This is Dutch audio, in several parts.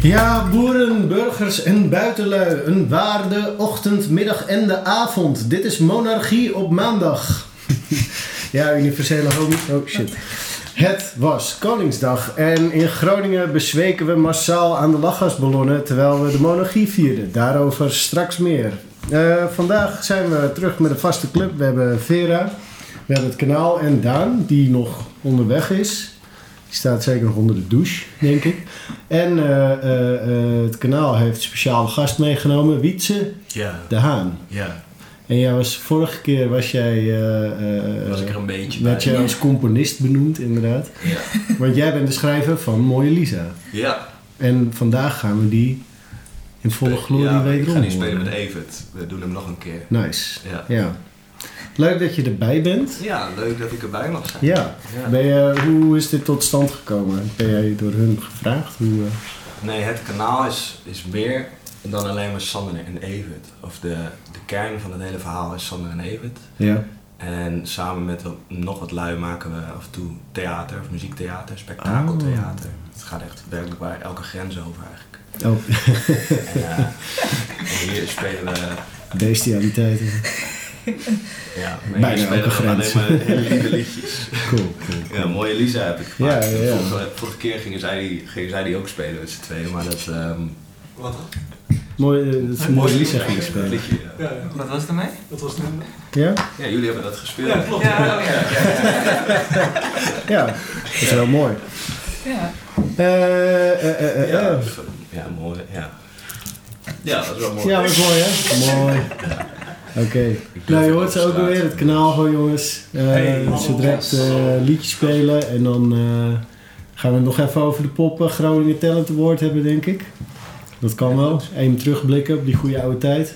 Ja, boeren, burgers en buitenlui, een waarde ochtend, middag en de avond. Dit is Monarchie op maandag. ja, universele homo... Oh, shit. Het was Koningsdag en in Groningen bezweken we massaal aan de lachgasballonnen terwijl we de monarchie vierden. Daarover straks meer. Eh, vandaag zijn we terug met een vaste club. We hebben Vera, we hebben het kanaal en Daan, die nog onderweg is. Die staat zeker nog onder de douche, denk ik. En eh, eh, eh, het kanaal heeft speciaal gast meegenomen, Wietse Ja, de Haan. ja. En jij was, vorige keer was jij... eh, eh, Was ik er een beetje bij. werd jij als componist benoemd, inderdaad. Ja. Want jij bent de schrijver van Mooie Lisa. ja. En vandaag gaan we die in volle glorie ja, Ik wederom ga niet spelen horen. met Evert. We doen hem nog een keer. Nice. Ja. Ja. Leuk dat je erbij bent. Ja, leuk dat ik erbij mag zijn. Ja. Ja. Ben je, hoe is dit tot stand gekomen? Ben jij door hun gevraagd? Hoe, eh, Nee, het kanaal is, is meer dan alleen maar Sander en Evert. Of de, de kern van het hele verhaal is Sander en Evert. Ja. En samen met wat- nog wat lui maken we af en toe theater of muziektheater, spektakeltheater. Het gaat echt werkelijk waar elke grens over eigenlijk. Oh, En, eh, en hier spelen we bestialiteiten. Ja, Bijna maar hier spelen elke we grens. alleen maar hele lieve liedjes. Cool, cool. Ja, mooie Lisa heb ik gemaakt. Ja, ja, ja. Vorige, vorige keer gingen zij, die, gingen zij die ook spelen met z'n tweeën, maar dat... ehm Wat, Mooi, eh, dat is een mooie Lisa ging dat spelen. liedje, ja. ja, Wat was het ermee? dat was toen. Ja? ja, jullie hebben dat gespeeld. Ja, klopt. Ja, oh ja. Ja. Dat is wel mooi. ja. Eh, eh, eh, eh, Ja, eh. ja, mooi, ja. Ja, dat is wel mooi. Ja, dat is mooi hè? Mooi. Oké. Nou, je hoort ze ook alweer. Het kanaal gewoon, jongens. Eh Hey. ze direct eh liedjes spelen. En dan eh, gaan we het nog even over de poppen Groningen Talent Award hebben, denk ik. Dat kan wel. Even terugblikken op die goede oude tijd.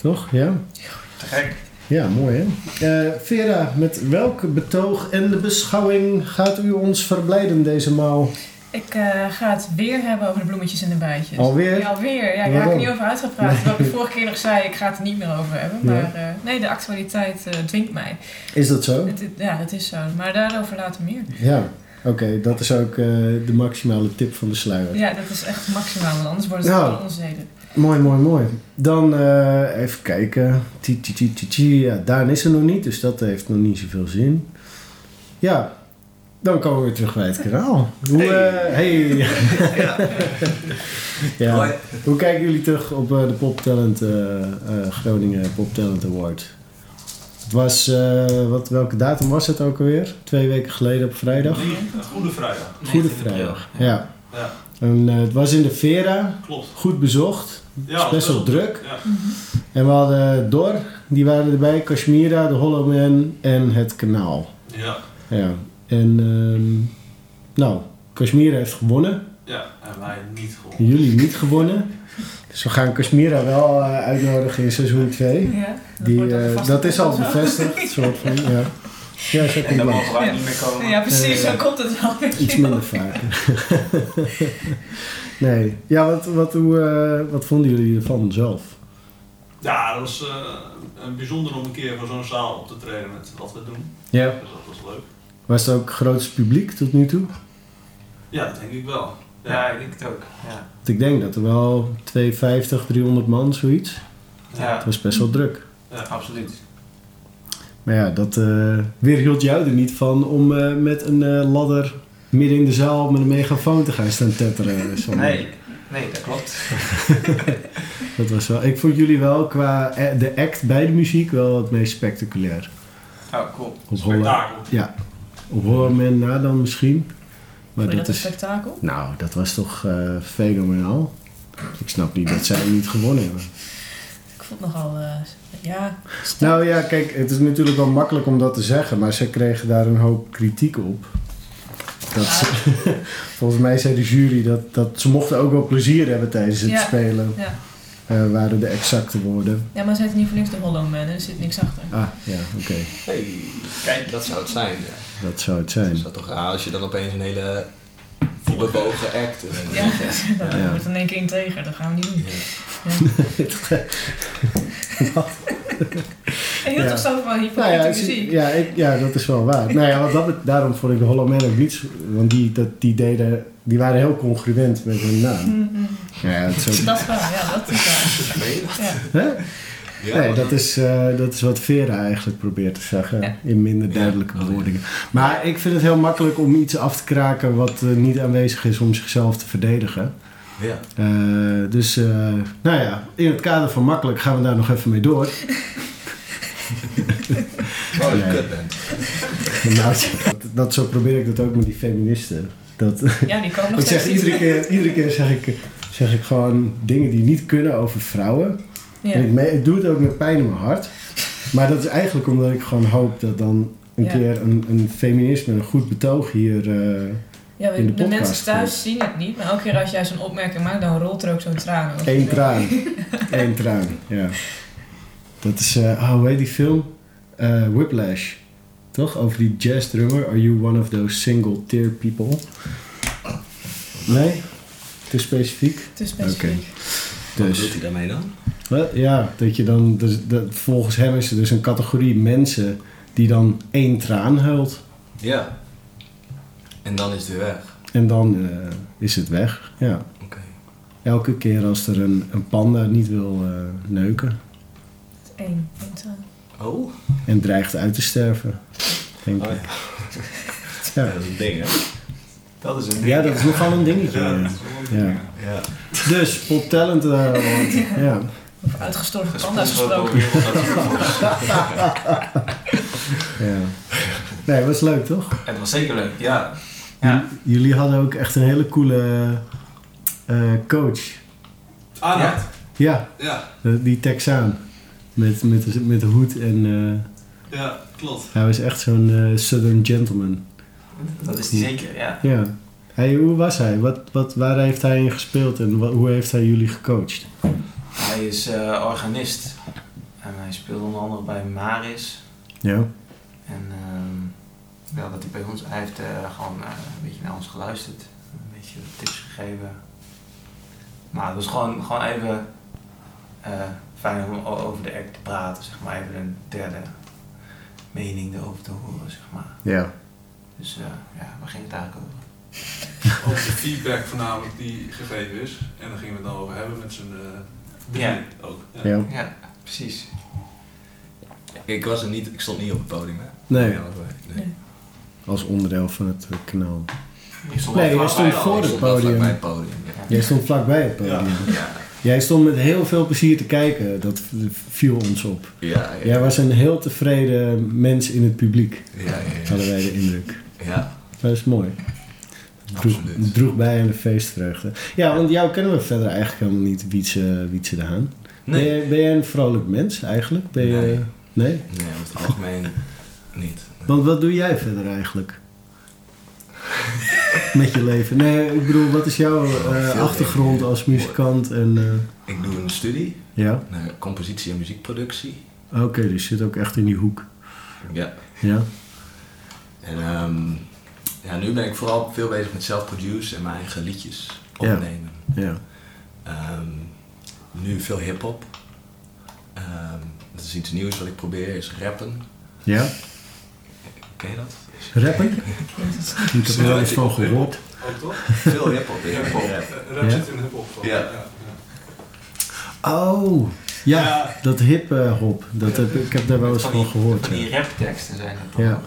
Toch? Ja? Te gek. Ja, mooi hè. Eh, Vera, met welk betoog en de beschouwing gaat u ons verblijden deze maal? Ik eh, ga het weer hebben over de bloemetjes en de bijtjes. Alweer? Ja, alweer. Ja, ik raak Waarom? er niet over uitgepraat. Wat ik vorige keer nog zei, ik ga het er niet meer over hebben. Ja. Maar eh, nee, de actualiteit eh, dwingt mij. Is dat zo? Het- het- ja, dat is zo. Maar daarover later meer. Ja. Oké, dat is ook eh, de maximale tip van de sluier. Ja, dat is echt maximaal, want anders worden ze Nou. allemaal onzeden. Mooi, mooi, mooi. Dan eh, even kijken. Tji, tji, tji, tji, tji. Ja, Daan is er nog niet, dus dat heeft nog niet zoveel zin. Ja, dan komen we weer terug bij het kanaal. Hoe, eh, hey. ja. Hoi. Hoe kijken jullie terug op eh, de Pop Talent eh, eh, Groningen Pop Talent Award? Het was, eh, wat, welke datum was het ook alweer? Twee weken geleden op vrijdag? Goede vrijdag. Goede 19 april. vrijdag, ja. Ja. En, eh, het was in de Vera, Klopt. goed bezocht, Ja, Het is best wel druk. Ja. En we hadden Dor, die waren erbij, Kashmira, de Hollow Man en het kanaal. Ja. Ja. En ehm, nou, Kashmira heeft gewonnen, Ja. En wij niet gewoon. jullie niet gewonnen. Dus we gaan Kashmira wel eh, uitnodigen in seizoen 2. Ja, dat, Die, wordt dan eh, vast dat is al zo. bevestigd, soort van, ja. Ja, zo En komt dan het. mogen wij niet meer komen. Ja, precies. Eh, zo komt het wel. weet je Iets wel. minder vaak. nee. Ja, wat, wat, hoe, eh, wat vonden jullie ervan zelf? Ja, dat was eh, een bijzonder om een keer voor zo'n zaal op te treden met wat we doen. Ja. Dus dat was leuk. Was het ook grootste publiek tot nu toe? Ja, dat denk ik wel. Ja, Ja. ik denk het ook. Ja. Want ik denk dat er wel 250, 300 man, zoiets. Het Ja. was best wel druk. Absoluut. Maar ja, dat eh weerhield jou er niet van om eh, met een eh, ladder midden in de zaal met een megafoon te gaan staan tetteren. eh, Sander. Nee, nee, dat klopt. Dat was wel, ik vond jullie wel qua eh, de act bij de muziek wel het meest spectaculair. Oh, cool. Op Holland. Spektakel. Ja, op Holland na dan misschien. Maar Vond dat je dat een is, spektakel? nou, dat was toch eh, fenomenaal. Ik snap niet dat zij niet gewonnen hebben. Ik vond het nogal... eh, ja, sterk. Nou ja, kijk, het is natuurlijk wel makkelijk om dat te zeggen, maar ze kregen daar een hoop kritiek op. Dat ze- volgens mij zei de jury dat, dat ze mochten ook wel plezier hebben tijdens het Ja. spelen, ja. eh, waren de exacte woorden. ja, maar ze heeft niet voor niks de Hollow Man. Er zit niks achter. Ah, ja, oké, Hey, kijk, dat zou het zijn. Ja. dat zou het zijn. Is dat toch raar als je dan opeens een hele bebogen act... eh, Ja, dat Ja. wordt in één keer integer, dat gaan we niet doen. Ja. Ja. heel Ja. toch zo van Nou hypocriete ja, muziek. ja, ik, ja, dat is wel waar. nou ja, want dat, bet- daarom vond ik de Hollow Man ook niet... zo- Want die, dat, die, deden, die waren heel congruent met hun naam. Mhm. Ja, het is ook- Dat wel, ja, dat is waar. Ja. hè? Ja, nee, maar- dat is, eh, dat is wat Vera eigenlijk probeert te zeggen. Ja. In minder Ja, duidelijke dat is- bewoordingen. Maar ik vind het heel makkelijk om iets af te kraken... wat eh, niet aanwezig is om zichzelf te verdedigen. ja. Eh, dus, eh, nou ja, in het kader van makkelijk gaan we daar nog even mee door. Oh, je Nee. kut bent. Nou, dat, dat, zo probeer ik dat ook met die feministen. Dat, ja, die komen nog ik zeg steeds iedere niet. keer, iedere keer zeg, ik, zeg ik gewoon dingen die niet kunnen over vrouwen. En ik, Ja. me- ik doe het ook met pijn in mijn hart. Maar dat is eigenlijk omdat ik gewoon hoop dat dan een Ja. keer een, een feminisme, een goed betoog hier. eh, Ja, in de we- de, podcast eh. mensen thuis zien het niet, maar elke keer als jij zo'n opmerking maakt, dan rolt er ook zo'n traan over. één traan. Eén traan, ja. Dat is, eh oh, hoe heet die film? Eh, Whiplash. Toch? Over die jazz drummer. Are you one of those single tear people? Nee? Te specifiek? Het is best Oké. uniek. Wat Dus. doet hij daarmee dan? Wat? Ja, dat je dan, dus, dat, volgens hem is er dus een categorie mensen die dan één traan huilt. Ja. En dan is hij weg. En dan eh, is het weg. Ja. Oké. Elke keer als er een, een panda niet wil eh, neuken Eén, één traan. Oh? Oh en dreigt uit te sterven. Denk ja. ik. Oh, Ja, Ja. Dat is een ding, hè? Dat is een ja, dat is nogal een dingetje. Ja. Ja. Ja. Dus, pop talent. eh, want- ja. Over uitgestorven panda's Gesponsord door gesproken. Wereld- ja. Nee, was leuk toch? Het was zeker leuk, ja. Ja. Jullie hadden ook echt een hele coole eh, coach. Aandacht. Ja, Ah, Ja. Eh, Die Texaan. Met, met, met de hoed en eh, ja, klopt. hij was echt zo'n eh, Southern gentleman. Dat is die zeker, ja. Ja. Hij, hoe was hij? Wat, wat, waar heeft hij in gespeeld en wa- hoe heeft hij jullie gecoacht? Hij is eh, organist. En hij speelde onder andere bij Maris. Ja. En ehm, ja, dat hij bij ons, hij heeft eh, gewoon eh, een beetje naar ons geluisterd, een beetje tips gegeven. Maar het was gewoon, gewoon even eh, fijn om o- over de act te praten, zeg maar, even een derde mening erover te horen, zeg maar. Ja. Dus eh, ja, waar ging het eigenlijk over? Over de feedback voornamelijk die gegeven is. En daar gingen we het dan over hebben met z'n eh drieën ook. Ja. ja. Ja, precies. Ik, was er niet, ik stond niet op het podium, hè? Nee. Ja, nee. Nee. Als onderdeel van het eh, kanaal. Ik stond Nee, wel jij vlakbij stond al. voor Ik het stond wel vlak podium. Bij het podium, ja. Jij stond vlakbij het podium. Ja. Jij stond met heel veel plezier te kijken. Dat v- viel ons op. Ja, ja. Jij was een heel tevreden mens in het publiek. Ja, ja, ja. Hadden wij de indruk. ja. Dat is mooi. Droeg, Absoluut. droeg bij aan de feestvreugde. Ja, want jou kennen we verder eigenlijk helemaal niet, Wietse, Wietse de Haan. Nee. Ben, jij, ben jij een vrolijk mens eigenlijk? Ben je, Nee. nee? Nee, over het algemeen niet. Want wat doe jij verder eigenlijk? Met je leven? Nee, ik bedoel, wat is jouw eh, veel achtergrond dingen. als muzikant? En, eh, Ik doe een studie ja, naar compositie en muziekproductie. oké, dus je zit ook echt in die hoek. Ja. Ja, En ehm, ja, nu ben ik vooral veel bezig met self-produce en mijn eigen liedjes Ja. opnemen. ja. Ehm, nu veel hip-hop. Ehm, dat is iets nieuws wat ik probeer, is rappen. Ja? Ken je dat? Rappen? Ik heb er wel eens van gehoord. Ook toch? Veel hip-hop. ja. Hip-hop. Ja. Eh, Rap Ja. zit in de hip-hop. Ja. Oh, ja, dat hip eh, hop. Dat heb, ik heb daar wel eens Van van die- gehoord. Van ja. die rapteksten zijn het Ja. ook.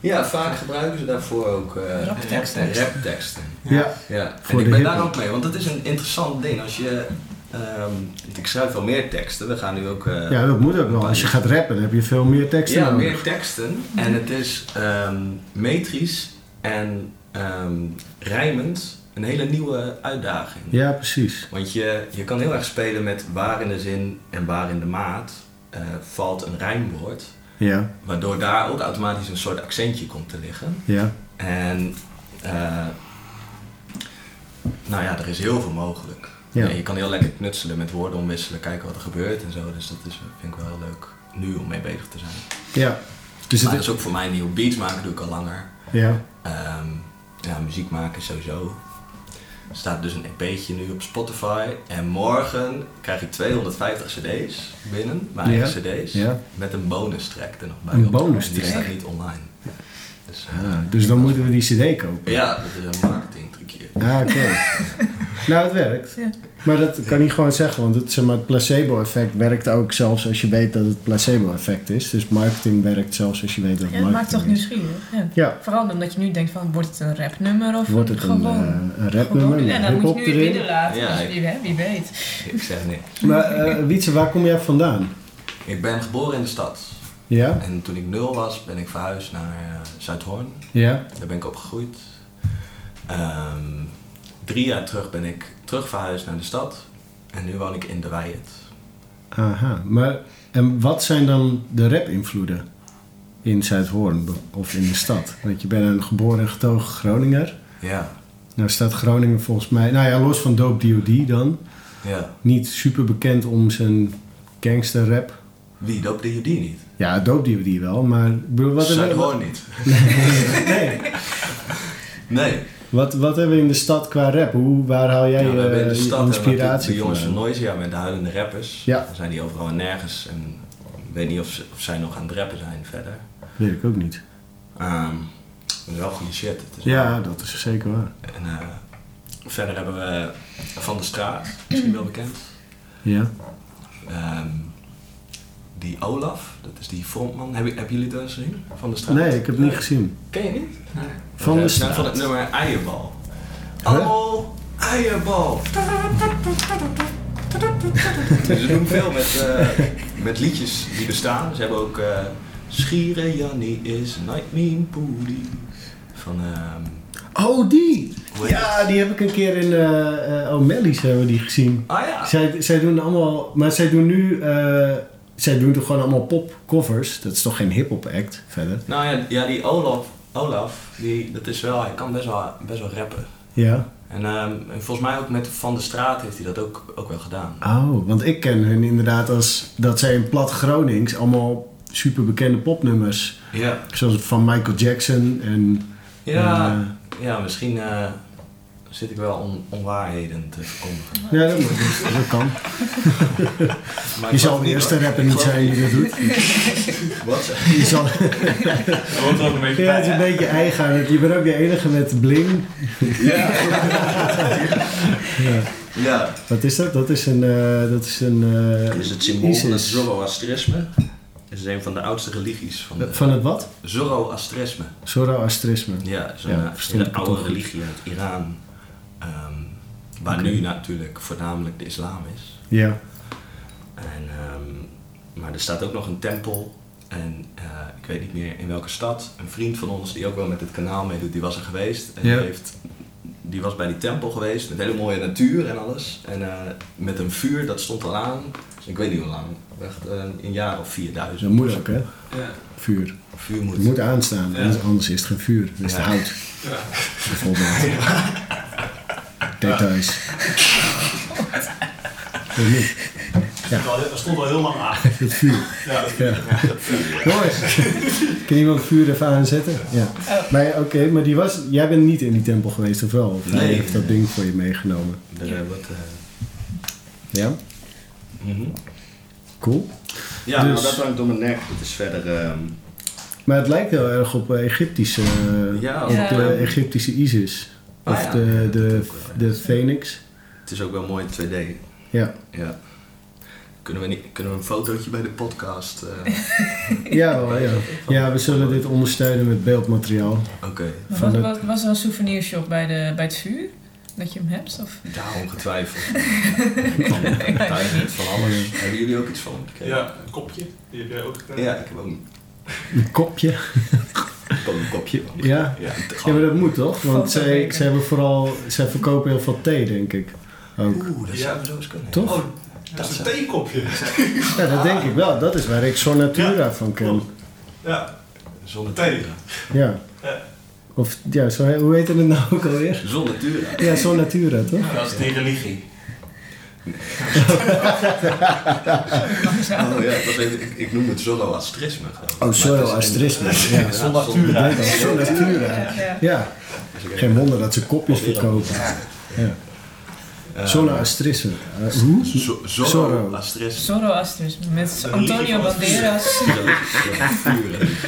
Ja, vaak gebruiken ze daarvoor ook eh, Rapteksten. rapteksten. Ja, Ja, Voor en ik de ben hiphop. daar ook mee, want het is een interessant ding. Als je, ehm, ik schrijf wel meer teksten, we gaan nu ook... eh, ja, dat moet ook wel. Als je gaat rappen, dan heb je veel meer teksten ja, nodig. Mhm. meer teksten. En het is ehm, metrisch en ehm, rijmend een hele nieuwe uitdaging. Ja, precies. Want je, je kan heel erg spelen met waar in de zin en waar in de maat eh, valt een rijmwoord. Ja, Waardoor daar ook automatisch een soort accentje komt te liggen. ja, En eh, nou ja, er is heel veel mogelijk. Ja. Ja, je kan heel lekker knutselen met woorden omwisselen, kijken wat er gebeurt en zo. Dus dat is, vind ik wel heel leuk nu om mee bezig te zijn. ja. Dus maar het dat is, is ook voor mij nieuw. Beats maken doe ik al langer. ja, Ehm, ja, muziek maken sowieso. Er staat dus een EP'tje nu op Spotify. En morgen krijg ik 250 cd's binnen, mijn Ja. eigen cd's. Ja. Met een bonus track er nog bij. Een op. bonus Die track? staat niet online. Dus, eh, Ah, dus dan moeten we die cd kopen. ja, dat is een marketing trucje. Ah, oké. nou, het werkt. Ja. Maar dat kan niet gewoon zeggen, want het, zeg maar, het placebo-effect werkt ook zelfs als je weet dat het placebo-effect is. Dus marketing werkt zelfs als je weet dat het Ja, dat marketing maakt toch is. nieuwsgierig. Ja. Ja, Vooral omdat je nu denkt van, wordt het een rapnummer of wordt het een, gewoon? eh, een gewoon. rapnummer met En dan moet hip-hop je nu in erin. midden laten, Ja, dus ik- wie, hè, wie weet. Ik zeg niks. Maar eh Wietse, waar kom jij vandaan? Ik ben geboren in de stad. Ja? En toen ik nul was, ben ik verhuisd naar eh, Zuidhoorn. Ja? Daar ben ik opgegroeid. Ehm, drie jaar terug ben ik terug verhuisd naar de stad. En nu woon ik in de Weijert. Aha. Maar, en wat zijn dan de rap-invloeden in Zuidhoorn be- of in de stad? Want je bent een geboren en getogen Groninger. Ja, Nou staat Groningen volgens mij, nou ja, los van Dope D.O.D. dan, ja. niet super bekend om zijn gangsterrap. Wie, dat deed je die niet? Ja, Dope D.O.D. wel, maar ik bedoel, wat hebben we... Zuidhoorn niet. Nee, Nee, Nou, wat, wat hebben we in de stad qua rap? Hoe, waar haal jij Ja, we hebben eh, in de je stad inspiratie de inspiratie jongens van vandaan? Noisia met de huilende rappers. Ja. Dan zijn die overal en nergens. En ik weet niet of, ze, of zij nog aan het rappen zijn verder. Weet ik ook niet. Ehm dat is wel goede shit. Het is Ja, dat is zeker waar. wel- En, eh, verder hebben we Van de Straat, misschien wel bekend. Ja. Ehm, die Olaf, dat is die frontman. Heb, je- hebben jullie dat eens gezien? Van de Straat? Nee, ik heb het niet gezien. Ken je niet? Van de Dat is Van straat. het nummer Eierbal. Huh? Oh, Eierbal. Ze doen veel met, eh, met liedjes die bestaan. Ze hebben ook eh Schieren Jannie is Night Mean Poodie. Van, ehm, Oh, die! Hoe heet Ja, die heb ik een keer in eh eh, O'Malley's hebben we die gezien. ah ja. Zij, zij doen allemaal, maar zij doen nu, eh, zij doen toch gewoon allemaal popcovers. Dat is toch geen hip-hop act verder? Nou ja, ja die Olaf, Olaf die, dat is wel, hij kan best wel, best wel rappen. Ja. En ehm, en volgens mij ook met Van der Straat heeft hij dat ook, ook wel gedaan. Oh, want ik ken hun inderdaad als dat zij in plat Gronings allemaal superbekende popnummers. Ja. Zoals van Michael Jackson en. Ja, ja misschien eh, zit ik wel on- onwaarheden te verkondigen. eh, ja, dat, mag. dat kan. Je zal de eerste rapper niet zijn die dat doet. Wat? Je zal, Dat hoort er ook een beetje ja, bij, het is een hè? beetje eigen. want Je bent ook de enige met bling. Ja. Ja. Wat is dat? Dat is een. eh, dat is een eh, Is het symbool van het Isis. Zoroastrisme? Het is een van de oudste religies van, de, Van het wat? Zoroastrisme. Zoroastrisme. Ja, zo'n Ja, eh, verstond hele ik het oude ook. religie uit Iran. ehm, waar Oké. nu natuurlijk voornamelijk de islam is. Ja. En, ehm, maar er staat ook nog een tempel. En eh, ik weet niet meer in welke stad. Een vriend van ons die ook wel met het kanaal meedoet, die was er geweest. En Ja. die, heeft, die was bij die tempel geweest met hele mooie natuur en alles. En eh, met een vuur, dat stond al aan. Dus ik weet niet hoe lang. Echt eh, een jaar of Dus 4000. dat moet ook, hè? Ja. Vuur. Vuur moet. Het moet aanstaan, Ja. anders- anders is het geen vuur. Dan is het Ja. hout, Ja. bijvoorbeeld. Details. Dat niet. Dat stond al heel lang aan. Het vuur. Ja, dat- Ja. Jongens, kan iemand vuur even aanzetten? Ja. Oh. Maar ja, oké, maar die was, jij bent niet in die tempel geweest, of wel? Of hij Nee. heeft dat ding voor je meegenomen. Er, eh, wat, eh, Ja? mhm. Cool. Ja, Dus- nou, dat hangt om mijn nek. Het is verder. ehm, Maar het lijkt heel erg op eh, Egyptische, eh, Ja, op ja. de Egyptische Isis. Ah, Of ja. de, de, Dat ook wel, ja. de Phoenix. het is ook wel mooi in 2D. Ja. Ja. Kunnen we, niet, kunnen we een fotootje bij de podcast? eh, Ja, wel, ja. ja, we zullen dit ondersteunen met beeldmateriaal. Oké. Maar Van was, het- was, was er een souvenirshop bij, de, bij het vuur? Dat je hem hebt? Of? Ja, ongetwijfeld. Ik kan tuin van alles. Hebben jullie ook iets van? gekregen? ja, een kopje. Die heb jij ook gekregen. Ja, ik heb ook een, Een kopje. ik heb ook een kopje. Ja. Ja, te Ja, maar dat moet toch? Want Fotobeker. zij, zij, hebben vooral, zij verkopen heel veel thee, denk ik. Ook. Oeh, dat zou we zo eens kunnen. Toch? Oh, dat is een theekopje. Ja, dat denk ik wel. Dat is waar ik Son Natura van ken. klopt. Ja, Zonder thee. Ja. Ja. Of, ja, zo, hoe heette het nou ook alweer? Zonder Tura. Ja, Son Natura, toch? Dat is die religie. Oh ja, dat weet ik, ik noem het Zoroastrisme. geloof ik. Oh, Maar het is Zoroastrisme. een- Ja, Ja, Zonder zonder- Tura. Son Natura. Ja. Ja, geen wonder dat ze kopjes verkopen. Ja. Eh, Zona Astrisser. Zo- Zorro. Zorro. Astris. Zoroasters met Een religie Antonio van het Banderas.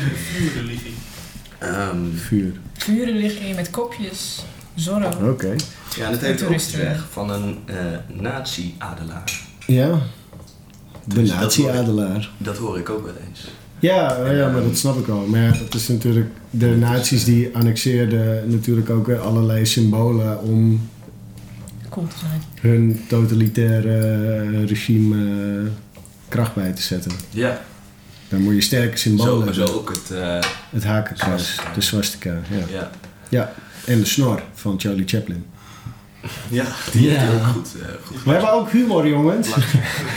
Vuurreligie. Ehm, Vuur. Vurenlichting met kopjes. Zorro. Oké. Ja, dat heeft ook iets Toeristen. weg van een eh nazi-adelaar. Ja. De Dus dat nazi-adelaar. Dat hoor ik ook wel eens. Ja, oh ja, maar dat snap ik al. Maar ja, dat is natuurlijk... De nazi's die annexeerden natuurlijk ook weer allerlei symbolen om Cool te zijn. hun totalitaire eh, regime eh, kracht bij te zetten. Ja, Dan moet je zo, sterke symbolen zo hebben. ook het... eh, Het hakenkruis, Swastika. de swastika. Ja. ja. En de snor van Charlie Chaplin. ja, die Ja. heeft hij ook goed. eh, goed. We hebben ook humor, jongens. Een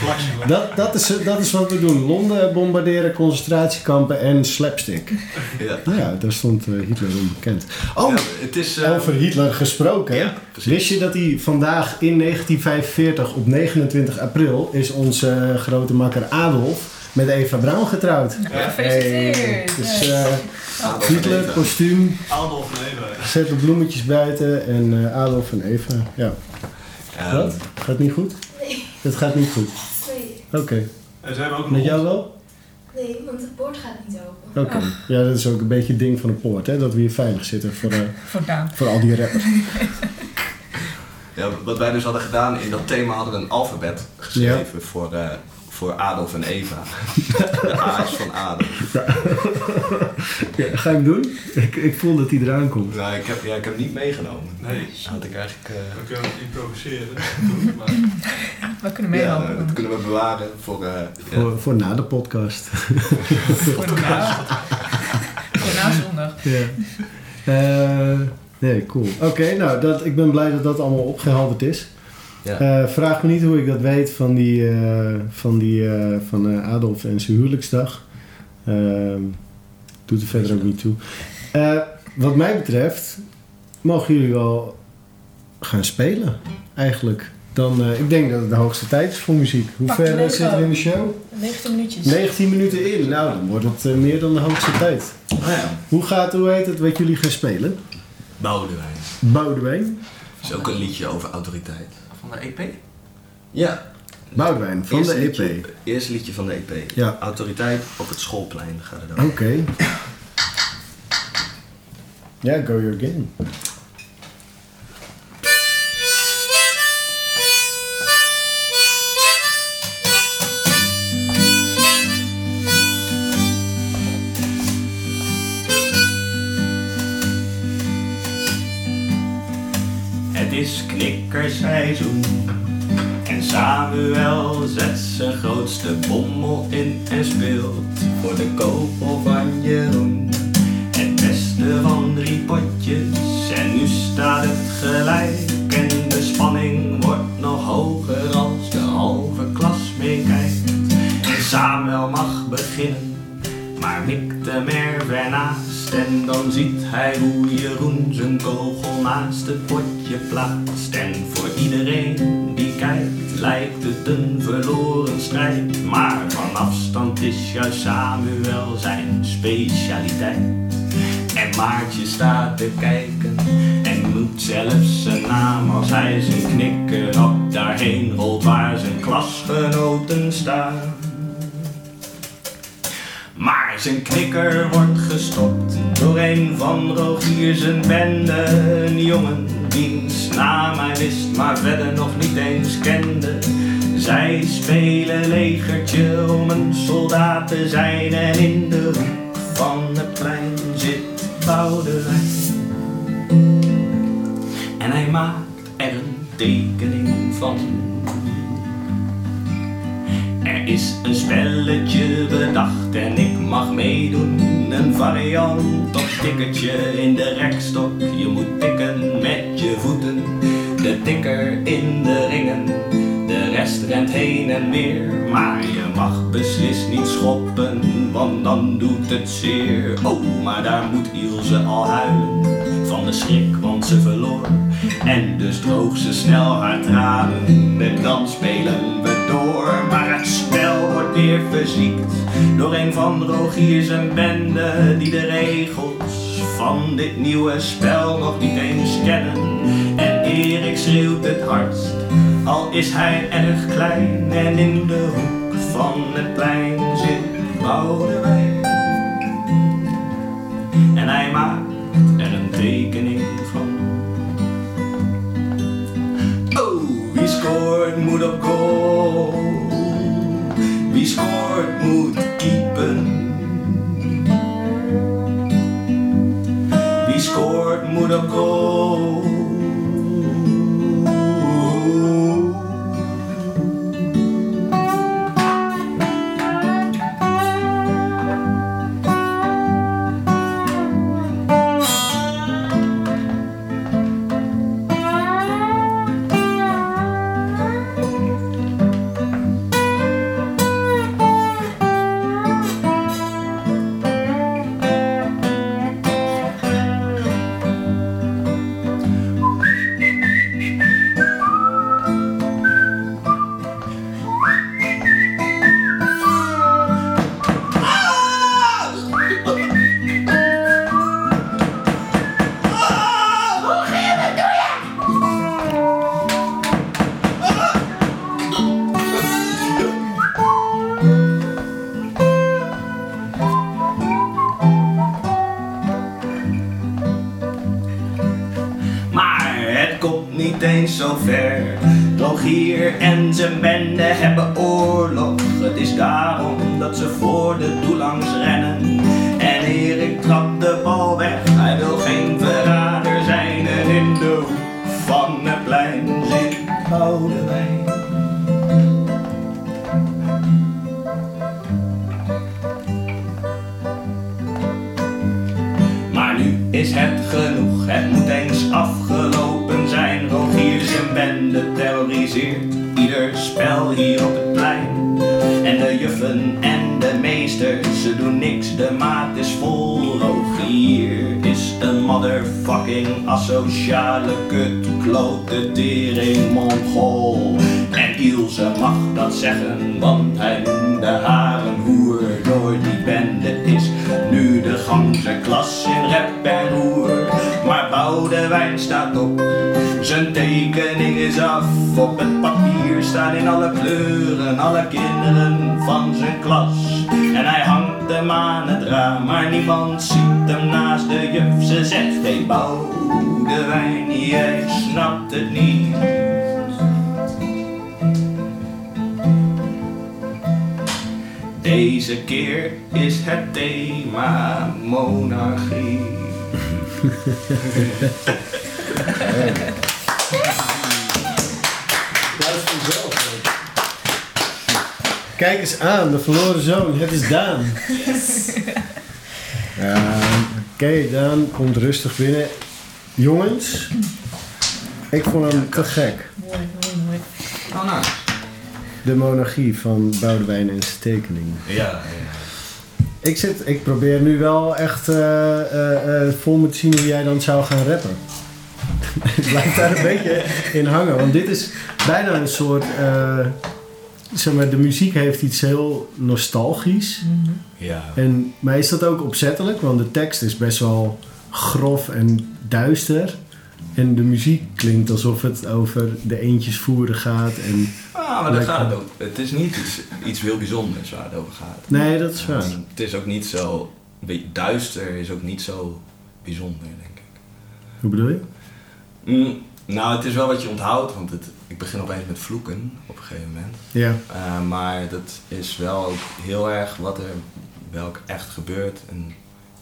plakje. Dat, dat, is, dat is wat we doen. Londen bombarderen, concentratiekampen en slapstick. Ja. Ja, daar stond eh, Hitler onbekend. Oh, Ja, het is... eh, over Hitler gesproken. ja, precies. Wist je dat hij vandaag in 1945 op 29 april is onze eh, grote makker Adolf met Eva Braun getrouwd. Hey, Gefeliciteerd! dus Ja. eh, Adolf en Hitler, Eva. kostuum, Adolf Nederland. zet de bloemetjes buiten en eh, Adolf en Eva. Ja, Ehm, wat? Gaat niet goed? Het gaat niet goed. Nee, Oké, En ze hebben ook met nog jou wel? nee, want het bord gaat niet open. Oké. Ja, dat is ook een beetje het ding van de poort, hè? Dat we hier veilig zitten voor, eh, Voor Daan. voor al die rappers. Ja, wat wij dus hadden gedaan, in dat thema hadden we een alfabet geschreven voor, eh, voor Adolf en Eva. De A's van Adolf. Ja, ga je hem doen? Ik, ik voel dat hij eraan komt. Nou, ik heb, ja, ik heb hem niet meegenomen. Nee, Had ik eigenlijk... eh, we kunnen het improviseren. Doen, maar We kunnen ja, meehelpen. dat kunnen we bewaren voor... eh, ja. Voor, voor na de podcast. Voor na- voor na zondag. Ja. Eh, nee, cool. Oké, nou, dat, ik ben blij dat dat allemaal opgehelderd is. Ja. Eh, vraag me niet hoe ik dat weet van, die, eh, van, die, eh, van eh, Adolf en zijn huwelijksdag. Ehm, doet er verder ook niet toe. Eh, wat mij betreft mogen jullie wel gaan spelen, eigenlijk. Dan, eh, ik denk dat het de hoogste tijd is voor muziek. Hoe Pak de ver eh, Lego. zitten we in de show? 90 minuutjes. 19 minuten in. Nou, dan wordt het eh, meer dan de hoogste tijd. Nou ja, Hoe gaat, hoe heet het, wat jullie gaan spelen? Boudewijn. Boudewijn. is ook een liedje over autoriteit. Van de E EP? Ja. Boudewijn van de E EP. Liedje, eerste liedje van de EP. Ja. Oh. Autoriteit op het schoolplein gaat het Oké. over. Ja, go your game. Het is knikkerseizoen. En Samuel zet zijn grootste bommel in en speelt voor de kogel van Jeroen. Het beste van drie potjes en nu staat het gelijk. En de spanning wordt nog hoger als de halve klas meekijkt. En Samuel mag beginnen, maar mikt hem er weer naast. En dan ziet hij hoe Jeroen zijn kogel naast het potje plaatst. En voor iedereen die kijkt, lijkt het een verloren strijd. Maar van afstand is juist Samuel zijn specialiteit. En Maartje staat te kijken en moet zelfs zijn naam als hij zijn knikker op daarheen rolt waar zijn klasgenoten staan. Maar zijn knikker wordt gestopt door een van Rogier zijn bende. Een jongen wiens naam hij wist, maar verder nog niet eens kende. Zij spelen legertje om een soldaat te zijn en in de hoek van het plein zit Boudewijn. En hij maakt er een tekening van. Er is een spelletje bedacht en ik mag meedoen. Een variant op tikkertje in de rekstok. Je moet tikken met je voeten. De tikker in de ringen. De rest rent heen en weer. Maar je mag beslist niet schoppen, want dan doet het zeer. Oh, maar daar moet Ilse al huilen van de schrik, want ze verloor. En dus droog ze snel haar tranen. En dan spelen we door. Maar het spel wordt weer verziekt door een van Rogiers en bende die de regels van dit nieuwe spel nog niet eens kennen. En Erik schreeuwt het hardst. Al is hij erg klein en in de hoek van het plein zit Boudewijn. En hij maakt er een tekening van. Oh, wie scoort moet op goal? Wie scoort moet keepen? Wie scoort moet op goal? Maar het komt niet eens zo ver. Rogier en zijn bende hebben oorlog. Het is daarom dat ze voor de doelangs rennen. En Erik trapt de bal weg. Hij wil geen verrader zijn. En in de hoek van het plein zit Boudewijn. Maar nu is het genoeg, het moet eens afgelopen zijn. Rogier zijn bende terroriseert ieder spel hier op het plein. En de juffen en de meesters, ze doen niks, de maat is vol. Rogier is een motherfucking asociale kut, klote tering mongool. En Ilse mag dat zeggen, want hij noemde haar een hoer. Door die bende is nu de ganse klas in rep en roer. Maar Boudewijn staat op, zijn tekening is af. Op het papier staan in alle kleuren alle kinderen van zijn klas. En hij hangt hem aan het raam, maar niemand ziet hem naast de juf. Ze zegt, hey Boudewijn, jij snapt het niet. Deze keer is het thema monarchie. Juist vanzelf. hoor. Kijk eens aan, de verloren zoon. Het is Daan. Ja, Oké, Daan komt rustig binnen. Jongens, ik vond hem te gek. Mooi, mooi, mooi. Oh, nou. De monarchie van Boudewijn en zijn tekeningen. Ja, Ik, zit, ik probeer nu wel echt eh, eh, eh, vol me te zien hoe jij dan zou gaan rappen. ik blijf daar een beetje in hangen. Want dit is bijna een soort... eh, zeg maar, de muziek heeft iets heel nostalgisch. ja. En, maar is dat ook opzettelijk? Want de tekst is best wel grof en duister. En de muziek klinkt alsof het over de eentjes voeren gaat. En... Ah, maar daar Lekker. gaat het ook. Het is niet iets, iets heel bijzonders waar het over gaat. Nee, dat is waar. En Het is ook niet zo... een beetje Duister is ook niet zo bijzonder, denk ik. Hoe bedoel je? Mm, nou, het is wel wat je onthoudt, want het, ik begin opeens met vloeken op een gegeven moment. Ja. Eh, maar dat is wel ook heel erg wat er wel ook echt gebeurt. En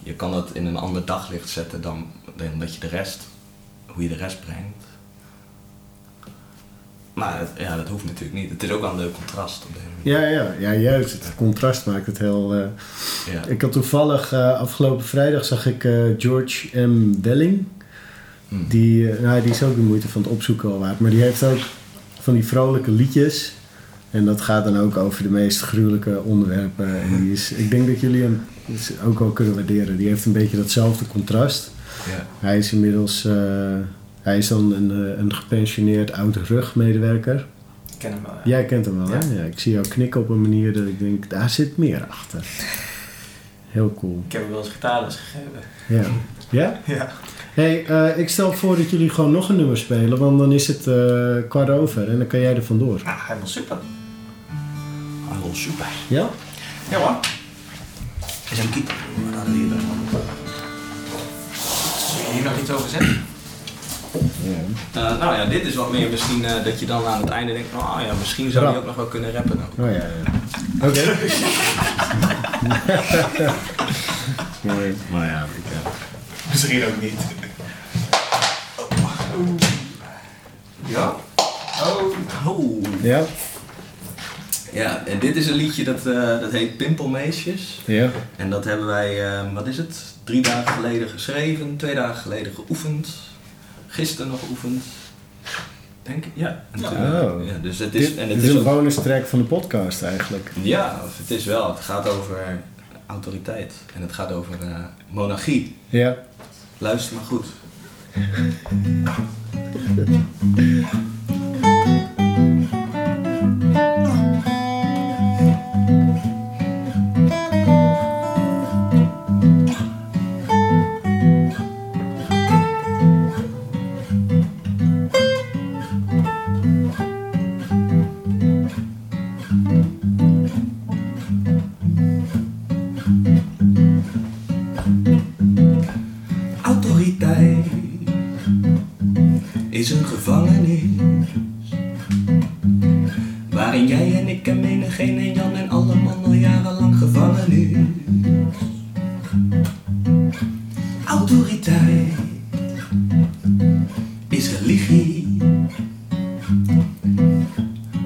je kan dat in een ander daglicht zetten dan, dan dat je de rest, hoe je de rest brengt. Maar het- ja, dat hoeft natuurlijk niet. Het is ook wel een leuk contrast op deze manier. Ja, ja, ja, juist. Het contrast maakt het heel... eh, Ja. Ik had toevallig eh, afgelopen vrijdag zag ik eh, George M. Welling. Hm. Die, eh, nou, die is ook de moeite van het opzoeken al waard. Maar die heeft ook van die vrolijke liedjes. En dat gaat dan ook over de meest gruwelijke onderwerpen. En die is, ik denk dat jullie hem ook wel kunnen waarderen. Die heeft een beetje datzelfde contrast. Ja. Hij is inmiddels... eh, hij is dan een, eh, een gepensioneerd oud-rugmedewerker. Ik ken hem wel. ja. Jij kent hem wel, Ja. hè? Ja, ik zie jou knikken op een manier dat ik denk, daar zit meer achter. Heel cool. Ik heb hem wel eens gitaarles gegeven. Ja? Ja? Ja. hey, eh, ik stel voor dat jullie gewoon nog een nummer spelen, want dan is het eh, kwart over en dan kan jij er vandoor. Nou, helemaal super. Hallo, super. Ja? Ja hoor. Is een keeper. Maar dat is hier Wil je hier nog iets over zeggen? Eh, nou ja, dit is wat meer misschien eh, dat je dan aan het einde denkt, oh ja, misschien zou die ook nog wel kunnen rappen. ook. Oh ja, ja. Oké. Mooi. Maar ja, ik, eh, Misschien ook niet. Ja? Oh. Ja? Ja, en dit is een liedje dat, eh, dat heet Pimpelmeisjes. Ja. En dat hebben wij, eh, wat is het, drie dagen geleden geschreven, twee dagen geleden geoefend, gisteren nog geoefend. Denk ik, ja. En toen, eh, Oh. ja dus het Dit, is, dit en is, het is een ook- bonus track van de podcast eigenlijk. ja, of het is wel, het gaat over autoriteit en het gaat over eh, monarchie. Ja. Luister maar goed. Autoriteit is een gevangenis waarin jij en ik en menigeen en Jan en alle man al jarenlang gevangen is. Autoriteit is religie.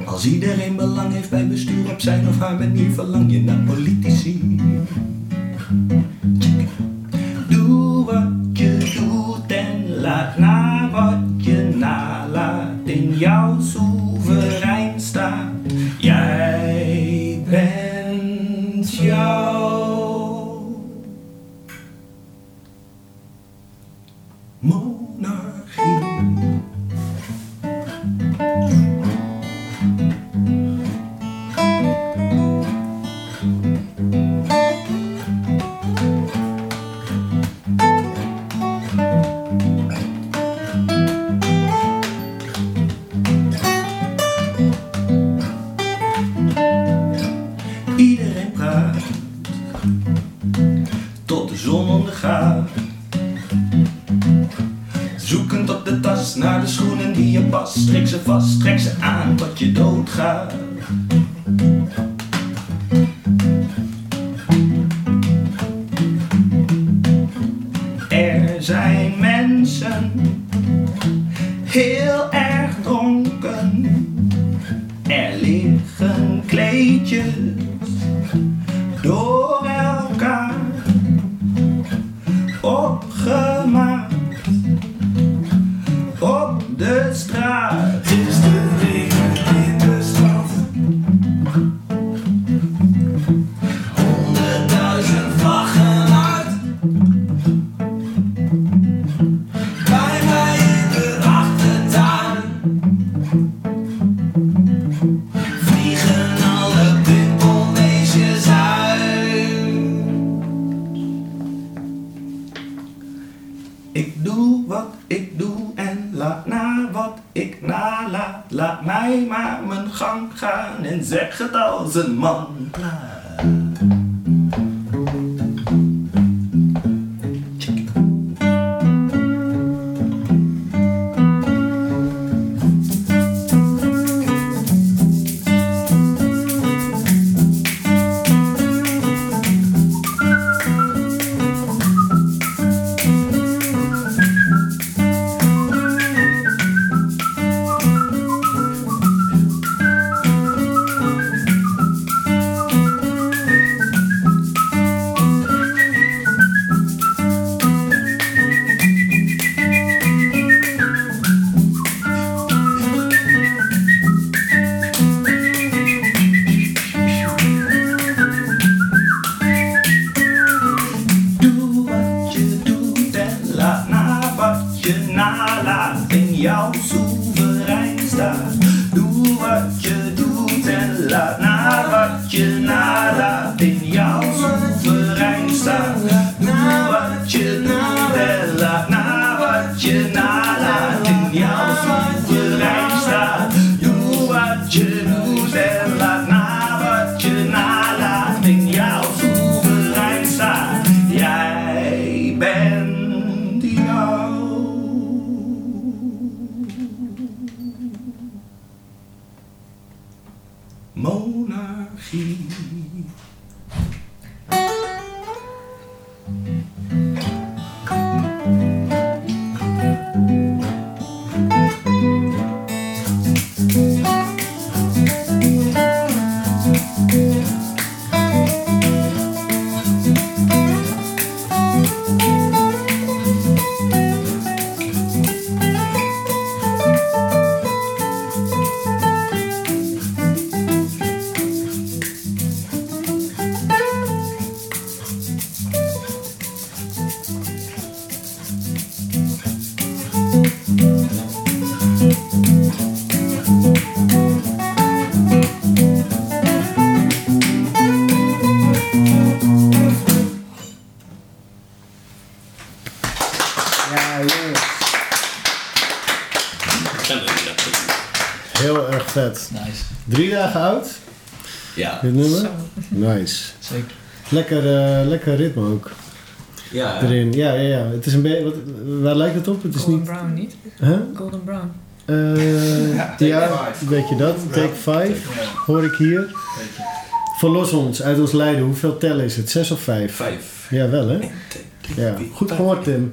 Als iedereen belang heeft bij bestuur op zijn of haar manier, verlang je naar politici. Doe wat je doet en laat na wat je nalaat. In jouw soeverein staat. Jij bent jouw monarchie. Iedereen praat tot de zon ondergaat. Zoekend op de tas naar de schoenen die je past. Strik ze vast, trek ze aan tot je doodgaat. Er zijn mensen heel erg dronken. Er liggen kleedjes door elkaar opgemaakt op de straat. Is de regen in de stad? Honderdduizend vlaggen uit. Bij mij in de achtertuin. Vliegen alle pimpelmeisjes uit. Ik doe wat ik doe en laat na wat ik nalaat. Laat mij maar mijn gang gaan en zeg het als een man. Doe wat je doet en laat na wat je nalaat. In jouw soeverein staat. Doe wat je doet en laat na wat je nalaat. In jouw soeverein staat. je doet en laat na wat je nalaat in jouw soeverein staat. Jij bent jouw monarchie. Ja, jongens. Heel erg vet. Nice. Drie dagen oud, Ja, dit nummer. Zo. Nice. Zeker. Lekker, eh, lekker ritme ook ja. erin. Ja, ja, ja. Het is een beetje... wat- Waar lijkt het op? Het is Golden niet... Brown niet? Huh? Golden Brown. Eh, Take ja, Five. weet je dat? Take 5 hoor ik hier. Verlos ons uit ons lijden. Hoeveel tellen is het? Zes of vijf? Vijf. Ja, wel hè? Ja, goed gehoord Tim.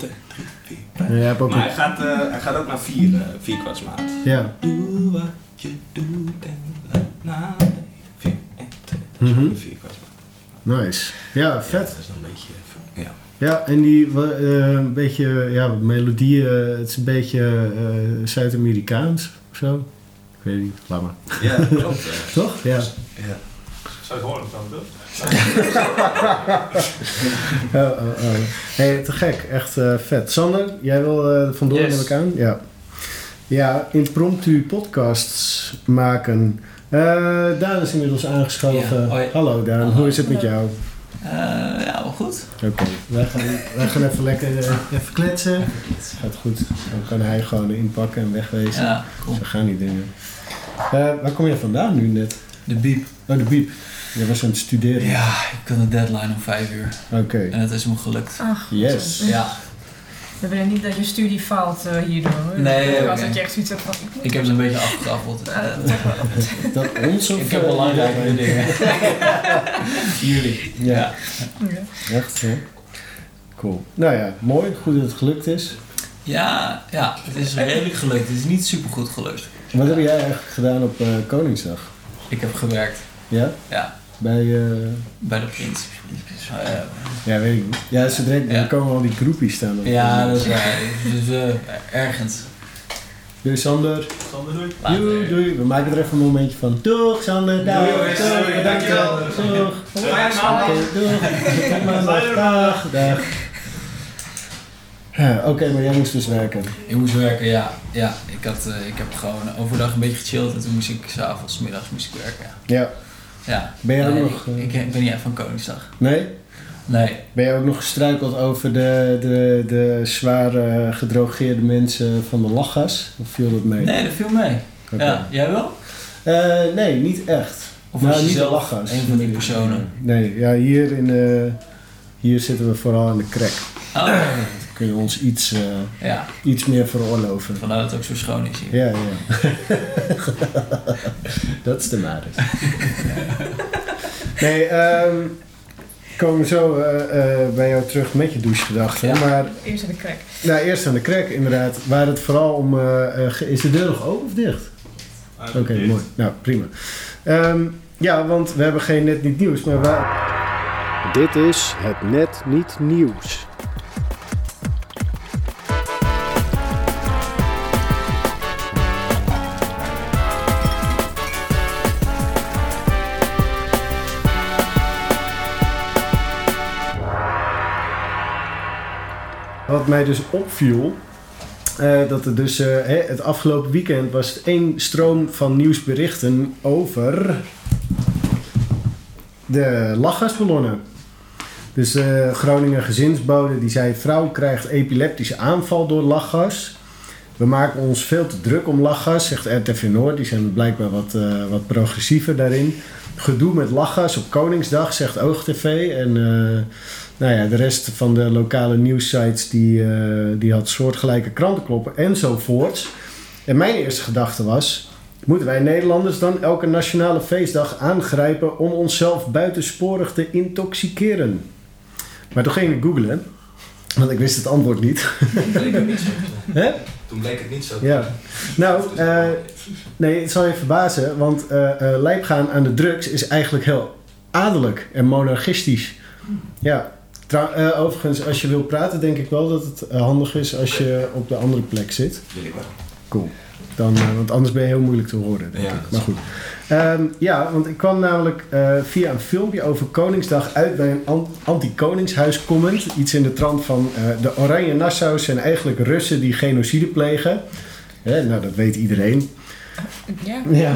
Ja, jij hebt ook Maar een- hij gaat, eh, hij gaat ook naar vier, eh, vier kwartsmaat. Ja. Doe wat je doet en laat na. Vier, en twee, dat is Mhm. ook een vier kwartsmaat. Nice. Ja, Ja, vet. dat is dan een beetje... Ja. Ja, en die wa- eh, een beetje, ja, melodieën, het is een beetje eh, Zuid-Amerikaans of zo. Ik weet niet, laat maar. Ja, klopt. eh. Toch? Ja. Ja. Zou je het horen dan, toch? Oh, oh, oh. Hey, te gek, echt eh, vet. Sander, jij wil eh vandoor Yes. neem ik aan? Ja. Ja, impromptu podcasts maken. Eh, Daan is inmiddels aangeschoven. Ja, hoi. Hallo Daan, Hallo. hoe is het met jou? Eh, ja, wel goed. Oké, wij, gaan, wij gaan even lekker eh, even kletsen. Gaat goed, dan kan hij gewoon inpakken en wegwezen. Ja, cool. Zo gaan die dingen. Eh, waar kom je vandaan nu net? De biep. Oh, de biep. Je was aan het studeren. Ja, ik had een deadline om vijf uur. Oké, En het is me gelukt. Ach, yes. Ja, we willen niet dat je studie faalt eh, hierdoor. hoor. Nee, Dat was oké. Dat je echt zoiets hebt van... Ik, moet ik heb het een beetje afgeraffeld. Ah, Eh, dat is ook wel- Dat ons of ik heb eh, belangrijke iedereen? dingen. Jullie. Ja. Ja. Ja. Echt hè? Cool. Nou ja, mooi. Goed dat het gelukt is. Ja, ja, het is redelijk gelukt. Het is niet super goed gelukt. Wat heb jij eigenlijk gedaan op eh, Koningsdag? Ik heb gewerkt Ja? Ja. Bij, eh, bij de prins. Eh, ja weet ik niet. Ja, zodra direct Ja. dan komen al die groepjes staan. op. ja, dat is waar. Dus eh, ergens. Doei Sander. Sander, doei. Later. Doei, doei. We maken er even een momentje van. Doeg Sander. Dag. Doei, Doeg. doei. Dankjewel. Doeg. Fijne maandag. Oké, doeg. Tot maandag. Dag. Dag. Ja, Oké, maar jij moest dus werken. Ik moest werken, ja. ja ik, had, eh, ik heb gewoon overdag een beetje gechilled en toen moest ik s'avonds, middags moest ik werken. Ja. Ja. ja. Ben jij ook Nee, nog, eh, Ik, ik ben niet echt van Koningsdag. Nee? Nee. Ben jij ook nog gestruikeld over de, de, de zware gedrogeerde mensen van de lachgas? Of viel dat mee? Nee, dat viel mee. Oké. Ja, jij wel? Eh, nee, niet echt. Of nou, was je niet de zelf lachgas. een van die personen? Nee, ja, hier, in, eh, hier zitten we vooral aan de crack. Oh, Dan kun je ons iets, eh, ja. iets meer veroorloven. Vandaar dat het ook zo schoon is hier. Ja, ja. dat is de maris. nee, ehm, komen we zo eh, eh, bij jou terug met je douchegedachten. Ja. Maar Eerst aan de crack. Nou, eerst aan de crack inderdaad. Waar het vooral om... eh, eh, ge- is de deur nog open of dicht? Oké, mooi. Nou, prima. Ehm, ja, want we hebben geen net niet nieuws, maar waar... Dit is het net niet nieuws. Wat mij dus opviel, eh, dat er dus eh, hè, het afgelopen weekend was het één stroom van nieuwsberichten over de lachgasballonnen. Dus de Groningen gezinsbode die zei vrouw krijgt epileptische aanval door lachgas. We maken ons veel te druk om lachgas, zegt RTV Noord. Die zijn blijkbaar wat, eh, wat progressiever daarin. Gedoe met lachgas op Koningsdag, zegt OogTV. En eh, nou ja, de rest van de lokale nieuwssites die, eh, die had soortgelijke krantenkloppen enzovoorts. En mijn eerste gedachte was... Moeten wij Nederlanders dan elke nationale feestdag aangrijpen om onszelf buitensporig te intoxiceren? Maar toen ging ik googlen, want ik wist het antwoord niet. Toen bleek het niet zo. te Hè? zijn. Toen bleek het niet zo. te Ja. zijn. Nou, Dus- eh, nee, het zal je verbazen, want eh eh, lijpgaan aan de drugs is eigenlijk heel adellijk en monarchistisch. Ja, Trouw- eh, overigens, als je wil praten, denk ik wel dat het eh, handig is als je op de andere plek zit. Wil ik wel. Cool. Dan, eh, want anders ben je heel moeilijk te horen, denk Ja, ik. dat Maar is- goed. Ehm, ja, want ik kwam namelijk eh, via een filmpje over Koningsdag uit bij een an- anti-Koningshuis comment. Iets in de trant van eh, de Oranje Nassau's zijn eigenlijk Russen die genocide plegen. Hè, nou, dat weet iedereen. Ja. Ja. Ja.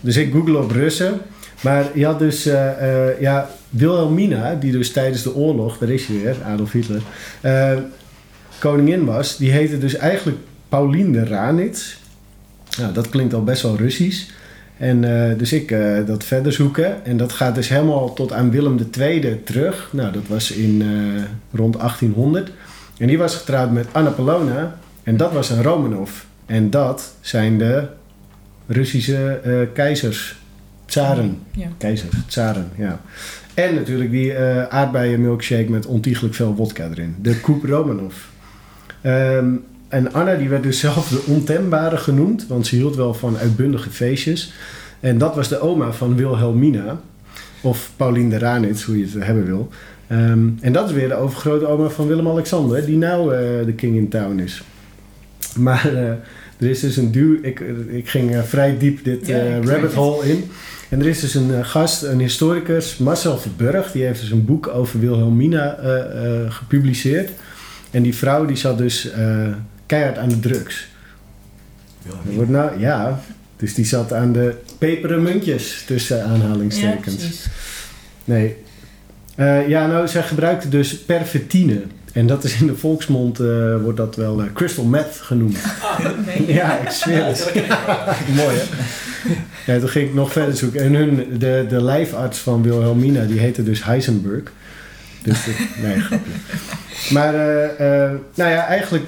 Dus ik google op Russen. Maar je had dus eh, eh, ja, Wilhelmina, die dus tijdens de oorlog, daar is je weer, Adolf Hitler, eh, koningin was. Die heette dus eigenlijk Pauline de Ranitz. Nou, dat klinkt al best wel Russisch. En eh, dus ik eh, dat verder zoeken. En dat gaat dus helemaal tot aan Willem II terug. Nou, dat was in eh, rond 1800. En die was getrouwd met Anna Polona. En dat was een Romanov. En dat zijn de Russische eh, keizers. Tsaren. Ja. Keizers, tsaren, ja. En natuurlijk die eh aardbeien milkshake met ontiegelijk veel wodka erin. De Koep Romanov. Ehm, en Anna die werd dus zelf de ontembare genoemd, want ze hield wel van uitbundige feestjes. En dat was de oma van Wilhelmina, of Pauline de Ranitz, hoe je het hebben wil. Ehm, en dat is weer de overgrote oma van Willem-Alexander, die nou eh, de king in town is. Maar eh, er is dus een duw. Ik, ik ging eh, vrij diep dit Ja, eh, ik weet rabbit het. hole in. En er is dus een eh, gast, een historicus, Marcel Verburg. Die heeft dus een boek over Wilhelmina eh, eh, gepubliceerd. En die vrouw die zat dus eh, keihard aan de drugs. Er wordt nou, ja, dus die zat aan de pepermuntjes tussen Ja, aanhalingstekens. precies. Nee. Eh, ja, nou, zij gebruikte dus pervertine. En dat is in de volksmond, eh, wordt dat wel eh, crystal meth genoemd. Nee. Ja, ik zweer het. Mooi, hè? Ja, toen ging ik nog verder zoeken. En hun, de, de lijfarts van Wilhelmina, die heette dus Heisenberg. Dus dat, nee, grapje. Maar, eh, eh, nou ja, eigenlijk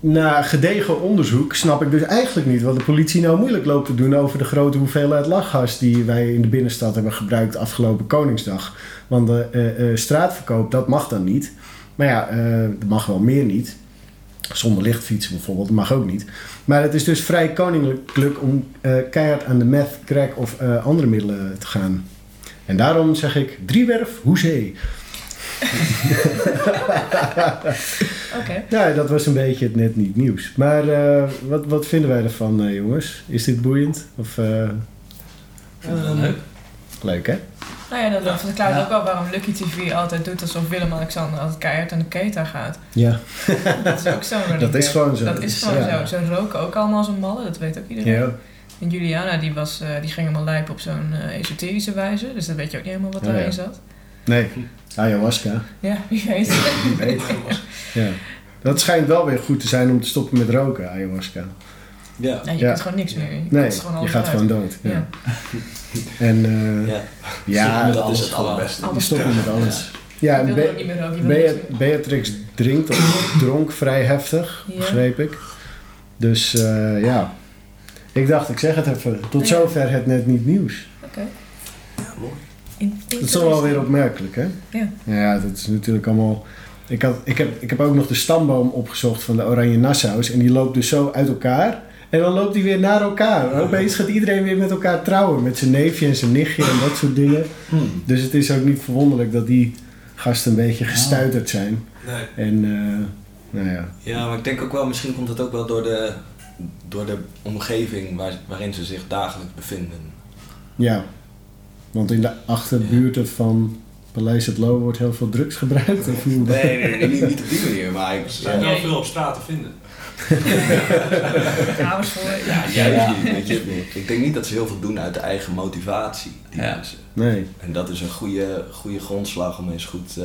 na gedegen onderzoek snap ik dus eigenlijk niet... wat de politie nou moeilijk loopt te doen over de grote hoeveelheid lachgas... die wij in de binnenstad hebben gebruikt afgelopen Koningsdag. Want de eh, eh, straatverkoop, dat mag dan niet. Maar ja, eh dat mag wel meer niet. Zonder lichtfietsen bijvoorbeeld, dat mag ook niet. Maar het is dus vrij koninklijk om eh, keihard aan de meth, crack of eh, andere middelen te gaan. En daarom zeg ik driewerf, hoezee. Oké. Ja, dat was een beetje het net niet nieuws. Maar eh, wat, wat vinden wij ervan, eh, jongens? Is dit boeiend? Of, eh, Ik vind het wel leuk. leuk, hè? Nou ja, dat dat verklaart Ja. ook wel waarom Lucky TV altijd doet alsof Willem-Alexander altijd keihard aan de keta gaat. Ja. Dat is ook zo'n Dat is gewoon zo. Dat is gewoon Ja. zo. Ze roken ook allemaal als een malle, dat weet ook iedereen. Ja. En Juliana die, was, eh, die ging helemaal lijp op zo'n eh, esoterische wijze, dus dat weet je ook niet helemaal wat Oh, daarin ja. zat. Nee, ayahuasca. Ja, wie weet. Ja. Dat schijnt wel weer goed te zijn om te stoppen met roken, ayahuasca. Ja. Nou, je Ja. kunt gewoon niks meer. Je Nee, kunt gewoon je alles gaat uit. gewoon dood. Ja. Ja. En eh, Ja. ja, Stoppen met dat alles is het gewoon. allerbeste. we stoppen met alles. Ja, Je en wilde Be- ook niet meer roken, je wilde niks Bea- meer. Beatrix drinkt of dronk vrij heftig, Ja. begreep ik. Dus eh, ja, ik dacht, ik zeg het even. Tot Ja. zover het net niet nieuws. In- Dat is toch wel weer opmerkelijk, hè? Ja. Ja, dat is natuurlijk allemaal... Ik, had, ik, heb, ik heb ook nog de stamboom opgezocht van de Oranje Nassau's. En die loopt dus zo uit elkaar. En dan loopt die weer naar elkaar. En opeens gaat iedereen weer met elkaar trouwen. Met zijn neefje en zijn nichtje en dat soort dingen. Hmm. Dus het is ook niet verwonderlijk dat die gasten een beetje Ah. gestuiterd zijn. Nee. En eh, nou ja, Ja, maar ik denk ook wel, misschien komt het ook wel door de, door de omgeving waar, waarin ze zich dagelijks bevinden. ja. Want in de achterbuurten van Paleis het Loo wordt heel veel drugs gebruikt. Of hoe? Nee, nee, nee, niet, niet op die manier, maar ik, Ze ja, zijn wel Ja. veel op straat te vinden. kamers voor. ja, juist Ja. niet, weet je. Ik denk niet dat ze heel veel doen uit de eigen motivatie, die Ja. mensen. Nee. En dat is een goede, goede grondslag om eens goed eh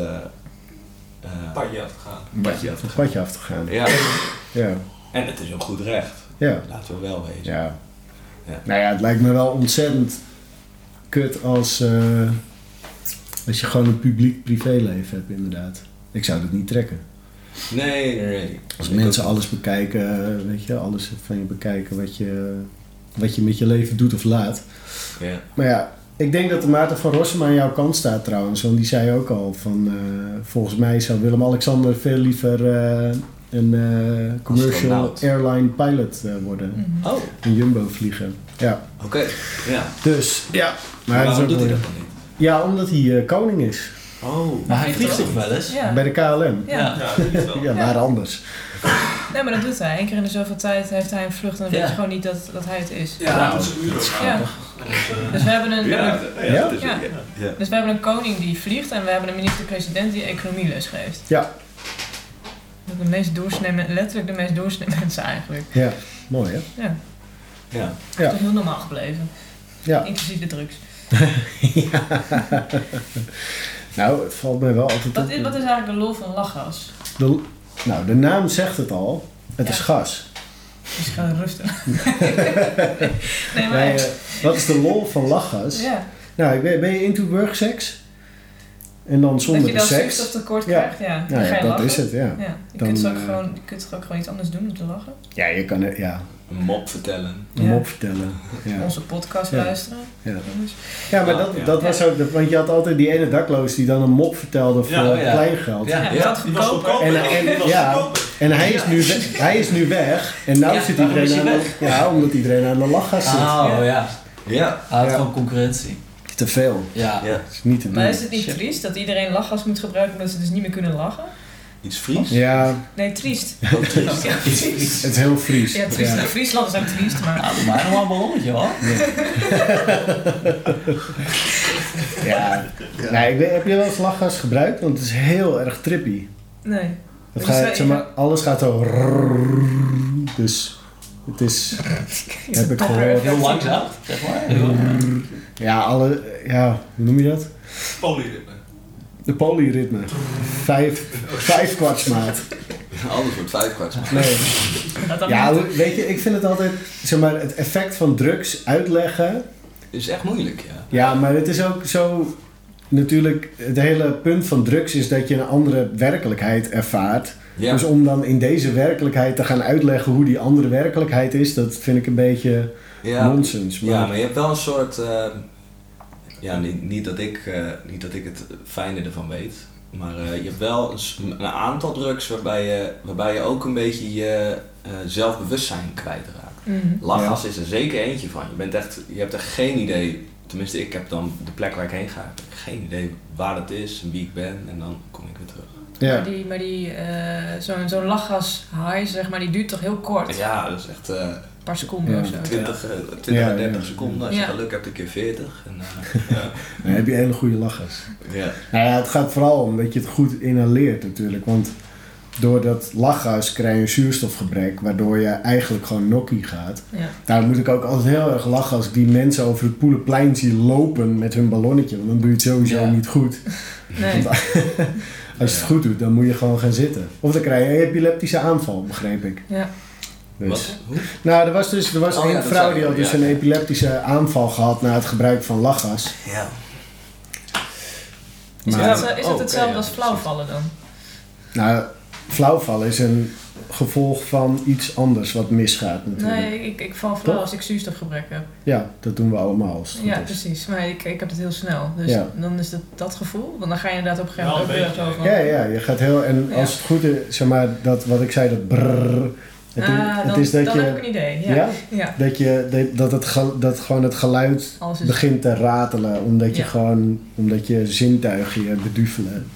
eh, Padje af te gaan. padje af te gaan. Padje af te gaan. Ja, Ja. En het is een goed recht, Ja. laten we wel wezen. Ja. Ja. Nou ja, het lijkt me wel ontzettend kut als, eh, als je gewoon een publiek privéleven hebt, inderdaad. Ik zou dat niet trekken. Nee, nee, nee. Als Ik mensen ook- alles bekijken, eh, weet je, alles van je bekijken wat je, wat je met je leven doet of laat. Ja. Maar ja, ik denk dat de Maarten van Rossum aan jouw kant staat trouwens. Want die zei ook al van, eh, volgens mij zou Willem-Alexander veel liever eh, een eh, commercial Astronaut. airline pilot eh, worden. Oh, Een jumbo vliegen. Ja. oké. Ja. Dus ja. Maar dat is waarom ook doet hij mooi. dat dan niet? Ja, omdat hij eh, koning is. Oh. Maar hij Vliegt vliegt toch wel eens? Ja. Bij de KLM. Ja. Ja. Ja, dat is wel. Ja, waar anders. nee, maar dat doet hij. Eén keer in de zoveel tijd heeft hij een vlucht en dan Ja. weet je gewoon niet dat, dat hij het is. Ja, dat is een uur ook. Ja. Dus we hebben een, Ja, Ja? ja, dat is Ja. ook, ja. Dus we hebben een koning die vliegt en we hebben een minister-president die economieles geeft. Ja. Dat de meest doorsnee, men- letterlijk de meest doorsnee mensen eigenlijk. Ja, mooi hè? Ja, Ja. Ja. dat is heel normaal gebleven. Ja. Inclusief de drugs. Nou, het valt mij wel altijd Wat op. is, wat is eigenlijk de lol van lachgas? De, nou, de naam zegt het al. Het Ja. is gas. Dus ga rustig. nee, maar... Wij, eh, wat is de lol van lachgas? ja, Nou, ben, ben je into work seks? En dan dat zonder je de dan seks? zuurstoftekort Ja. krijgt, ja. Dan Nou ga ja, je dat lachen. is het, ja. Ja, je, Dan, kunt toch ook eh, gewoon, je kunt toch ook gewoon iets anders doen dan te lachen. Ja, je kan er, ja, Een mop vertellen. een Ja. mop vertellen. Ja, Onze podcast Ja. luisteren. ja. Anders. ja maar Ja, dat, ja. dat was ook, de- want je had altijd die ene dakloos die dan een mop vertelde voor oh ja. kleingeld. Ja. Ja, dat had Die was goedkoper. goedkoper. En- en- Die was ja. goedkoper. En hij is, nu we- hij is nu weg. En nu Ja, zit waarom iedereen is aan hij de, ja, omdat iedereen aan de lach gaat zitten. Oh ja. Ja. Hij had Ja. gewoon concurrentie. Te veel. Ja. Ja. Dat is niet te Maar doen. is het niet Shit. triest dat iedereen lachgas moet gebruiken omdat ze dus niet meer kunnen lachen? Iets Fries? Oh, Ja, Nee, triest. Ook triest. Ja, triest. het is heel Fries. Ja, triest. Nou, Ja. Friesland is ook triest, maar... Nou, doe maar nog maar een beetje hoor. Ja. Nee, ik weet- heb je wel eens lachgas gebruikt? Want het is heel erg trippy. Nee. Het Dus wij- gaat, zeg maar, alles gaat zo... rrrr. Dus het is... Heb ik gehoord. Heel langzaam, zeg maar. Heel- Ja, alle... Ja, hoe noem je dat? Polyritme. De polyritme. Vijf, vijf kwartsmaat. Alles wordt vijf kwart. Nee. Dat dan Ja, niet- weet je, ik vind het altijd... Zeg maar, het effect van drugs uitleggen... Is echt moeilijk, ja. Ja, maar het is ook zo. Natuurlijk, het hele punt van drugs is dat je een andere werkelijkheid ervaart. Ja. Dus om dan in deze werkelijkheid te gaan uitleggen hoe die andere werkelijkheid is, dat vind ik een beetje ja. nonsens. Maar, Ja, maar je hebt wel een soort. eh, ja, niet, niet, dat ik, eh, niet dat ik het fijne ervan weet. Maar eh, je hebt wel een, s- een aantal drugs waarbij je, waarbij je ook een beetje je eh, zelfbewustzijn kwijtraakt. Mhm. Lachgas is er zeker eentje van. Je, bent echt, je hebt echt geen idee. Tenminste, ik heb dan de plek waar ik heen ga. heb ik geen idee waar het is en wie ik ben. En dan kom ik weer terug. ja. Maar die, maar die eh, zo'n zo'n lachgas high, zeg maar, die duurt toch heel kort? Ja, dat is echt eh Een paar seconden Ja. of zo. 20, eh, 20 Ja, à 30 ja. seconden. Als je Ja. geluk hebt, een keer 40. En, Dan heb je hele goede lachers. eh, ja. Nou ja, het gaat vooral om dat je het goed inhaleert natuurlijk. Want door dat lachgas krijg je een zuurstofgebrek, waardoor je eigenlijk gewoon nokkie gaat. Ja. Daar moet ik ook altijd heel erg lachen als ik die mensen over het Poelenplein zie lopen met hun ballonnetje. Want dan doe je het sowieso Ja. niet goed. Nee. Als je het goed doet, dan moet je gewoon gaan zitten. Of dan krijg je een epileptische aanval, begreep ik. Ja. Dus. Wat? Hoe? Nou, er was dus er was Oh ja, een dat vrouw zei die je, had dus ja. een epileptische aanval gehad na het gebruik van lachgas. Ja. Is, Maar- het, eh, is Oh, het oké, hetzelfde ja, als flauwvallen dan? Nou, flauwvallen is een gevolg van iets anders wat misgaat natuurlijk. Nee, ik, ik val flauw Toch? als ik zuurstofgebrek heb. Ja, dat doen we allemaal als het goed Ja, is. precies. Maar ik, ik heb het heel snel. Dus Ja. dan is dat, dat gevoel. Want dan ga je inderdaad op een gegeven Wel moment ook een weer zo van... Ja, ja, je gaat heel... En Ja. als het goed is, zeg maar, dat wat ik zei, dat brrrr. Het, is- Ah, het dan, is dat dan heb je... ik een idee. Ja. Ja? ja? Dat, je, dat- dat, het, ge- dat gewoon het geluid Alles is... begint te ratelen. Omdat je Dus- Ja. gewoon... Omdat je zintuigen je beduvelen.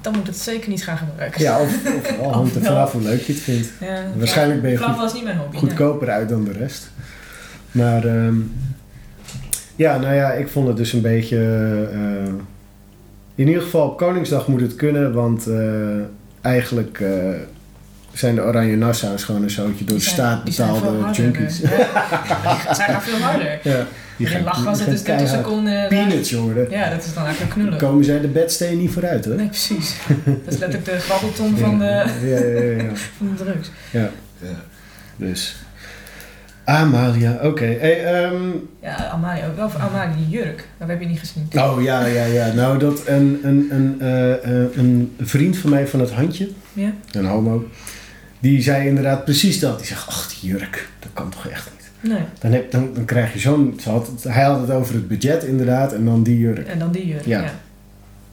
Dan moet ik het zeker niet gaan gebruiken. Ja, of, of al hangt er wel. vanaf hoe leuk je het vindt. Ja. Waarschijnlijk ben je goed, Flauwvallen is niet mijn hobby. nee. goedkoper uit dan de rest. Maar... ehm, ja, nou ja, ik vond het dus een beetje... eh, in ieder geval op Koningsdag moet het kunnen. Want eh, eigenlijk... eh, zijn de Oranje Nassau's gewoon een zootje door de Die staat die zijn veel betaalde harder, junkies. eh, Ja. Zij gaan veel harder. Ja, Die gaan- in lachgas, dat gaan is 30 keihard. seconden. Peanuts, hoor. eh, Ja, dat is dan eigenlijk Dan knullen. komen zij de bedsteen niet vooruit, hoor. Nee, precies. Dat is letterlijk de grabbelton van de, Ja, ja, ja, ja. van de drugs. Ja. Ja. Dus. Amalia, oké. Hey, ehm, Ja, Amalia, wel voor Amalia, die jurk. Dat heb je niet gezien. oh ja, ja, ja. Nou, dat een, een, een, eh, eh, een vriend van mij van het handje, Ja? een homo, die zei inderdaad precies dat. Die zegt: Ach, die jurk, dat kan toch echt niet. Nee. Dan, heb, dan, dan krijg je zo'n. ze had het- Hij had het over het budget inderdaad en dan die jurk. En dan die jurk. Ja. Ja.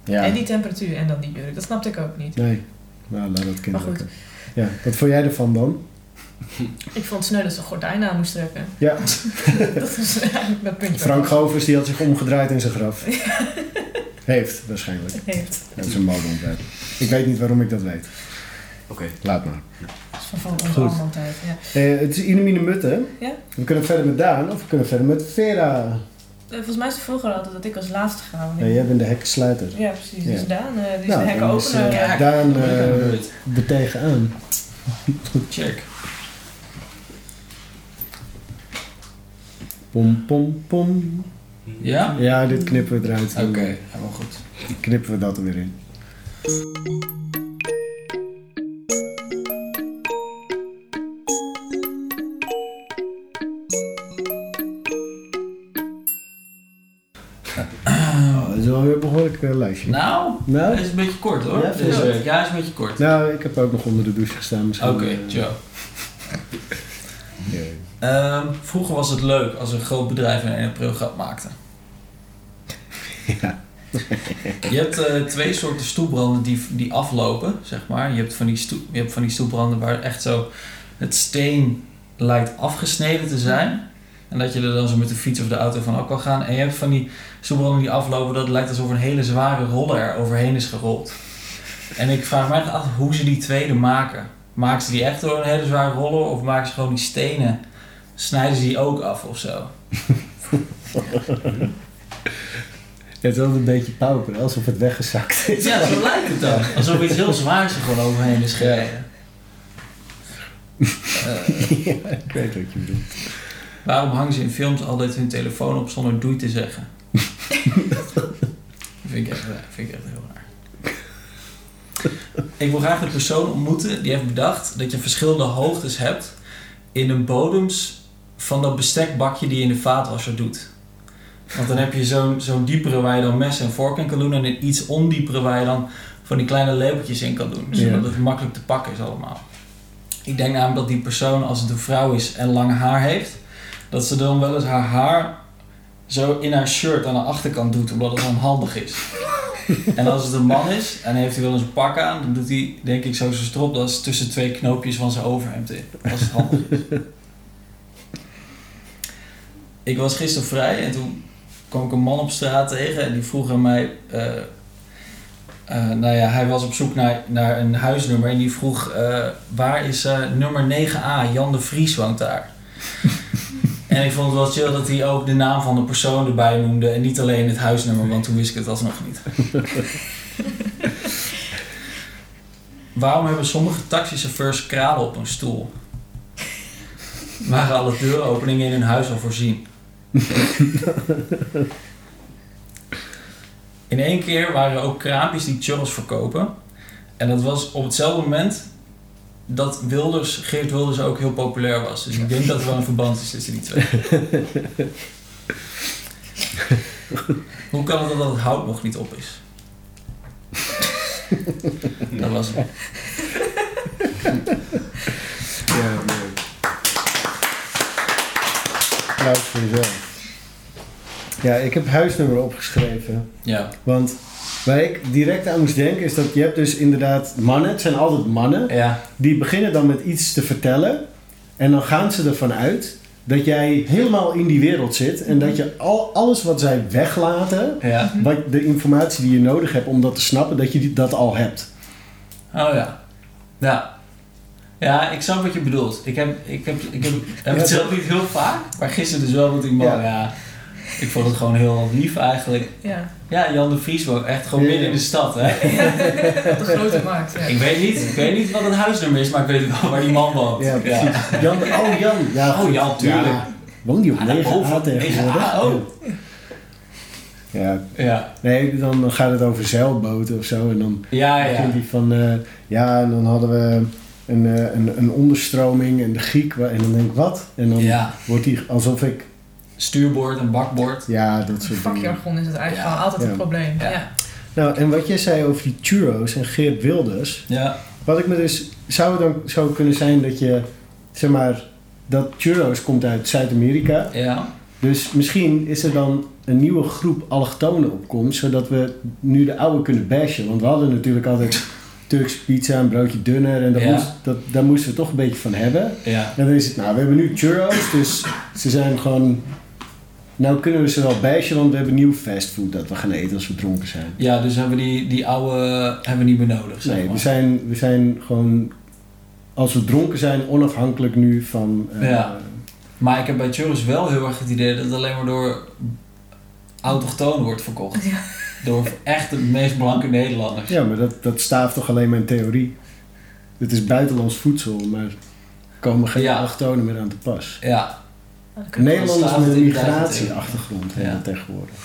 Ja. En die temperatuur en dan die jurk. Dat snapte ik ook niet. Nee, nou, laat dat kind Maar goed. lekker. Ja, wat vond jij ervan dan? Ik vond het sneu dat ze een gordijn aan moest trekken. Ja, Dat is eigenlijk mijn puntje. Frank Govers die had zich omgedraaid in zijn graf. Heeft waarschijnlijk. heeft. Dat is een modeontwerp. Ik weet niet waarom ik dat weet. Oké. Laat maar. Dat is van onze Goed. allemaal tijd. Ja. Eh, het is Inemine Mutte. hè? Ja. We kunnen verder met Daan of we kunnen verder met Vera. Eh, Volgens mij is het vroeger altijd dat ik als laatste ga. want ik- Nee, jij bent de hekkensluiter. Ja, precies. Ja. Dus Daan, eh, die is Nou, de hekken dan is, opener. eh, Ja. Daan eh er tegenaan. Check. Pom, pom, pom. Ja? Ja, dit knippen we eruit. Oké, helemaal goed. Dan knippen we dat er weer in. Oh, dat is wel weer een behoorlijk eh, lijstje. Nou, dat Nou, is een beetje kort hoor. Ja, Dus, vind je eh, ja, is een beetje kort. nou, ik heb ook nog onder de douche gestaan misschien. Oké, Eh, ciao. ja. Ehm, vroeger was het leuk als een groot bedrijf in 1 april grap maakte. Je hebt eh, twee soorten stoelbranden die, die aflopen, zeg maar. Je hebt, van die stoel, je hebt van die stoelbranden waar echt zo het steen lijkt afgesneden te zijn. En dat je er dan zo met de fiets of de auto van af kan gaan. En je hebt van die stoelbranden die aflopen dat het lijkt alsof een hele zware roller er overheen is gerold. En ik vraag me echt af hoe ze die tweede maken. Maken ze die echt door een hele zware roller of maken ze gewoon die stenen snijden ze die ook af of zo. Het is altijd een beetje pauper, alsof het weggezakt is. Ja, zo lijkt het dan. Alsof iets heel zwaars er gewoon overheen is gereden. Eh, Ja, ik weet wat je bedoelt. waarom hangen ze in films altijd hun telefoon op zonder doei te zeggen? Dat vind, ik echt, eh, vind ik echt heel raar. Ik wil graag de persoon ontmoeten die heeft bedacht dat je verschillende hoogtes hebt in de bodems van dat bestekbakje die je in de vaatwasser doet. Want dan heb je zo'n zo'n diepere waar je dan messen en vork in kan doen en een iets ondiepere waar je dan van die kleine lepeltjes in kan doen. Zodat Ja. het makkelijk te pakken is allemaal. Ik denk namelijk dat die persoon als het een vrouw is en lang haar heeft, dat ze dan wel eens haar haar zo in haar shirt aan de achterkant doet, omdat het onhandig is. En als het een man is en heeft hij wel eens een pak aan, dan doet hij denk ik zo zijn stropdas tussen twee knoopjes van zijn overhemd in. Als het handig is. Ik was gisteren vrij en toen kwam ik een man op straat tegen en die vroeg aan mij. eh, eh, nou ja, hij was op zoek naar, naar een huisnummer en die vroeg: eh, waar is eh, nummer 9a? Jan de Vries woont daar. en ik vond het wel chill dat hij ook de naam van de persoon erbij noemde en niet alleen het huisnummer, want toen wist ik het alsnog niet. Waarom hebben sommige taxichauffeurs kralen op hun stoel? Waren alle deuropeningen in hun huis al voorzien? In één keer waren er ook kraampjes die churros verkopen. En dat was op hetzelfde moment dat Wilders, Geert Wilders ook heel populair was. Dus ik denk dat er wel een verband is tussen die twee. Hoe kan het dan dat het hout nog niet op is? Dat was het. Ja, leuk. Applaus voor jezelf. Ja, ik heb huisnummer opgeschreven. Ja. Want waar ik direct aan moest denken is dat je hebt dus inderdaad mannen, het zijn altijd mannen, Ja. die beginnen dan met iets te vertellen. En dan gaan ze ervan uit dat jij helemaal in die wereld zit en dat je al, alles wat zij weglaten, Ja. wat, de informatie die je nodig hebt om dat te snappen, dat je die, dat al hebt. Oh ja. Ja. Ja, ik snap wat je bedoelt. Ik heb, ik heb, ik heb, heb het zelf niet heel vaak, maar gisteren dus wel met die man. Ja. Ja. ik vond het gewoon heel lief eigenlijk. ja, Ja, Jan de Vries woont echt gewoon Ja. midden in de stad, hè? op de grote markt. Ja. Ik weet niet, ik weet niet wat het huisnummer is, maar ik weet wel waar die man woont. Ja, precies. Jan, oh Jan. Ja, Oh, goed. Jan, tuurlijk. Ja. Woont die op Ah, daarboven. 9a tegenwoordig? 9A, oh. Ja, Ja, nee, dan gaat het over zeilboten of zo. En dan ja, ja. begint hij van... eh, ja, en dan hadden we... een, eh, een, een onderstroming en de giek. wa- En dan denk ik, wat? En dan Ja, wordt die alsof ik... stuurboord en bakboord. Ja, dat soort dingen. Vakjargon is het eigenlijk Ja. gewoon altijd Ja. een probleem. Ja. Ja. Nou, en wat jij zei over die churros en Geert Wilders... Ja, Wat ik me dus... Zou het dan zo kunnen zijn dat je... Zeg maar... Dat churros komt uit Zuid-Amerika. ja. Dus misschien is er dan een nieuwe groep allochtonen opkomst... zodat we nu de oude kunnen bashen. Want we hadden natuurlijk altijd Turks pizza, een broodje dunner... en dat Ja. moest, dat, daar moesten we toch een beetje van hebben. ja. En dan is het... Nou, we hebben nu churros, dus ze zijn gewoon... Nou kunnen we ze wel bashen, want we hebben nieuw fastfood... dat we gaan eten als we dronken zijn. Ja, dus hebben we die, die oude hebben we niet meer nodig. Zeg Nee, maar. we zijn, we zijn gewoon, als we dronken zijn, onafhankelijk nu van. eh, Ja. Maar ik heb bij Churros wel heel erg het idee dat het alleen maar door autochtonen wordt verkocht. Ja. Door echt de meest blanke Nederlanders. ja, maar dat, dat staaft toch alleen maar in theorie. Het is buitenlands voedsel, maar er komen geen Ja. allochtonen meer aan te pas. Ja, Dat kan- Nederlanders staat met het een inderdaad migratieachtergrond hebben Ja. tegenwoordig.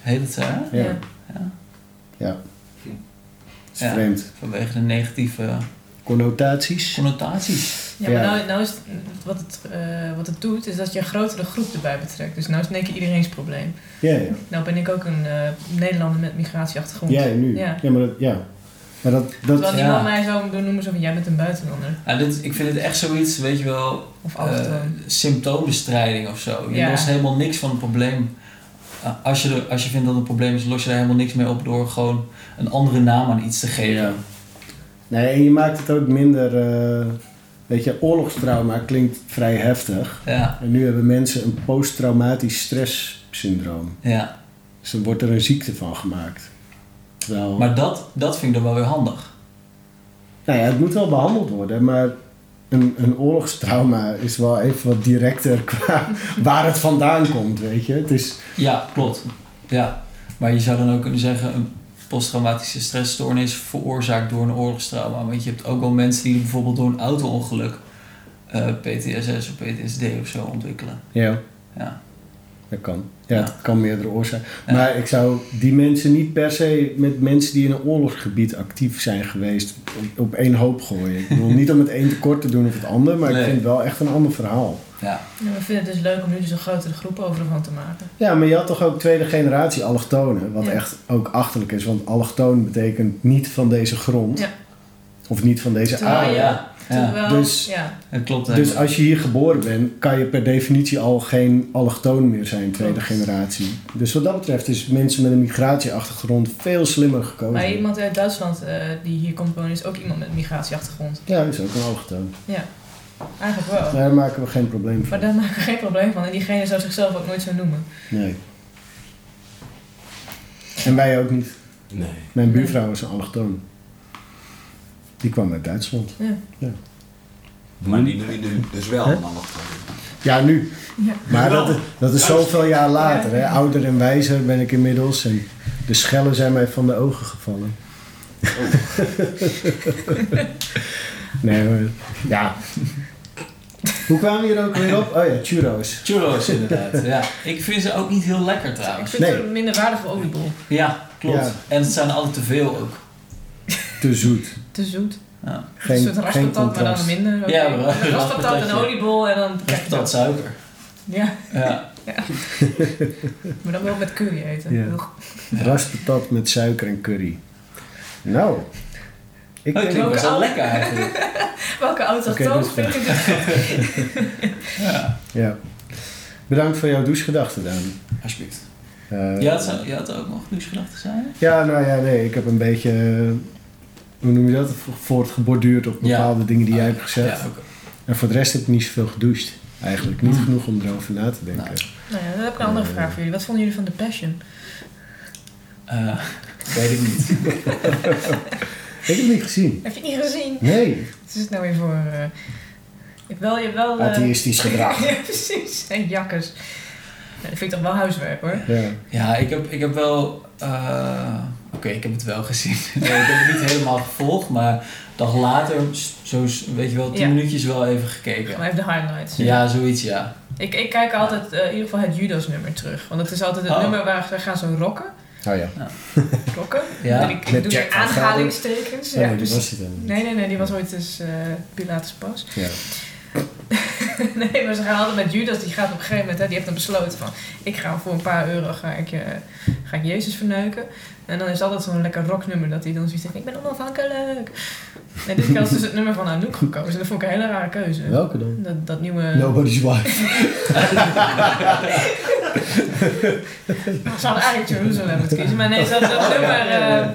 heet het zo, hè? Ja, Ja. het is Ja. vreemd. Vanwege de negatieve Connotaties. connotaties. Ja, Ja. maar nou, nou is het, wat, het, eh, wat het doet, is dat je een grotere groep erbij betrekt. Dus nou is het in één keer iedereen's probleem. Ja, ja. Nou ben ik ook een eh, Nederlander met migratieachtergrond. Jij nu. Ja, Ja. maar dat. Ja. Maar dat, dat Terwijl Ja. niemand mij zou benoemen zo van, jij bent een buitenlander. Ja, dit, ik vind het echt zoiets, weet je wel, Of eh autochtoon. symptoombestrijding of zo. Je Ja. lost helemaal niks van het probleem. Eh, als, je er, als je vindt dat het een probleem is, los je daar helemaal niks mee op door gewoon een andere naam aan iets te geven. Ja. Nee, en je maakt het ook minder. eh, weet je, oorlogstrauma klinkt vrij heftig. Ja, En nu hebben mensen een posttraumatisch stresssyndroom. ja. Dus dan wordt er een ziekte van gemaakt. Terwijl, Maar dat, dat vind ik dan wel weer handig. nou ja, het moet wel behandeld worden, maar een, een oorlogstrauma is wel even wat directer qua waar het vandaan komt, weet je. Het is, Ja, klopt. Ja. Maar je zou dan ook kunnen zeggen, een posttraumatische stressstoornis veroorzaakt door een oorlogstrauma. Want je hebt ook wel mensen die bijvoorbeeld door een auto-ongeluk eh, PTSS of PTSD of zo ontwikkelen. ja, Ja. dat kan. Ja, Ja. het kan meerdere oorzaken. Ja. Maar ik zou die mensen niet per se met mensen die in een oorlogsgebied actief zijn geweest op, op één hoop gooien. Ik bedoel niet om het een tekort te doen of het ander, maar Nee. ik vind het wel echt een ander verhaal. Ja. Ja, we vinden het dus leuk om nu dus een grotere groep overal van te maken. Ja, maar je had toch ook tweede generatie allochtonen, wat Ja. echt ook achterlijk is, want allochtoon betekent niet van deze grond. Ja. Of niet van deze Terwijl aarde. je- ja. ja. Terwijl, Dus- ja, Dat klopt. Dus eigenlijk. als je hier geboren bent, kan je per definitie al geen allochtoon meer zijn, tweede Klopt. generatie. Dus wat dat betreft is mensen met een migratieachtergrond veel slimmer gekozen. maar iemand uit Duitsland eh, die hier komt wonen is ook iemand met een migratieachtergrond. Ja, is ook een allochtoon. Eigenlijk wel. Daar maken we geen probleem van. Maar daar maken we geen probleem van. En diegene zou zichzelf ook nooit zo noemen. Nee. En wij ook niet. Nee. Mijn buurvrouw is een allochtoon. Die kwam uit Duitsland. Maar die noem je nu dus wel Hè? een allochtoon. Ja, nu. Ja. Maar dat, is- dat is zoveel jaar later. Hè? Ouder en wijzer ben ik inmiddels. En de schellen zijn mij van de ogen gevallen. Oh. nee, maar, ja. Hoe kwamen we hier ook weer op? Oh ja, churros. Churros inderdaad. ja. Ik vind ze ook niet heel lekker Ik trouwens. vind Nee. het een minderwaardige oliebol. Ja, klopt. Ja. En het zijn er altijd te veel ook. Te zoet. Te zoet. Ja. Geen, een soort geen raspatat, maar dan contrast. minder. Oké. Ja, maar- Een raspatat, een raspatatje. oliebol en dan Dat krijg is je dat. dat suiker. Ja, Ja. maar dan wel met curry eten. Ja. Ik bedoel, Raspatat met suiker en curry. Nou. Ik Oh, het denk, klinkt best wel Ook- lekker eigenlijk. Welke Oké, autochtoon dus, vind ik dit? Ja. ja. Bedankt voor jouw douchegedachten, Daan. Alsjeblieft. Eh, Je had, zo- je had ook nog douchegedachten zijn? Ja, nou ja, nee, ik heb een beetje, eh, hoe noem je dat, voortgeborduurd op Ja. Ah, bepaalde dingen die jij hebt gezegd. Ja, oké. En voor de rest heb ik niet zoveel gedoucht, eigenlijk. Niet Hmm. genoeg om erover na te denken. Nou ja, dan heb ik een andere Eh. vraag voor jullie. Wat vonden jullie van The Passion? Eh, weet ik niet. Ik heb het niet gezien. Heb je niet gezien? Nee, Wat is het nou weer voor... eh, Je hebt wel, je hebt wel... eh, atheïstisch gedrag. ja, precies. En jakkers. Nou, dat vind ik toch wel huiswerk hoor. Ja. Ja, ik heb, ik heb wel. eh, Oké, ik heb het wel gezien. Nee, ik heb het niet helemaal gevolgd, maar een dag later, s- zo, s- weet je wel, Ja. tien minuutjes wel even Gewoon gekeken. even de highlights. Ja, zoiets, ja. Ik, ik kijk altijd eh, in ieder geval het Judas nummer terug. Want dat is altijd het Oh. nummer waar ze gaan zo rocken. Oh ja. Klokken. Ja. En ik, ik Met doe Jack die van Gelder. aanhalingstekens. Oh, nee, Ja, dat dus- was het dan. Nee, nee, nee, die was ooit dus eh Pilatus pas. Ja. nee, maar ze gaan altijd met Judas, die gaat op een gegeven moment, hè, die heeft dan besloten van, ik ga voor een paar euro ga ik, eh, ga ik Jezus verneuken. En dan is altijd zo'n lekker rocknummer dat hij dan zoiets zegt, ik ben onafhankelijk. En dit keer was dus het nummer van Anouk gekozen. Dat vond ik een hele rare keuze. Welke dan? Dat, dat nieuwe... Nobody's wife. Ze hadden eigenlijk Jeruzalem moeten kiezen, maar nee, ze hadden dat nummer... eh,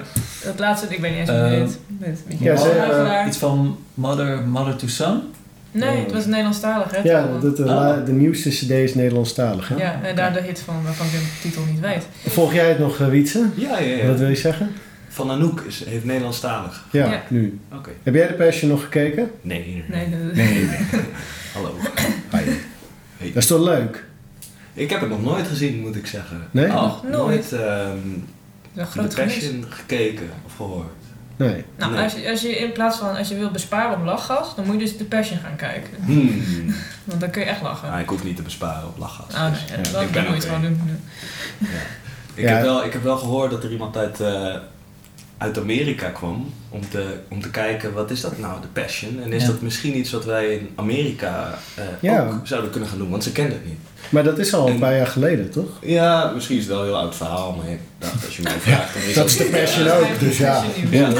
dat laatste, ik weet niet eens hoe die Eh, heet. Met- met Ja, ze, Johan eh, Huivelaar. Iets van Mother, Mother to Son. Nee, het was Nederlandstalig, hè? Ja, toch? dat, de, la- de nieuwste cd is Nederlandstalig. Hè? Ja, en daar de hit van waarvan ik de titel niet weet. Volg jij het nog, eh, Wietse? Ja, ja, Wat ja. wil je zeggen? Van Anouk is, heeft Nederlandstalig. Ja, Ja. nu. Oké. Heb jij de persje nog gekeken? Nee, Nee, dat- Hallo. Dat is toch leuk? Ik heb het nog nooit gezien, moet ik zeggen. Nee? nooit. Oh, Nooit ehm The Een groot gemis. Passion gekeken of gehoord. Nee. Nou, Nee. als, je, als je in plaats van als je wilt besparen op lachgas, dan moet je dus de Passion gaan kijken. Hmm. Want dan kun je echt lachen. Ah, ik hoef niet te besparen op lachgas. Ah, dus- nee, ja, dan ik moet ben je het oké. gewoon doen. Ik, Ja. heb wel, ik heb wel gehoord dat er iemand uit, eh, uit Amerika kwam om te, om te kijken wat is dat nou, de passion? En is Ja. dat misschien iets wat wij in Amerika eh, Ja. ook zouden kunnen gaan doen? Want ze kenden het niet. Maar dat is al een paar jaar geleden, toch? Ja, misschien is het wel een heel oud verhaal, maar ik dacht als je mij vraagt... dan is Dat is de passion ook, dus ja. Ja. Dat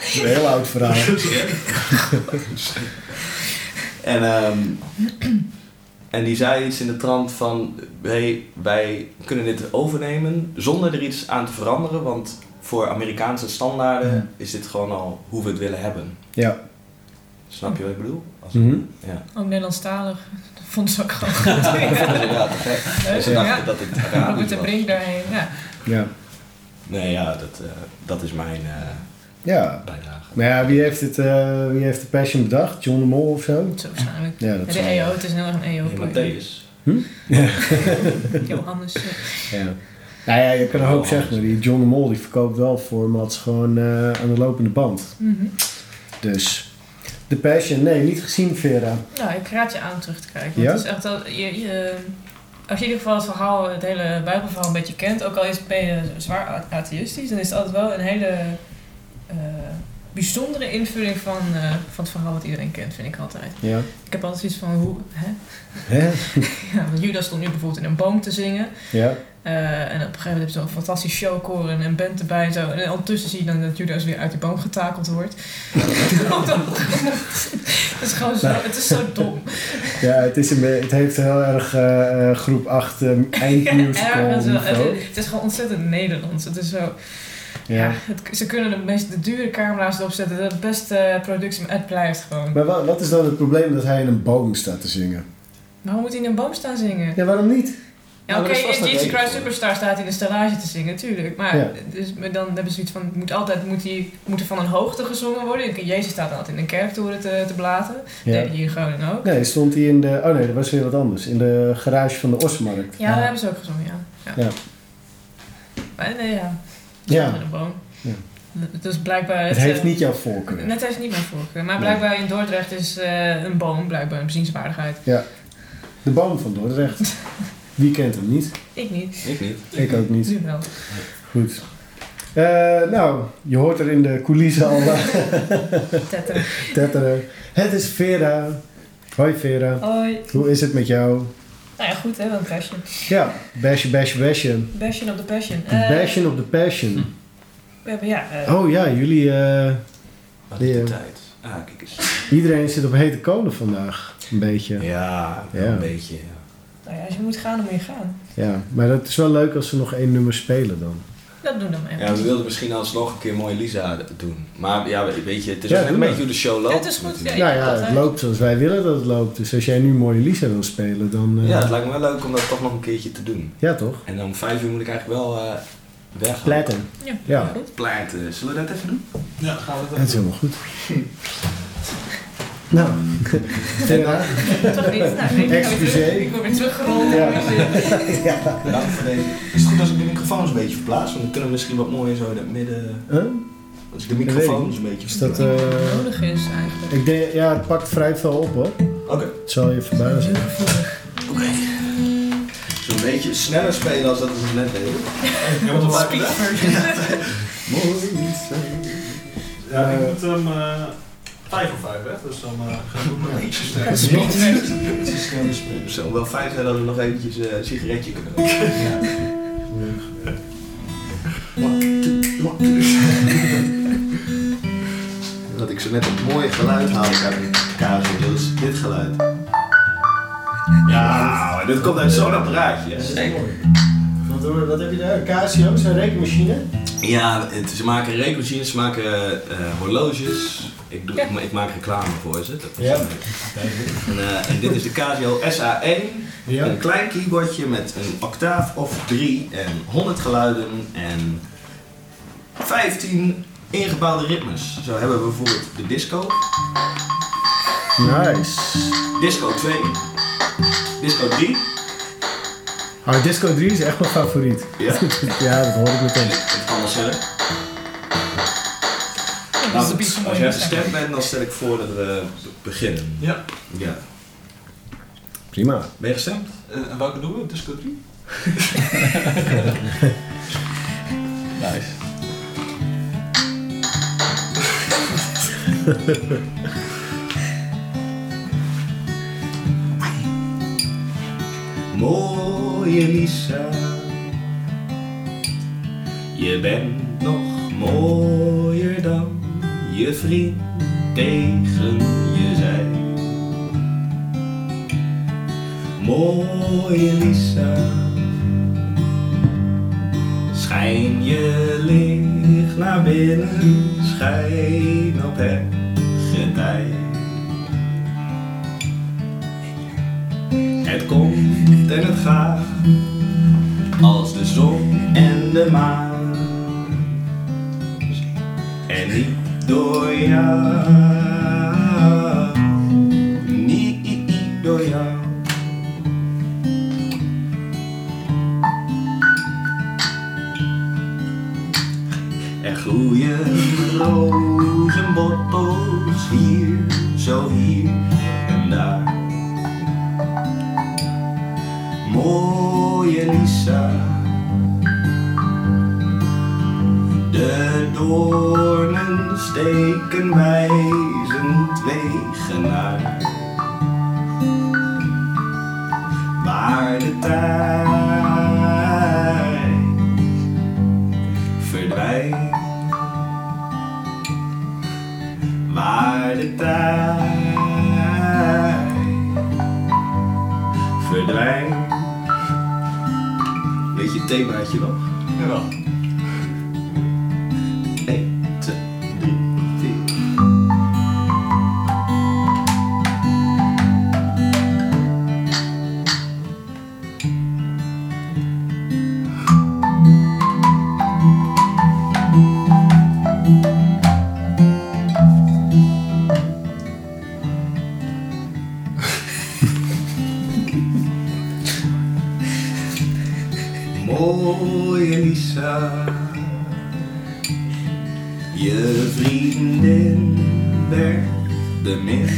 is een heel oud verhaal. En, ehm, en die zei iets in de trant van: hey, wij kunnen dit overnemen zonder er iets aan te veranderen, want voor Amerikaanse standaarden Ja. is dit gewoon al hoe we het willen hebben. Ja. Snap je wat ik bedoel? Als- Mhm. Ja. Ook Nederlandstalig. Dat vond ze ook gewoon goed. Inderdaad, te gek. En ze Ja. dachten dat het Robert Arabisch de was. Brink daarheen. Ja. ja. Nee, ja, dat, eh, dat is mijn eh, Ja. bijdrage. Maar ja, wie heeft, het, eh, wie heeft de passion bedacht? John de Mol of zo? Zo waarschijnlijk. Ja, dat Ja, is de EO, het is heel erg een E Hey, EO-project. Matthäus. Johannes. eh, Ja. Nou ja, je kan een hoop zeggen, maar die John de Mol die verkoopt wel formats gewoon eh, aan de lopende band. mhm. Dus. De passion, nee, niet gezien, Vera. Nou, ik raad je aan om terug te kijken. Want Ja? het is echt dat je, je, als je in ieder geval het verhaal, het hele Bijbelverhaal een beetje kent, ook al is, ben je zwaar a- atheïstisch, dan is het altijd wel een hele eh, bijzondere invulling van, eh, van het verhaal wat iedereen kent, vind ik altijd. Ja. Ik heb altijd zoiets van hoe. Hè? Hè? Ja, want Judas stond nu bijvoorbeeld in een boom te zingen. Ja. eh, en op een gegeven moment heb je zo'n fantastisch showcore en een band erbij en zo. En ondertussen zie je dan dat Judas weer uit die boom getakeld wordt. het is gewoon zo, het is zo dom. Ja, het, is een be- het heeft heel erg eh, eh, groep 8 um, Ja, eindmusical ergens wel. niveau. Het, het is gewoon ontzettend Nederlands. Het is zo, ja. Ja. het- ze kunnen de meest de dure camera's erop zetten. Dat het beste productie, maar het blijft gewoon. Maar wa- wat is dan het probleem dat hij in een boom staat te zingen? Waarom moet hij in een boom staan zingen? Ja, waarom niet? Ja, maar oké, dat is in vast een Jesus reden Christ voor. Superstar staat hij in de stellage te zingen, tuurlijk. Maar, Ja. dus, maar dan hebben ze zoiets van, het moet altijd moet hij, moet er van een hoogte gezongen worden. Jezus staat altijd in een kerktoren te, te blaten. Ja. Dat deed hij hier gewoon ook. Nee, stond hij in de... Oh nee, dat was weer wat anders. In de garage van de Osmarkt. Ja, daar hebben ze ook gezongen, ja. Ja. Ja. Maar nee, ja. Ja. In een boom. Ja. Dus blijkbaar... Het is, heeft eh, niet jouw voorkeur. Net heeft niet mijn voorkeur. Maar Nee. blijkbaar in Dordrecht is eh, een boom blijkbaar een bezienswaardigheid. De boom van Dordrecht. Wie kent hem niet? Ik niet. Ik niet. Ik ook niet. Nu wel. Goed. Eh, nou, je hoort er in de coulissen al eh, Tetteren. tetteren. Het is Vera. Hoi Vera. Hoi. Hoe is het met jou? Nou ja, goed hè, wel een passion. Ja, basje, basje, basje. Passion op de passion. Eh, Bashen op de Passion. We hebben, ja, eh, Oh ja, jullie... eh, Wat is de Ja. tijd? Ah, kijk eens. iedereen zit op hete kolen vandaag. Een beetje. Ja, wel Ja. een beetje. ja. nou ja, als je moet gaan, dan moet je gaan. Ja, maar dat is wel leuk als ze nog één nummer spelen dan. Dat doen we dan even. Ja, we wilden misschien alsnog een keer mooi Lisa doen. Maar ja, weet je, het is Ja, ook net doe maar. een beetje hoe de show loopt. Ja, het is goed, natuurlijk. Ja, nou ja, dat het hè. loopt zoals wij willen dat het loopt. Dus als jij nu Mooie Lisa wil spelen, dan... eh, Ja, het lijkt me wel leuk om dat toch nog een keertje te doen. ja, toch? En om vijf uur moet ik eigenlijk wel eh weg. Platten. Ja. Ja, Pleiten. Zullen we dat even doen? Ja, gaan we dat is dat helemaal goed. Nou, Vera, Toch niet? Nou, ik ben weer terug. Excuseer. Ik word weer teruggerold. Ja. Dank voor deze. Is het goed als ik de microfoons een beetje verplaats? Want dan kunnen we misschien wat mooier zo in het midden... huh? Als ik de microfoons een beetje is dat... verplaats. eh, nodig is eigenlijk. ik denk, ja, het pakt vrij veel op hoor. Oké. Het zal je verbazen. Zullen een beetje sneller spelen als dat we het net deden. Ja, wat op Speed version. Mooi zijn. Ja, ik Eh. moet hem eh 5 of 5 weg, dus dan eh ga ik ook nog ietsje sneller. Het zou wel fijn zijn dat we nog eventjes eh, een sigaretje kunnen doen. Dat ik zo net een mooi geluid haal uit elkaar, dat is dit geluid. Ja, dit komt uit zo'n apparaatje. Zeker. Wat, hoor- wat heb je daar? Casio, zijn rekenmachine. Ja, het- ze maken rekenmachines, ze maken eh, horloges. Ik, doe, Ja. ik, ma- ik maak reclame voor ze. Dat is Ja. en, eh, en dit is de Casio SA1. Een klein keyboardje met een octaaf of drie en 100 geluiden en 15 ingebouwde ritmes. Zo hebben we bijvoorbeeld de disco. Nice. Disco 2. Disco 3. Oh, Disco 3 is echt mijn favoriet. Ja. Ja, dat hoor ik meteen. Het kan wel sneller. Dat is Nou, een beetje goed, als mooi jij gezegd. gestemd bent, dan stel ik voor dat we beginnen. Ja. ja. Prima. Ben je gestemd? Eh, En welke doen we? Disco 3? Nice. Mooie Lisa, je bent nog mooier dan je vriend tegen je zei. Mooie Lisa, schijn je licht naar binnen, schijn op het getij. Het komt en het gaat, als de zon en de maan. En niet door jou, niet door jou. Er groeien rozenbottels hier, zo hier en daar. Mooie Lisa, de doornen steken wijzend wegen naar waar de tijd verdwijnt, waar de tijd verdwijnt. Weet je het themaatje nog? Jawel. 1, 2, 3, 4. Mooie Lisa. Je vriendin werd de min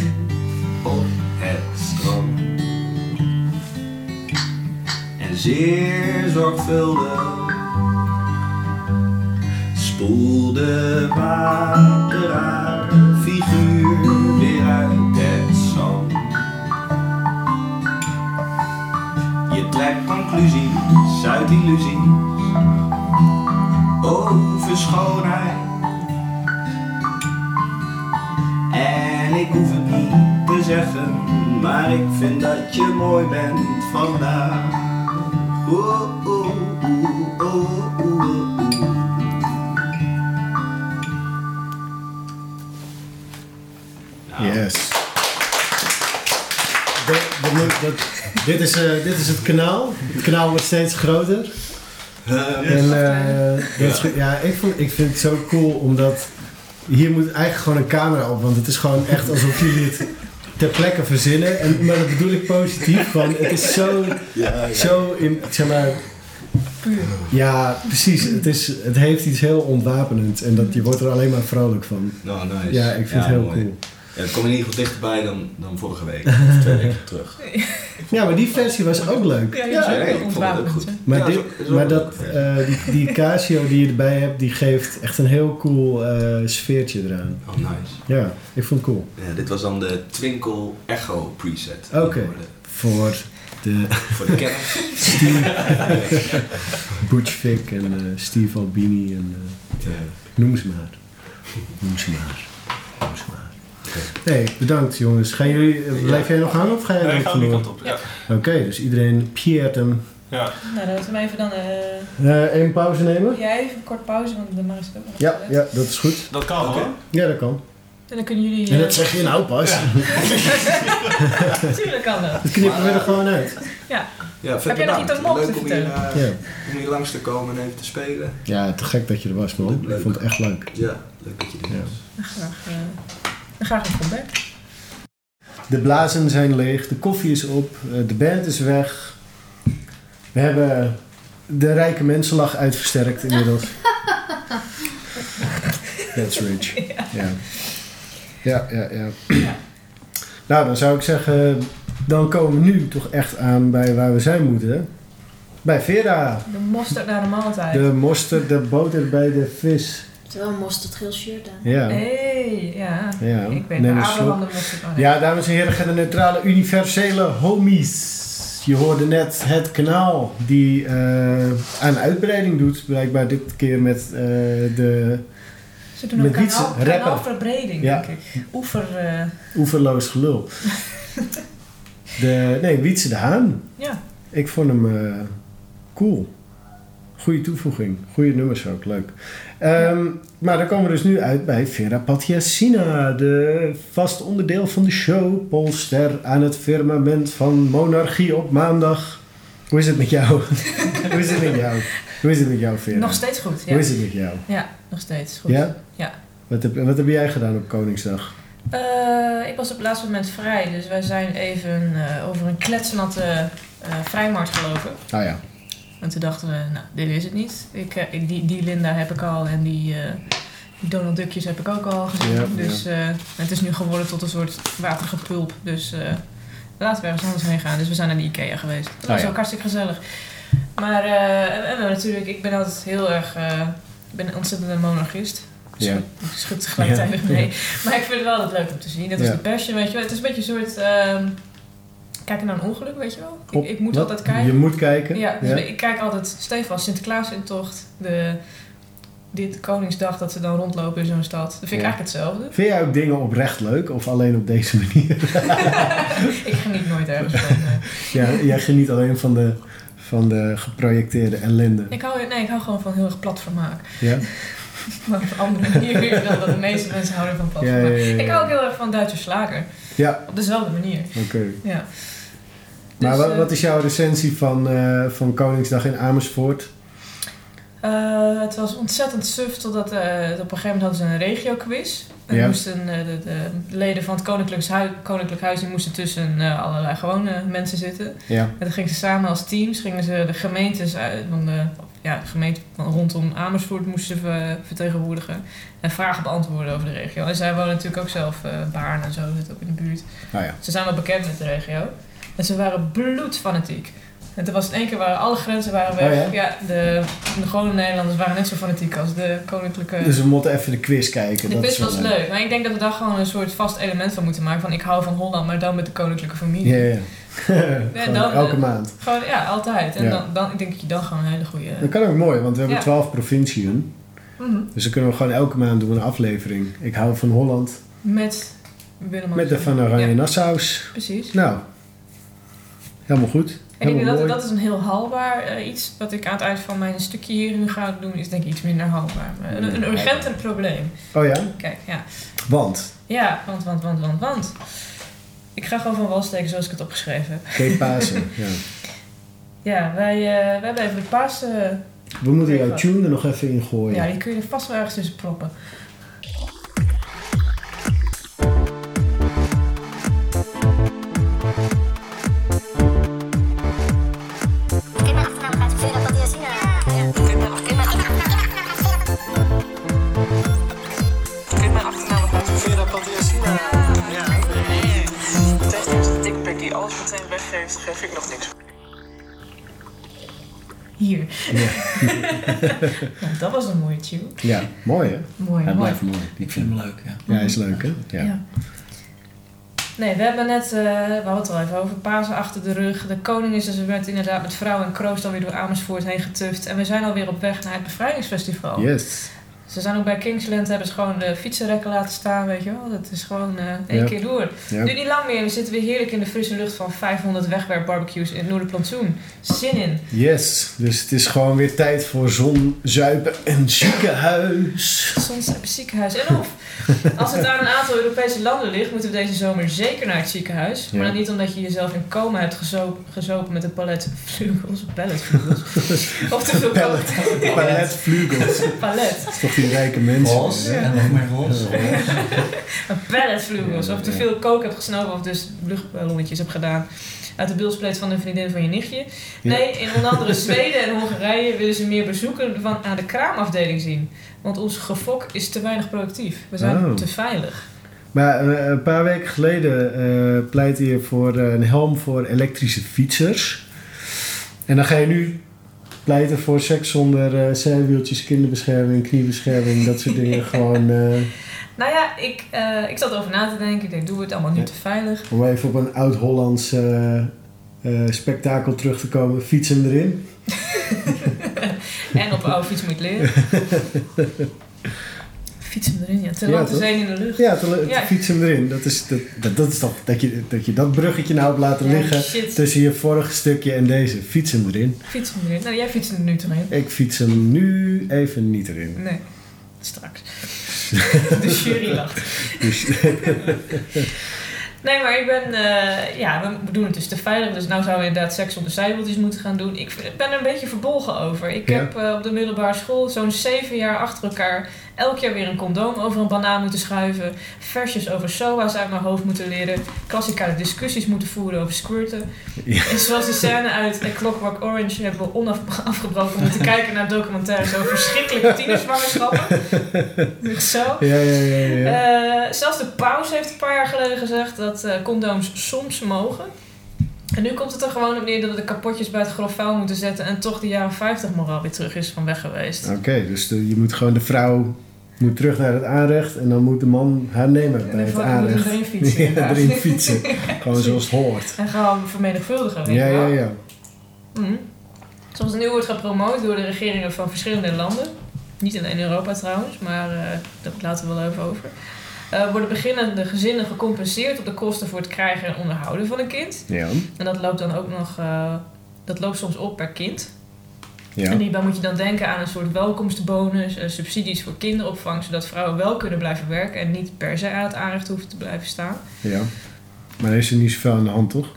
op het strand. En zeer zorgvuldig spoelde water haar figuur weer uit het zand. Je trekt conclusies uit illusies over schoonheid. En ik hoef het niet te zeggen, maar ik vind dat je mooi bent vandaag. Oeh, oeh, oeh, oeh, oeh, oeh, oeh. Nou, Yes. Dat- dat moet- dat- dit, is, eh, dit is het kanaal. Het kanaal wordt steeds groter. en, eh, dat is goed. ja. ik, vond, ik vind het zo cool omdat hier moet eigenlijk gewoon een camera op. Want het is gewoon echt alsof jullie het ter plekke verzinnen. En, maar dat bedoel ik positief. Van, het is zo, zo in, zeg maar, Puur. ja, precies. Het, is, het heeft iets heel ontwapenends. En dat, je wordt er alleen maar vrolijk van. Nou, nice. Ja, ik vind het heel mooi. cool. Ja, ik kom in ieder geval dichterbij dan, dan vorige week. Of twee weken terug. Ja, maar die versie was ook leuk. Ja, Ja, ja, nee, ik ja, vond het ook goed. Maar, Ja, dit, zo- zo- maar dat, eh, die, die Casio die je erbij hebt, die geeft echt een heel cool eh, sfeertje eraan. Oh, nice. Ja, ik vond het cool. Ja, dit was dan de Twinkle Echo preset. Oké. Voor de- Voor de Voor de kerk. Butch Vig en eh, Steve Albini en eh, noem ze maar. Noem ze maar. Noem ze maar. Nee, bedankt jongens. Gaan jullie, eh, blijf jij nog hangen of ga jij Nee, nog ik ga die verloren? kant op. Ja. Oké, dus iedereen piert hem. Ja. Nou, dan laten we even dan... eh, Eh even pauze nemen? jij even een kort pauze, want de Maris is ook nog Ja, aan het ja, dat is goed. Dat kan Oké. hoor. Ja, dat kan. En dan kunnen jullie... En eh, dat zeg je nou pas. Natuurlijk kan dat. Dat knippen we er gewoon uit. Ja, vet Heb jij nog bedankt. iets aan Mok te Leuk om hier, eh, Ja. om hier langs te komen en even te spelen. Ja, te gek dat je er was, man. Ik vond het echt leuk. Ja, leuk dat je dit Ja. was. Graag, eh, graag een comeback. De blazen zijn leeg, de koffie is op, eh, de band is weg. We hebben de rijke mensenlach uitversterkt inmiddels. That's rich. Ja. Ja, ja, ja. Nou, dan zou ik zeggen, dan komen we nu toch echt aan bij waar we zijn moeten. hè? Bij Vera. De mosterd naar de maaltijd. De mosterd, de boter bij de vis. Terwijl mosterd heel shirt aan. Ja. hey, ja. Ja, Eh, Ik ben neem de een slok. Abraham de mosterd. Oh, nee. Ja, dames en heren, de neutrale universele homies. Je hoorde net het kanaal die eh, aan uitbreiding doet. Blijkbaar dit keer met eh, de Ze doen ook Met Wietse, kanaal, rapper. kanaalverbreding, Ja. denk ik. Oever, eh, oeverloos gelul. De, nee, Wietse de Haan. ja. Ik vond hem eh, cool. Goeie toevoeging. Goeie nummers ook, leuk. Ehm, Maar dan komen we dus nu uit bij Vera Patiasina. De vast onderdeel van de show. Polster aan het firmament van Monarchie op maandag. Hoe is het met jou? Hoe is het met jou? Hoe is het met jou, Vera? Nog steeds goed, ja. Hoe is het met jou? Ja, nog steeds goed. Ja? Ja. Wat heb, wat heb jij gedaan op Koningsdag? Eh, ik was op het laatste moment vrij, dus wij zijn even eh, over een kletsnatte eh vrijmarkt gelopen. Nou ja. En toen dachten we, nou, dit is het niet. Ik, eh, die, die Linda heb ik al en die, eh, die Donald Duckjes heb ik ook al gezien. Ja, dus eh, het is nu geworden tot een soort watergepulp. Dus eh, laten we ergens anders heen gaan. Dus we zijn naar de Ikea geweest. Dat was Oh, ja. ook hartstikke gezellig. Maar eh, en- en we natuurlijk, ik ben altijd heel erg... eh, ik ben een ontzettende monarchist. Ja. Schud- Ik schud gelijktijdig Ja. mee. Maar ik vind het wel altijd leuk om te zien. Dat is Ja. de passion, weet je wel. Het is een beetje een soort... ehm, kijken naar een ongeluk, weet je wel. Op- ik, ik moet wat? altijd kijken. Je moet kijken. Ja, dus ik kijk altijd stevig als Sinterklaasintocht, de, dit Koningsdag dat ze dan rondlopen in zo'n stad. Dat vind Ja. ik eigenlijk hetzelfde. Vind jij ook dingen oprecht leuk? Of alleen op deze manier? ik geniet nooit ergens van. nee. Ja, jij geniet alleen van de, van de geprojecteerde ellende. Ik hou, nee, ik hou gewoon van heel erg plat vermaak. Ja? Maar op een andere manier weer dan wat de meeste mensen houden van plat Ja, ja, vermaak. ja, ja. Ik hou ook heel erg van Duitse slager. Ja. Op dezelfde manier. Oké. Ja. Maar Dus, wat, eh, wat is jouw recensie van, eh, van Koningsdag in Amersfoort? Eh, het was ontzettend suf, totdat eh, op een gegeven moment hadden ze een regio-quiz. En Ja. moesten, eh, de, de leden van het Koninklijk Huis, Koninklijk Huis die moesten tussen eh, allerlei gewone mensen zitten. Ja. En dan gingen ze samen als teams, gingen ze de gemeentes uit, van de, ja, de gemeente van rondom Amersfoort moesten ze ver- vertegenwoordigen. En vragen beantwoorden over de regio. En zij wonen natuurlijk ook zelf eh Baarn en zo, zit ook in de buurt. Nou ja. Ze zijn wel bekend met de regio. En ze waren bloedfanatiek. En toen was het in één keer waren alle grenzen waren weg. Oh ja? de, de gewone Nederlanders waren net zo fanatiek als de koninklijke. Dus we moeten even de quiz kijken. de dat quiz is wel was leuk. Maar ik denk dat we daar gewoon een soort vast element van moeten maken. Van ik hou van Holland, maar dan met de koninklijke familie. Ja, ja. Gewoon dan, elke eh, maand. Gewoon, ja, altijd. En Ja. Dan, dan, ik denk dat je dan gewoon een hele goede... Dat kan ook mooi, want we hebben Ja. twaalf provinciën. Mhm. Dus dan kunnen we gewoon elke maand doen een aflevering. Ik hou van Holland. Met Willem Met de Van Oranje Nassau's. Ja, precies. Nou. Helemaal goed. En ik denk Helemaal dat, mooi. dat is een heel haalbaar eh, iets. Wat ik aan het eind van mijn stukje hier nu ga doen, is denk ik iets minder haalbaar. Maar een, een urgent probleem. Oh ja? Kijk, ja. Want. Ja, want, want, want, want, want. Ik ga gewoon van wal steken zoals ik het opgeschreven heb. Geen Pasen. ja. Ja, wij, eh, we hebben even de paas... eh, We moeten jouw tune er nog even in gooien. ja, die kun je er vast wel ergens tussen proppen. Vera Paldiasina. Ja. durf ik nog niet. Hier. Nou, dat was een mooie tune. Ja, mooi hè? Mooi, Hij mooi. blijft mooi. Ik vind hem leuk, ja. Ja, hij is leuk hè? Ja. Ja. Nee, we hebben net, eh, we hadden het al even over Pasen achter de rug. De koning is dus we werd inderdaad met vrouw en kroost alweer door Amersfoort heen getuft. En we zijn alweer op weg naar het bevrijdingsfestival. Yes. Ze zijn ook bij Kingsland, hebben ze gewoon de fietsenrekken laten staan, weet je wel. Dat is gewoon eh één Ja. keer door. Ja. Nu niet lang meer, we zitten weer heerlijk in de frisse lucht van 500 wegwerpbarbecues in het Noorderplantsoen. Zin in. Yes, dus het is gewoon weer tijd voor zon, zuipen en ziekenhuis. Soms heb je ziekenhuis. En of, als het aan een aantal Europese landen ligt, moeten we deze zomer zeker naar het ziekenhuis. Maar Ja. dan niet omdat je jezelf in coma hebt gezopen, gezopen met een palet vleugels, palletvleugels. of te veel Pallet, pallet, vlugels. palet. Dat is toch die rijke mensen. Roze, hè? en nog meer roze. Een palletvleugels. Of te veel kook hebt gesnoven of dus luchtballonnetjes hebt gedaan. Uit de bilspleet van een vriendin van je nichtje. Ja. Nee, in onder andere Zweden en Hongarije willen ze meer bezoeken van, aan de kraamafdeling zien. Want ons gefok is te weinig productief. We zijn Oh. te veilig. Maar eh, een paar weken geleden eh, pleitte je voor eh, een helm voor elektrische fietsers. En dan ga je nu pleiten voor seks zonder eh zijwieltjes, kinderbescherming, kniebescherming, dat soort dingen. Gewoon eh, Nou ja, ik, eh, ik zat over na te denken. Ik denk, doen we het allemaal nu Ja. te veilig? om even op een oud-Hollands eh, eh, spektakel terug te komen. Fietsen erin. En op een oude fiets moet leren. Fiets hem erin, ja. Te Ja, lang te toch? zijn in de lucht. Ja, te, Ja. fietsen erin. Dat is, dat, dat, dat is toch dat je, dat je dat bruggetje nou hebt laten Ja, liggen shit. tussen je vorige stukje en deze. Fietsen erin. Fiets hem erin. Nou, jij fietst er nu toch in? Ik fiets hem nu even niet erin. Nee, straks. De jury lacht. Dus, Nee, maar ik ben... eh, ja, we doen het dus te veilig. Dus nou zouden we inderdaad seks onder zijwieltjes moeten gaan doen. Ik vind- ben er een beetje verbolgen over. Ik Ja. heb eh, op de middelbare school zo'n zeven jaar achter elkaar... elk jaar weer een condoom over een banaan moeten schuiven. Versjes over SOA's uit mijn hoofd moeten leren. Klassikale discussies moeten voeren over squirten. ja. En zoals de scène uit A Clockwork Orange hebben we onafgebroken moeten kijken naar documentaires over verschrikkelijke tienerzwangerschappen. Zo. Ja, ja, ja, ja, ja. Eh, zelfs de paus heeft een paar jaar geleden gezegd dat eh, condooms soms mogen. En nu komt het er gewoon op neer dat we de kapotjes bij het grof vuil moeten zetten en toch de jaren 50 moraal weer terug is van weg geweest. Oké, dus de- je moet gewoon de vrouw moet terug naar het aanrecht en dan moet de man haar nemen En bij dan het moet hem aanrecht. erin fietsen, Ja, inderdaad. erin fietsen. gewoon zoals het hoort. En gaan we vermenigvuldigen. weet Ja, je ja, wel. ja. Mhm. Zoals het nu wordt gepromoot door de regeringen van verschillende landen. Niet alleen in Europa trouwens, maar eh dat laten we wel even over. Eh, worden beginnende gezinnen gecompenseerd op de kosten voor het krijgen en onderhouden van een kind. Ja, En dat loopt dan ook nog, eh, dat loopt soms op per kind. ja. En hierbij moet je dan denken aan een soort welkomstbonus, eh, subsidies voor kinderopvang, zodat vrouwen wel kunnen blijven werken en niet per se aan het aanrecht hoeven te blijven staan. ja. Maar er is er niet zoveel aan de hand, toch?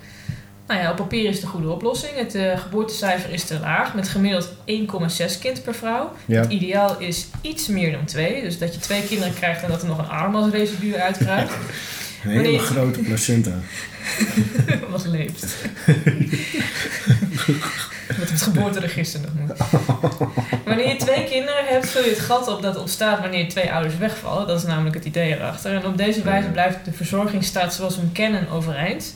Nou ja, op papier is het een goede oplossing. Het eh, geboortecijfer is te laag, met gemiddeld 1,6 kind per vrouw. Ja. Het ideaal is iets meer dan twee. Dus dat je twee kinderen krijgt en dat er nog een arm als residu uit krijgt. Een hele Wanneer- grote placenta. Wat leeft. Wat het geboorteregister nog moet. Wanneer je twee kinderen hebt, vul je het gat op dat ontstaat wanneer twee ouders wegvallen. Dat is namelijk het idee erachter. En op deze wijze blijft de verzorgingsstaat zoals we hem kennen overeind.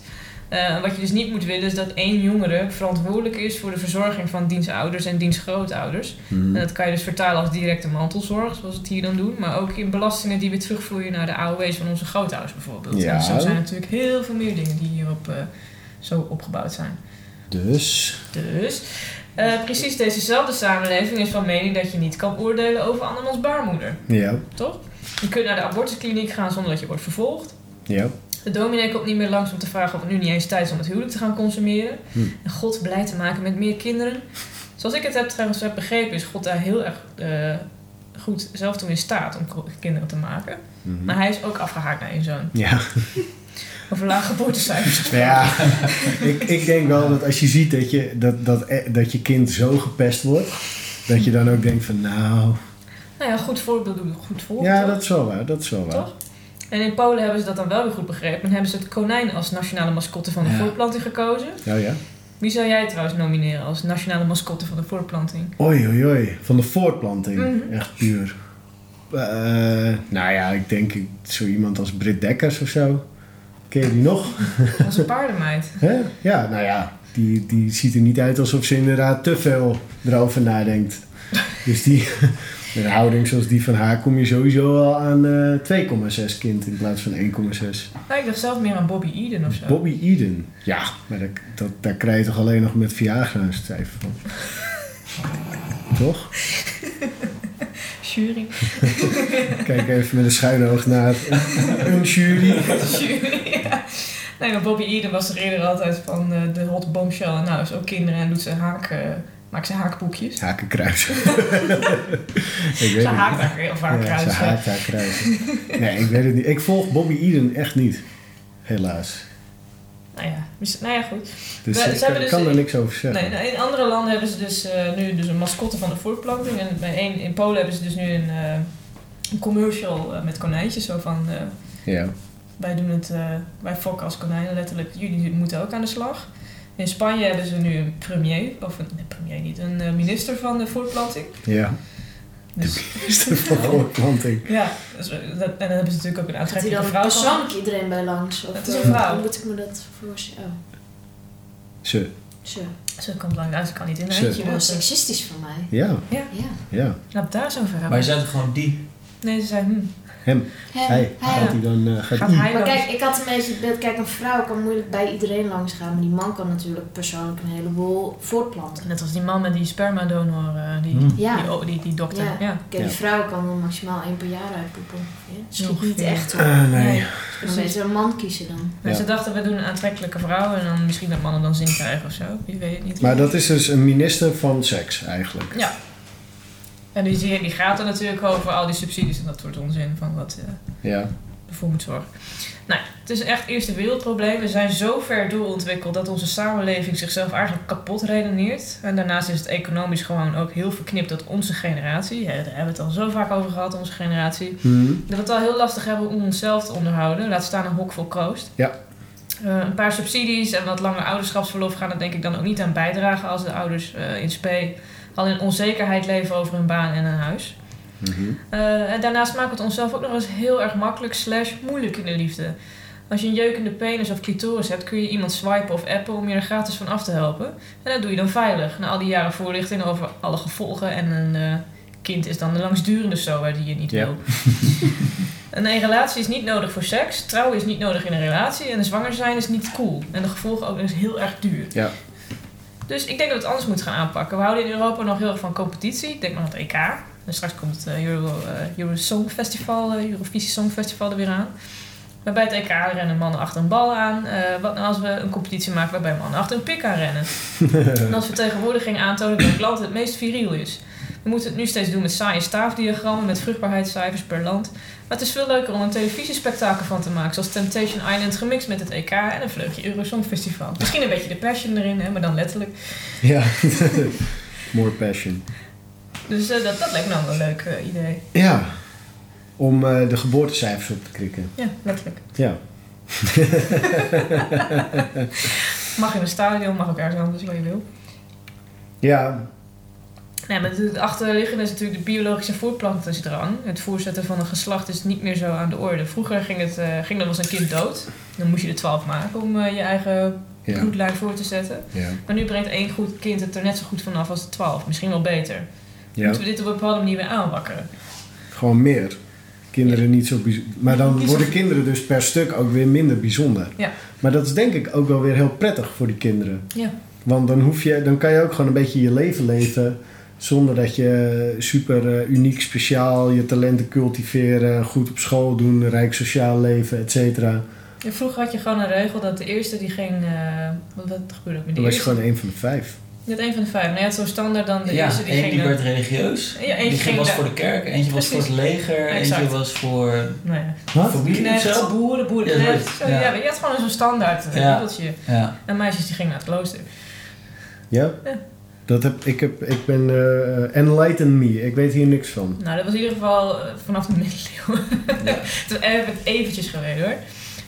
Eh, wat je dus niet moet willen is dat één jongere verantwoordelijk is voor de verzorging van diens ouders en diens grootouders. Hm. En dat kan je dus vertalen als directe mantelzorg, zoals we het hier dan doen. Maar ook in belastingen die weer terugvloeien naar de AOW's van onze grootouders bijvoorbeeld. Ja. En zo zijn er natuurlijk heel veel meer dingen die hierop eh, zo opgebouwd zijn. Dus, Dus eh, precies dezezelfde samenleving is van mening dat je niet kan oordelen over andermans baarmoeder. ja, Toch? Je kunt naar de abortuskliniek gaan zonder dat je wordt vervolgd. ja. De dominee komt niet meer langs om te vragen of het nu niet eens tijd is om het huwelijk te gaan consumeren. Hm. En God blij te maken met meer kinderen. Zoals ik het heb trouwens heb begrepen, is God daar heel erg eh, goed zelf toe in staat om ko- kinderen te maken. Mhm. Maar hij is ook afgehaakt naar één zoon. Ja, Over lage geboortecijfers. Nou ja. ik, ik denk wel dat als je ziet dat je, dat, dat, eh, dat je kind zo gepest wordt, dat je dan ook denkt van nou... Nou ja, goed voorbeeld doet goed voorbeeld. Ja, toch? dat is wel waar, dat is wel waar. Toch? En in Polen hebben ze dat dan wel weer goed begrepen. En hebben ze het konijn als nationale mascotte van de Ja. voortplanting gekozen. Ja, ja. Wie zou jij trouwens nomineren als nationale mascotte van de voortplanting? Oei, oei, oei. Van de voortplanting. Mhm. Echt puur. Eh, nou ja, ik denk zo iemand als Britt Dekkers of zo. Ken je die nog? Onze paardenmeid. Hè? Ja, nou ja. die, die ziet er niet uit alsof ze inderdaad te veel erover nadenkt. Dus die, met een houding zoals die van haar kom je sowieso al aan eh, 2,6 kind in plaats van 1,6. Nou, ik dacht zelf meer aan Bobby Eden of zo. Bobby Eden. Ja, maar dat, dat, daar krijg je toch alleen nog met Viagra een stijf van. toch? Jury. Kijk even met een schuine oog naar een jury. Jury, ja. Nee, maar Bobby Eden was er eerder altijd van eh, de hot bombshell. Nou, is ook kinderen en doet zijn haak, eh, maakt zijn haakboekjes. Hakenkruis. ik weet Ze het niet. haakt daar heel vaak Ja, ze kruisen. haakt haar kruis. Nee, ik weet het niet. Ik volg Bobby Eden echt niet. Helaas. Nou ja, mis- nou ja, goed. Dus We- ik ze hebben dus- kan er niks over zeggen. Nee, nou, in andere landen hebben ze dus eh, nu dus een mascotte van de voortplanting. En bij één, in Polen hebben ze dus nu een, eh, een commercial eh, met konijntjes. Zo van, eh, Ja. wij doen het, eh, wij fokken als konijnen letterlijk. Jullie moeten ook aan de slag. In Spanje hebben ze nu een premier, of een nee, premier niet, een eh, minister van de voortplanting. Ja. Dus, Van voortplanting. ja, dus, eh, dat- en dan hebben ze natuurlijk ook een Gaat hier aantrekkelijke dan vrouw. van. persoonlijk iedereen bij langs? Of Het is een eh, vrouw. hoe moet ik me dat voorstellen? Oh, Ze. zo. Ze komt lang uit, ze kan niet in een Ze. eentje. Oh, Dus, eh, seksistisch van mij. Ja, Ja. ja. laat daar zo over Maar je hebben. zei toch gewoon die? Nee, ze zei, hm, Hem. Hem, Hij. hij. Gaat hij dan... eh, gaat gaat ie- hij Maar dan- kijk, ik had een beetje het beeld, kijk, een vrouw kan moeilijk bij iedereen langs gaan, maar die man kan natuurlijk persoonlijk een heleboel voortplanten. Net als die man met die spermadonor, eh, die, Hmm. Ja. die, oh, die, die dokter. Ja. Ja. Kijk, Ja. die vrouw kan er maximaal één per jaar uitpoepen. Ja, dat schiet niet Ongeveer. echt op. Eh, nee. Dus dan beter een man kiezen dan. Maar Ja. ze dachten, we doen een aantrekkelijke vrouw en dan misschien dat mannen dan zin krijgen of zo. Wie weet het niet. Maar dat is dus een minister van seks eigenlijk. Ja. En die, zie je- die gaat er natuurlijk over al die subsidies en dat soort onzin van wat eh Ja. ervoor moet zorgen. Nou, het is echt eerste wereldprobleem. We zijn zo ver doorontwikkeld dat onze samenleving zichzelf eigenlijk kapot redeneert. En daarnaast is het economisch gewoon ook heel verknipt dat onze generatie, ja, daar hebben we het al zo vaak over gehad, onze generatie, Hm. dat we het al heel lastig hebben om onszelf te onderhouden. Laat staan een hok vol kroost. Ja. Eh, een paar subsidies en wat langer ouderschapsverlof gaan er denk ik dan ook niet aan bijdragen als de ouders eh, in spe al in onzekerheid leven over hun baan en hun huis. Mhm. Eh, en daarnaast maken we het onszelf ook nog eens heel erg makkelijk slash moeilijk in de liefde. Als je een jeukende penis of clitoris hebt, kun je iemand swipen of appen om je er gratis van af te helpen. En dat doe je dan veilig, na al die jaren voorlichting over alle gevolgen. En een eh, kind is dan de langstdurende SOA die je niet Ja. wil. En een relatie is niet nodig voor seks, trouwen is niet nodig in een relatie en zwanger zijn is niet cool. En de gevolgen ook is heel erg duur. Ja. Dus ik denk dat we het anders moeten gaan aanpakken. We houden in Europa nog heel erg van competitie. Ik denk maar aan het E EK. En straks komt het eh, Euro, eh, Euro Song Festival, eh, Eurovisie Song Festival er weer aan. Maar bij het EK rennen mannen achter een bal aan. Eh, wat nou als we een competitie maken waarbij mannen achter een pik aan rennen? en als vertegenwoordiging aantonen welk land het meest viriel is. We moeten het nu steeds doen met saaie staafdiagrammen, met vruchtbaarheidscijfers per land. Maar het is veel leuker om een televisiespektakel van te maken, zoals Temptation Island gemixt met het EK en een vleugje Eurosong Festival. Misschien een beetje de passion erin, hè, maar dan letterlijk. Ja. More passion. Dus eh, dat, dat lijkt me dan wel een leuk eh, idee. Ja. Om eh, de geboortecijfers op te krikken. Ja, letterlijk. Ja. Mag in een stadion, mag ook ergens anders waar je wil. Ja. Nee, maar het achterliggende is natuurlijk de biologische voortplantingsdrang. Het voorzetten van een geslacht is niet meer zo aan de orde. Vroeger ging, het, eh, ging er was een kind dood. Dan moest je er twaalf maken om eh, je eigen Ja. bloedlijn voor te zetten. Ja. Maar nu brengt één goed kind het er net zo goed vanaf als de twaalf. Misschien wel beter. ja. Moeten we dit op een bepaalde manier weer aanwakkeren? Gewoon meer. Kinderen niet zo bijzonder. Maar dan Niet zo- worden kinderen dus per stuk ook weer minder bijzonder. Ja. Maar dat is denk ik ook wel weer heel prettig voor die kinderen. Ja. Want dan, hoef je, dan kan je ook gewoon een beetje je leven leven. Zonder dat je super eh, uniek, speciaal je talenten cultiveren. Goed op school doen, een rijk sociaal leven, et cetera. Ja, vroeger had je gewoon een regel dat de eerste die ging. eh, wat, wat gebeurde ook met de Dan was je eerste? gewoon een van de vijf. Net één van de vijf. Nee, het zo standaard dan de ja, eerste die één ging. eh, die naar- werd religieus. Ja, eentje die ging was daar- voor de kerk, eentje was voor het leger, Exact. eentje was voor Nou ja. familie of Knecht, zo. boeren, Ja, boerenknecht. dat is- Zo, ja. ja. maar je had gewoon zo'n standaard eh, Ja. riedeltje. Ja. En meisjes die gingen naar het klooster. Ja? Ja. Dat heb, ik, heb, ik ben... eh, enlighten me. Ik weet hier niks van. Nou, dat was in ieder geval eh, vanaf de middeleeuwen. Ja. Het is even- eventjes geleden hoor.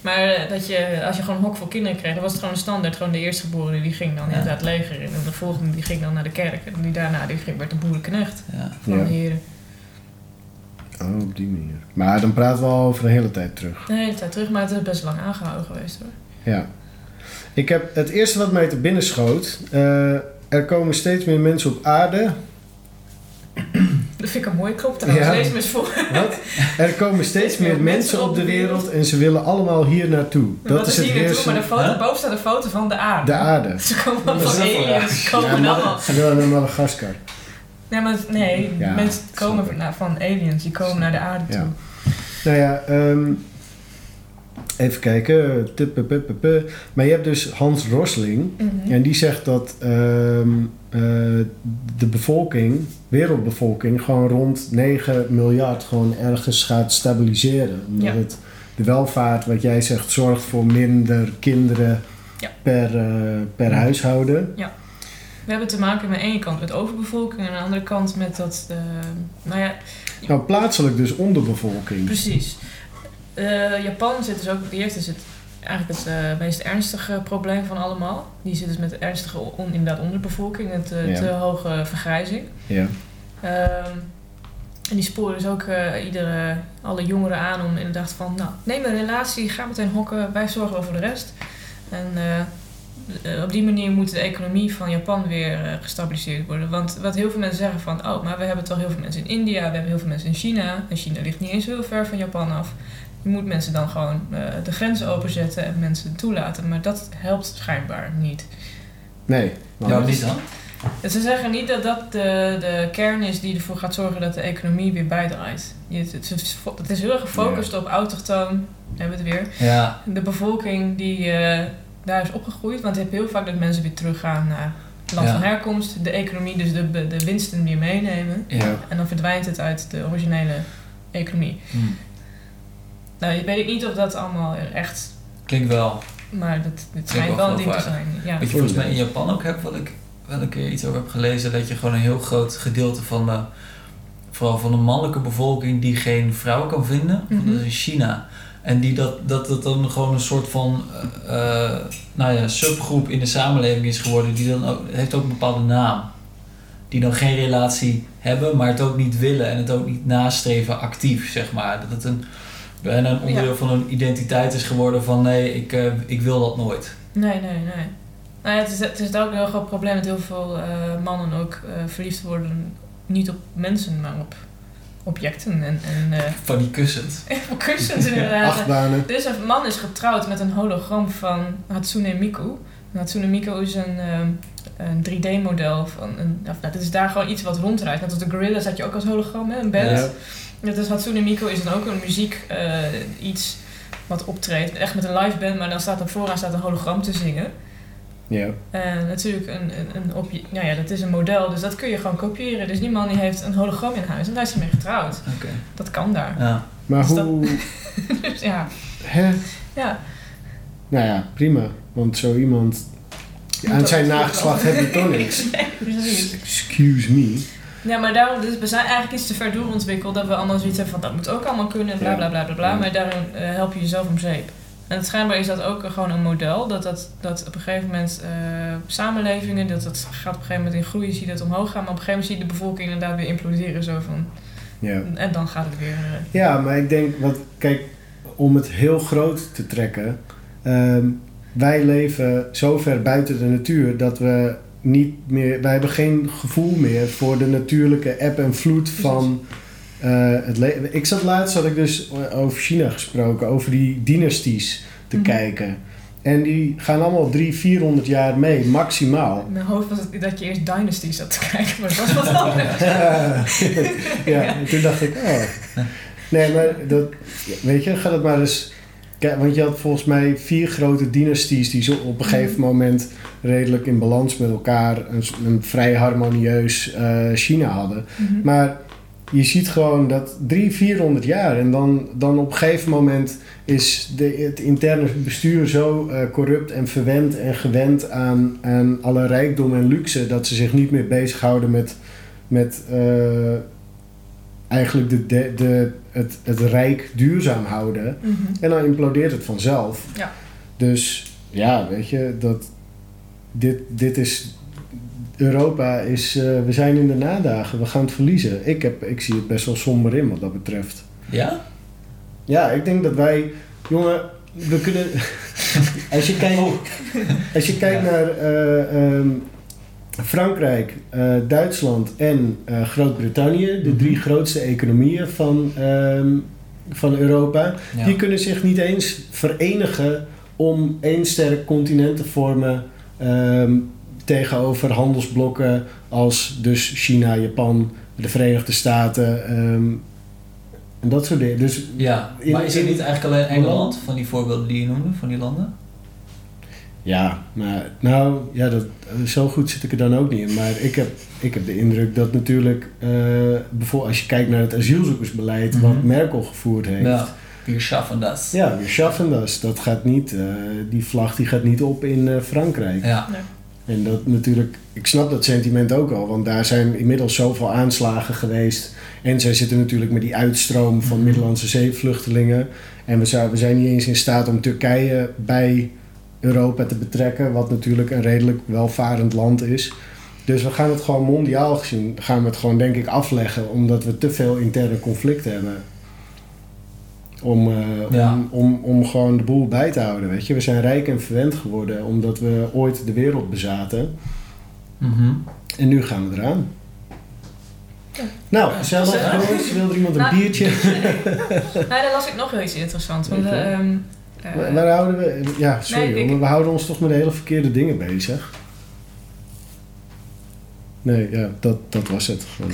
Maar eh, dat je, als je gewoon een hok voor kinderen kreeg, dan was het gewoon een standaard. Gewoon de eerstgeborene die ging dan Ja. inderdaad het leger in. En de volgende die ging dan naar de kerk. En die daarna die ging, werd de boerenknecht Ja. van Ja. de heren. Oh, op die manier. Maar dan praten we al over een hele tijd terug. De hele tijd terug, maar het is best lang aangehouden geweest hoor. Ja. Ik heb het eerste wat mij te binnen schoot. eh, er komen steeds meer mensen op aarde. Dat vind ik een mooie klop trouwens. Ja. Lees hem eens voor. Wat? Er komen steeds meer mensen op de wereld en ze willen allemaal hier naartoe. Dat, Dat is het hier naartoe, maar de eerste. foto, Huh? boven staat een foto van de aarde. De aarde. Ze komen allemaal is van dat voor aliens. Ze komen Ja, allemaal. Ze willen naar Madagaskar. Nee, maar nee, Ja, mensen komen snap ik. van, nou, van aliens. Die komen naar de aarde Ja. toe. Nou ja, ehm, even kijken. Tupupupupu. Maar je hebt dus Hans Rosling. Mhm. En die zegt dat ehm, eh, de bevolking, wereldbevolking, gewoon rond 9 miljard gewoon ergens gaat stabiliseren. Omdat Ja. het, de welvaart, wat jij zegt, zorgt voor minder kinderen Ja. per, eh, per huishouden. We hebben te maken met aan de ene kant met overbevolking en aan de andere kant met dat. eh, nou ja, Nou, plaatselijk dus onderbevolking. Precies. Eh, Japan zit dus ook, die heeft dus het, eigenlijk het eh, meest ernstige probleem van allemaal. Die zit dus met de ernstige on, inderdaad onderbevolking, het eh, Ja. te hoge vergrijzing. Ja. Ehm, en die sporen dus ook eh, iedere, alle jongeren aan om inderdaad van, nou, neem een relatie, ga meteen hokken, wij zorgen wel voor de rest. En eh, eh, op die manier moet de economie van Japan weer eh, gestabiliseerd worden. Want wat heel veel mensen zeggen van, oh, maar we hebben toch heel veel mensen in India, we hebben heel veel mensen in China. En China ligt niet eens heel ver van Japan af. Je moet mensen dan gewoon eh, de grenzen openzetten en mensen toelaten. Maar dat helpt schijnbaar niet. Nee. Ja, wat is dan? En Ze zeggen niet dat dat de, de kern is die ervoor gaat zorgen dat de economie weer bijdraait. Je- Het, het is fo- het is heel erg gefocust op autochtoon, daar hebben we het weer. Ja, De bevolking die eh, daar is opgegroeid, want je hebt heel vaak dat mensen weer teruggaan naar het land Ja. van herkomst. De economie, dus de, be- de winsten weer meenemen. ja. En dan verdwijnt het uit de originele economie. Hm. Nou, ik weet niet of dat allemaal echt, Klinkt wel. maar dat, het wel schijnt wel een ding te geloofwaardig. zijn. Ja. Wat je volgens mij in Japan ook hebt, wat ik wel een keer iets over heb gelezen, dat je gewoon een heel groot gedeelte van de, vooral van de mannelijke bevolking die geen vrouwen kan vinden, Mhm. dat is in China. En die dat, dat dat dan gewoon een soort van eh, eh, nou ja, subgroep in de samenleving is geworden, die dan ook, het heeft ook een bepaalde naam. Die dan geen relatie hebben, maar het ook niet willen en het ook niet nastreven actief, zeg maar. Dat het een, bijna een onderdeel van hun identiteit is geworden van nee, ik, eh, ik wil dat nooit. Nee, nee, nee. Nou ja, het, is, het is ook een heel groot probleem dat heel veel eh, mannen ook eh, verliefd worden. Niet op mensen, maar op objecten en, en eh, Van die kussens. op kussens inderdaad. Achtbanen. Dus een man is getrouwd met een hologram van Hatsune Miku. En Hatsune Miku is een, ehm, een 3D-model van... Een, of, nou, dit is daar gewoon iets wat rondrijdt. Net als de Gorillas had je ook als hologram, hè, een band. Ja. Ja, dus Hatsune Miku is dan ook een muziek eh, iets wat optreedt. Echt met een live band, maar dan staat er vooraan staat een hologram te zingen. Ja. En Eh, natuurlijk een, een, een obje- nou ja, dat is een model, dus dat kun je gewoon kopiëren. Dus die man die heeft een hologram in huis en daar is hij mee getrouwd. Oké. Dat kan daar. Ja. Maar Is dat- hoe... Dus ja, Hè? ja. Nou ja, prima. Want zo iemand... Aan dat zijn is- nageslacht heb je toch niks. precies. Excuse me. Ja, maar daarom, dus we zijn eigenlijk iets te ver doorontwikkeld dat we allemaal zoiets hebben van dat moet ook allemaal kunnen, bla Ja. bla bla bla bla. Ja. Maar daarin eh, help je jezelf om zeep. En het schijnbaar is dat ook gewoon een model, dat, dat, dat op een gegeven moment eh, samenlevingen, dat dat gaat op een gegeven moment in groeien, zie je dat omhoog gaan, maar op een gegeven moment zie je de bevolking inderdaad weer imploderen zo van. Ja. En dan gaat het weer. eh, ja, maar ik denk, wat, kijk, om het heel groot te trekken. ehm, wij leven zo ver buiten de natuur dat we niet meer, wij hebben geen gevoel meer voor de natuurlijke eb en vloed van eh, het leven. Ik zat laatst, had ik dus over China gesproken, over die dynasties te Mhm. kijken. En die gaan allemaal 300, 400 jaar mee, maximaal. In mijn hoofd was het dat je eerst Dynasty zat te kijken, maar dat was wat anders. ja, en toen dacht ik, oh. Nee, maar dat, weet je, ga dat maar eens. Kijk, want je had volgens mij vier grote dynasties die zo op een gegeven moment redelijk in balans met elkaar een, s- een vrij harmonieus eh, China hadden. Mhm. Maar je ziet gewoon dat drie, 400 jaar en dan, dan op een gegeven moment is de, het interne bestuur zo eh, corrupt en verwend en gewend aan, aan alle rijkdom en luxe dat ze zich niet meer bezighouden met, met eh, eigenlijk de, de, de, het, het rijk duurzaam houden. Mhm. En dan implodeert het vanzelf. Ja. Dus ja, weet je, dat, dit, dit is. Europa is. eh, we zijn in de nadagen, we gaan het verliezen. Ik, heb, ik zie het best wel somber in wat dat betreft. Ja? Ja, ik denk dat wij. Jongen, we kunnen. Als je kijkt, als je kijkt naar eh, ehm, Frankrijk, eh, Duitsland en eh, Groot-Brittannië, de drie grootste economieën van, ehm, van Europa, Ja. die kunnen zich niet eens verenigen om één sterk continent te vormen ehm, tegenover handelsblokken als dus China, Japan, de Verenigde Staten ehm, en dat soort dingen. Dus Ja, In- maar is het in- niet eigenlijk alleen Engeland van die voorbeelden die je noemde, van die landen? Ja, maar nou, ja, dat, zo goed zit ik er dan ook niet in. Maar ik heb, ik heb de indruk dat natuurlijk, eh, bijvoorbeeld als je kijkt naar het asielzoekersbeleid wat Mhm. Merkel gevoerd heeft. Ja, wir schaffen das. Ja, we schaffen dat. Dat gaat niet, eh, die vlag die gaat niet op in eh, Frankrijk. Ja, En dat natuurlijk, ik snap dat sentiment ook al, want daar zijn inmiddels zoveel aanslagen geweest. En zij zitten natuurlijk met die uitstroom van Middellandse zeevluchtelingen. En we, zou, we zijn niet eens in staat om Turkije bij Europa te betrekken, wat natuurlijk een redelijk welvarend land is. Dus we gaan het gewoon mondiaal gezien, gaan we het gewoon denk ik afleggen, omdat we te veel interne conflicten hebben. Om, eh, Ja. om, om, om gewoon de boel bij te houden, weet je. We zijn rijk en verwend geworden omdat we ooit de wereld bezaten. Mhm. En nu gaan we eraan. Nou, gezellig gezellig. jongens. Wil er iemand een Nou, biertje? Nou, daar las ik nog wel iets interessants. Want, Oké. ehm, eh, Waar waar houden we... Ja, sorry Nee, hoor, ik- maar we houden ons toch met hele verkeerde dingen bezig. Nee, ja, dat, dat was het gewoon.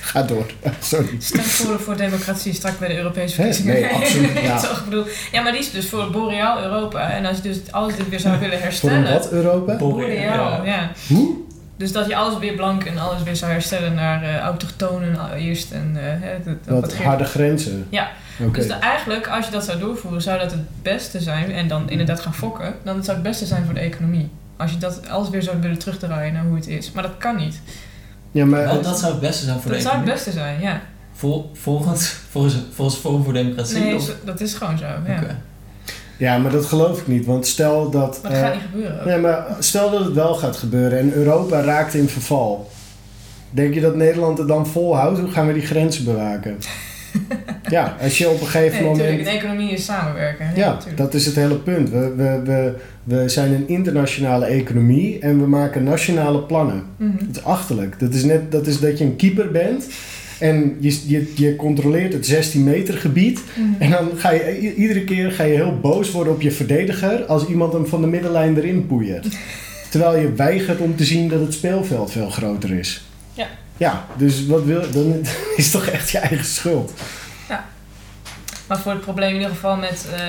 Ga door. Sorry. Stem voor voor democratie strak bij de Hè? Europese verkiezingen. Nee, absoluut, ja. Dat is ook bedoeld. ja, maar die is dus voor het boreaal Europa. En als je dus alles dit weer zou willen Voor een herstellen. wat, Europa? Boreaal, ja. Hoe? Dus dat je alles weer blank en alles weer zou herstellen naar eh, autochtonen al- eerst. En, eh, hè, dat- dat, Wat dat ge- harde grenzen. Ja. Oké. Dus dan eigenlijk, als je dat zou doorvoeren, zou dat het beste zijn. En dan inderdaad gaan fokken. Dan het zou het beste zijn voor de economie. Als je dat alles weer zou willen terugdraaien naar hoe het is. Maar dat kan niet. Ja, maar... Want dat zou het beste zijn voor Dat de zou het economie. beste zijn, ja. Vol- volgens, volgens, volgens Forum voor Democratie? Nee, of- zo- dat is gewoon zo. Ja. Oké. Ja, maar dat geloof ik niet. Want stel dat... Maar dat eh, gaat niet gebeuren. Nee, maar stel dat het wel gaat gebeuren en Europa raakt in verval. Denk je dat Nederland het dan volhoudt? Hoe gaan we die grenzen bewaken? ja, als je op een gegeven Nee, natuurlijk. moment... De economie is samenwerken. hè, Ja, natuurlijk. dat is het hele punt. We, we, we, we zijn een internationale economie en we maken nationale plannen. Mhm. Het is achterlijk. Dat is net dat, is dat je een keeper bent en je, je, je controleert het 16 meter gebied. Mhm. En dan ga je i- iedere keer ga je heel boos worden op je verdediger als iemand hem van de middenlijn erin poeiert. Terwijl je weigert om te zien dat het speelveld veel groter is. Ja. Ja, dus wat wil, dan is het toch echt je eigen schuld. Maar voor het probleem in ieder geval met eh,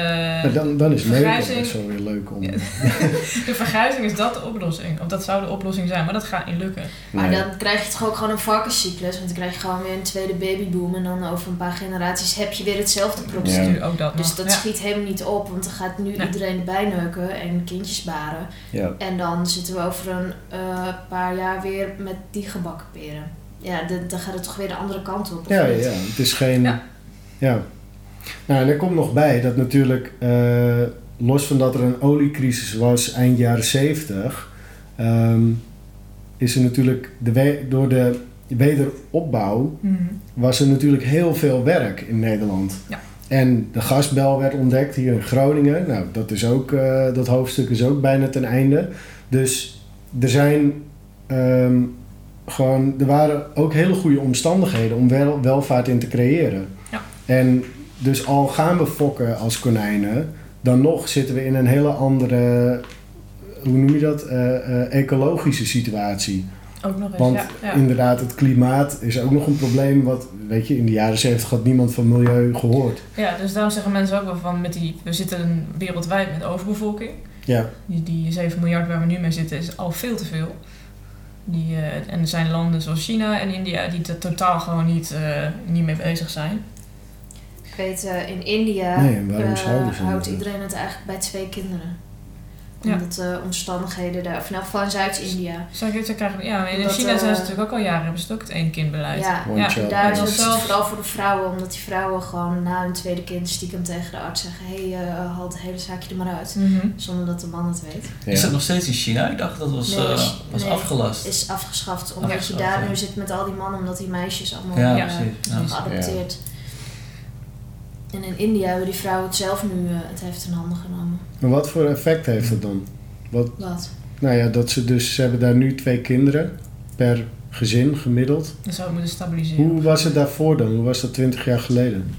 Maar dan, dan is Merkel Vergrijzing- best wel weer leuk om. Ja. de vergrijzing is dat de oplossing. Of dat zou de oplossing zijn, maar dat gaat niet lukken. Maar Nee. dan krijg je toch ook gewoon een varkenscyclus. Want dan krijg je gewoon weer een tweede babyboom. En dan over een paar generaties heb je weer hetzelfde Dus probleem. Ja. nu ook dat nog. Dus dat Ja. schiet helemaal niet op. Want dan gaat nu Nee. iedereen erbij neuken en kindjes baren. Ja. En dan zitten we over een eh, paar jaar weer met die gebakken peren. Ja, dan- dan gaat het toch weer de andere kant op. of Ja, ja, niet? ja. het is geen. Ja. Ja. Nou, en er komt nog bij dat natuurlijk, eh, los van dat er een oliecrisis was eind jaren 70, ehm, is er natuurlijk de we- door de wederopbouw Mhm. was er natuurlijk heel veel werk in Nederland. Ja. En de gasbel werd ontdekt hier in Groningen. Nou, dat, is ook, eh, dat hoofdstuk is ook bijna ten einde. Dus er zijn ehm, gewoon, er waren ook hele goede omstandigheden om wel, welvaart in te creëren. Ja. En dus al gaan we fokken als konijnen, dan nog zitten we in een hele andere, hoe noem je dat, Eh, eh, ecologische situatie. Ook nog eens, Want ja. ja. inderdaad, het klimaat is ook nog een probleem. Wat, weet je, in de jaren 70 had niemand van milieu gehoord. Ja, dus daarom zeggen mensen ook wel van, met die, we zitten wereldwijd met overbevolking. Ja, Die, die 7 miljard waar we nu mee zitten is al veel te veel. Die, eh, en er zijn landen zoals China en India die er totaal gewoon niet, eh, niet mee bezig zijn. Ik weet, eh, in India Nee, en waarom eh, zouden ze houdt dat? iedereen het eigenlijk bij twee kinderen. Ja. Omdat de omstandigheden daar, of nou van Zuid-India. Zou ik het zo krijgen? Ja, maar in Omdat, China zijn ze eh, natuurlijk ook al jaren, hebben ze het ook het eenkindbeleid. Ja, one Ja, child. daar is dat het is zelf- vooral voor de vrouwen, omdat die vrouwen gewoon na hun tweede kind stiekem tegen de arts zeggen: hé, hey, eh, haal het hele zaakje er maar uit. Mhm. Zonder dat de man het weet. Ja. Is dat nog steeds in China? Ik dacht dat was, Nee, eh, is- was nee. afgelast. Is afgeschaft, omdat Afgeschaft, je daar ja. nu eh, zit met al die mannen, omdat die meisjes allemaal ja, eh, precies. Ja. geadopteerd. En in India hebben die vrouwen het zelf nu eh, het heft in handen genomen. En wat voor effect heeft dat dan? Wat? Nou ja, dat ze dus, ze hebben daar nu twee kinderen per gezin gemiddeld. Dat zou moeten stabiliseren. Hoe was het daarvoor dan? Hoe was dat 20 jaar geleden?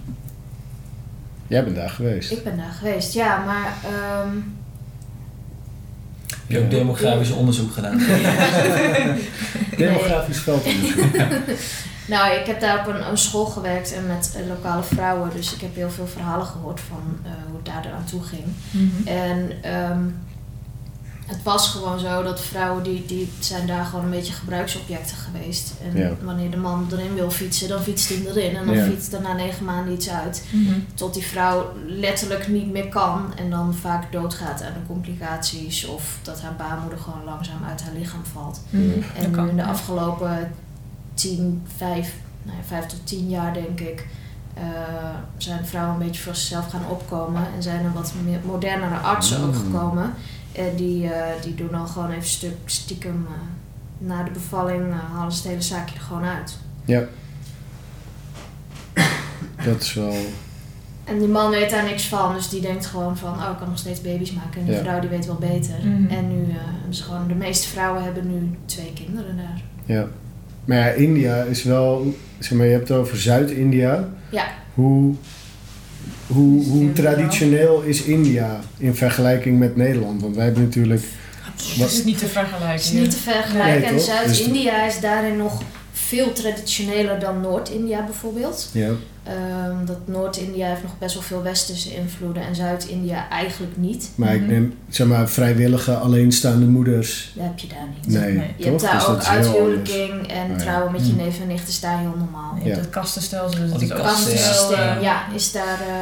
Jij bent daar geweest. Ik ben daar geweest, ja, maar... ehm, Heb je ook demografisch onderzoek gedaan? Demografisch veldonderzoek. Nou, ik heb daar op een, een school gewerkt en met eh, lokale vrouwen. Dus ik heb heel veel verhalen gehoord van eh, hoe het daar aan toe ging. Mhm. En ehm, het was gewoon zo dat vrouwen die, die zijn daar gewoon een beetje gebruiksobjecten geweest. En Ja. wanneer de man erin wil fietsen, dan fietst hij erin. En dan Ja. fietst er na negen maanden iets uit. Mhm. Tot die vrouw letterlijk niet meer kan. En dan vaak doodgaat aan de complicaties. Of dat haar baarmoeder gewoon langzaam uit haar lichaam valt. Mhm. En Eh, Dat kan, nu in de ja. afgelopen 10, 5, nou ja, 5 tot 10 jaar denk ik, eh, zijn vrouwen een beetje voor zichzelf gaan opkomen en zijn er wat meer modernere artsen Mm. ook gekomen. En die, eh, die doen dan gewoon even stuk stiekem eh, na de bevalling eh, halen ze het hele zaakje er gewoon uit. Dat is wel... En die man weet daar niks van, dus die denkt gewoon van, oh, ik kan nog steeds baby's maken. En die Ja. vrouw die weet wel beter. Mhm. En nu, eh, hebben ze gewoon, de meeste vrouwen hebben nu twee kinderen daar. Maar ja, India is wel... Zeg maar, je hebt het over Zuid-India. Ja. Hoe, hoe, hoe India. traditioneel is India in vergelijking met Nederland? Want wij hebben natuurlijk... Dat is niet te vergelijken. Het is niet te vergelijken. eh, Nee, en toch? Zuid-India is daarin nog veel traditioneler dan Noord-India bijvoorbeeld. Ja. Ehm, dat Noord-India heeft nog best wel veel westerse invloeden en Zuid-India eigenlijk niet. Maar ik Mhm. neem, zeg maar, vrijwillige alleenstaande moeders. Dat heb je daar niet. Nee, Nee. Je toch? hebt daar Dus ook dat is heel anders. Oh uithuwelijking en ja. Hm. trouwen met je neef en nicht is daar heel normaal. Je Ja. hebt het kastenstelsel, dus Al dat die is ook kasten, heel, eh, Kastensysteem, ja, is daar... eh,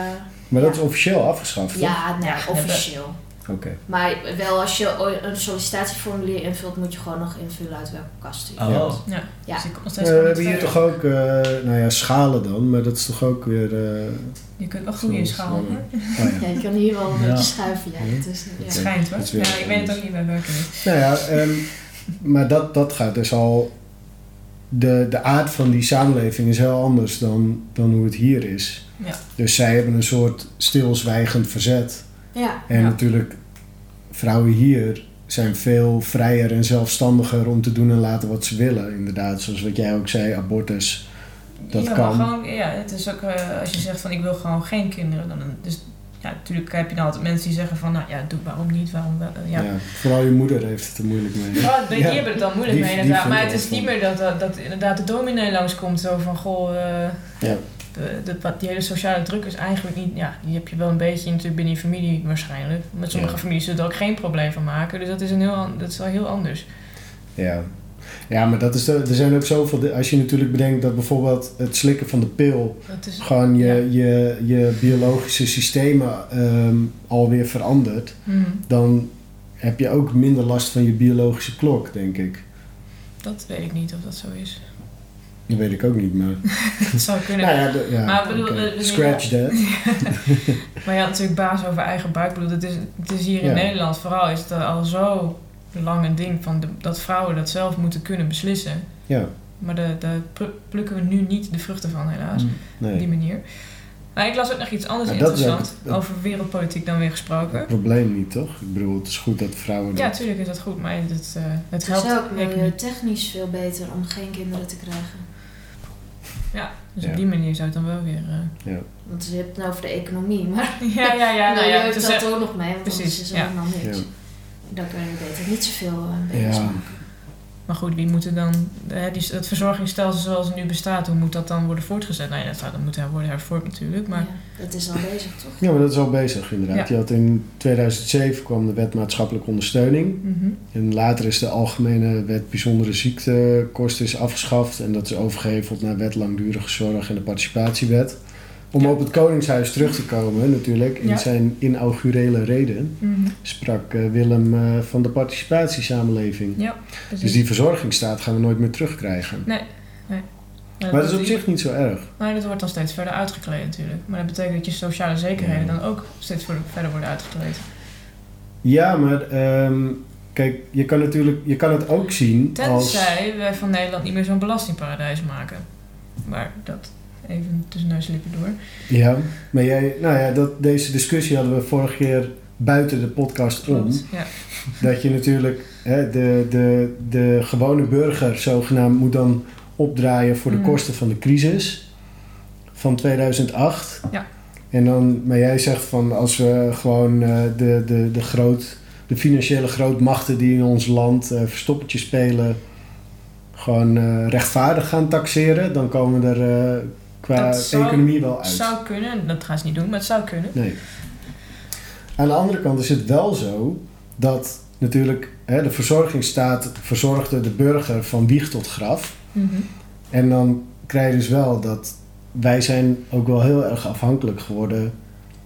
Maar dat is officieel afgeschaft, toch? ja, nou, Ja, hebben- officieel. Oké. Maar wel als je ooit een sollicitatieformulier invult, moet je gewoon nog invullen uit welke kast je Oh, Ja. Dus je komt nog Eh, steeds we gewoon hebben niet hier verder. toch ook, eh, nou ja, schalen dan, maar dat is toch ook weer... eh, Je kunt wel groeien in schaal. Zoals, hoor. nou ja. Ja, je kan hier wel een Ja. beetje schuiven, ja. Ja. Dus, eh, Het ja. schijnt hoor. Dat is Ja, weer ik weet het ook niet, wij werken niet. Nou ja, ehm, maar dat, dat gaat dus al. De, de aard van die samenleving is heel anders dan, dan hoe het hier is. Ja. Dus zij hebben een soort stilzwijgend verzet. ja. En Ja. natuurlijk, vrouwen hier zijn veel vrijer en zelfstandiger om te doen en laten wat ze willen. Inderdaad, zoals wat jij ook zei, abortus. Dat ja, kan. Maar gewoon, ja, het is ook eh, als je zegt van ik wil gewoon geen kinderen. Dan, dus ja, natuurlijk heb je dan altijd mensen die zeggen van nou ja, doe waarom niet, waarom wel. eh, Ja. ja. vooral je moeder heeft het er moeilijk mee. Oh, die Ja. hebben het dan moeilijk Die- mee die inderdaad. vinden Maar het dat is wel. niet meer dat, dat, dat inderdaad de dominee langskomt. Zo van, goh, eh, Ja. de, de- wat- die hele sociale druk is eigenlijk niet... Ja, die heb je wel een beetje natuurlijk binnen je familie waarschijnlijk. Met sommige Ja. families zullen er ook geen probleem van maken. Dus dat is, een heel, an- dat is wel heel anders. Ja. Ja, maar dat is de, er zijn ook zoveel. Als je natuurlijk bedenkt dat bijvoorbeeld het slikken van de pil Dat is, gewoon je, je, je biologische systemen ehm, alweer verandert, Mhm, dan heb je ook minder last van je biologische klok, denk ik. dat weet ik niet of dat zo is. Dat weet ik ook niet, maar. Dat zou kunnen. Nou ja, de- ja Maar bedoel, oké. we- we- Scratch that. Maar ja, natuurlijk baas over eigen buik. Ik bedoel, het is, het is hier in Ja. Nederland vooral is het al zo lang een ding van de- dat vrouwen dat zelf moeten kunnen beslissen. Ja, Maar daar daar pl- plukken we nu niet de vruchten van, helaas. Op die nee. manier. Maar ik las ook nog iets anders Ja, dat is interessant. ook het- Over wereldpolitiek dan weer gesproken. Het probleem niet, toch? Ik bedoel, het is goed dat vrouwen. Ja, dat- tuurlijk is dat goed, maar het, eh, het Het helpt is ook eigenlijk niet. milieutechnisch veel beter om geen kinderen te krijgen. Dus Ja. op die manier zou het dan wel weer... eh, Want je hebt het nou over de economie, maar ja, ja, ja. nou, ja, nou, je het hebt is dat echt- ook nog mee, want Precies, anders is er ja. helemaal niks. Ja. Dan kun je beter niet zoveel eh baby's Ja. maken. Maar goed, wie moet er dan... Hè, die, het verzorgingsstelsel zoals het nu bestaat, hoe moet dat dan worden voortgezet? Nou ja, dat, zou- dat moet worden hervormd natuurlijk, maar... Ja, dat is al bezig, toch? Dus Ja, maar dat is al bezig inderdaad. Je had in 2007 kwam de wet maatschappelijke ondersteuning. mhm. En later is de algemene wet bijzondere ziektekosten is afgeschaft. En dat is overgeheveld naar wet langdurige zorg en de participatiewet. Om op het Koningshuis terug te komen natuurlijk. In Ja. zijn inaugurele reden Mhm. sprak eh, Willem eh, van de participatiesamenleving. Ja, precies. Dus die verzorgingsstaat gaan we nooit meer terugkrijgen. Ja, Maar dat is op die- zich niet zo erg. Maar dat wordt dan steeds verder uitgekleed natuurlijk. Maar dat betekent dat je sociale zekerheden Ja. dan ook steeds voor- verder worden uitgekleed. Ja, maar ehm, kijk, je kan, natuurlijk, je kan het ook zien als... Tenzij wij van Nederland niet meer zo'n belastingparadijs maken. Maar dat Even tussen neus en lippen door. Ja, maar jij, nou ja, dat, deze discussie hadden we vorige keer buiten de podcast om. Klopt. Ja. Dat je natuurlijk hè, de, de, de gewone burger zogenaamd moet dan opdraaien voor de Mm. kosten van de crisis van 2008. Ja. En dan, maar jij zegt van als we gewoon eh, de, de, de, groot, de financiële grootmachten die in ons land eh verstoppertje spelen, gewoon eh, rechtvaardig gaan taxeren, dan komen we er eh, qua Dat zou- economie wel uit. Zou kunnen, dat gaan ze niet doen, maar het zou kunnen. Nee. Aan de andere kant is het wel zo dat natuurlijk hè, de verzorgingsstaat verzorgde de burger van wieg tot graf. Mhm. En dan krijg je dus wel dat wij zijn ook wel heel erg afhankelijk geworden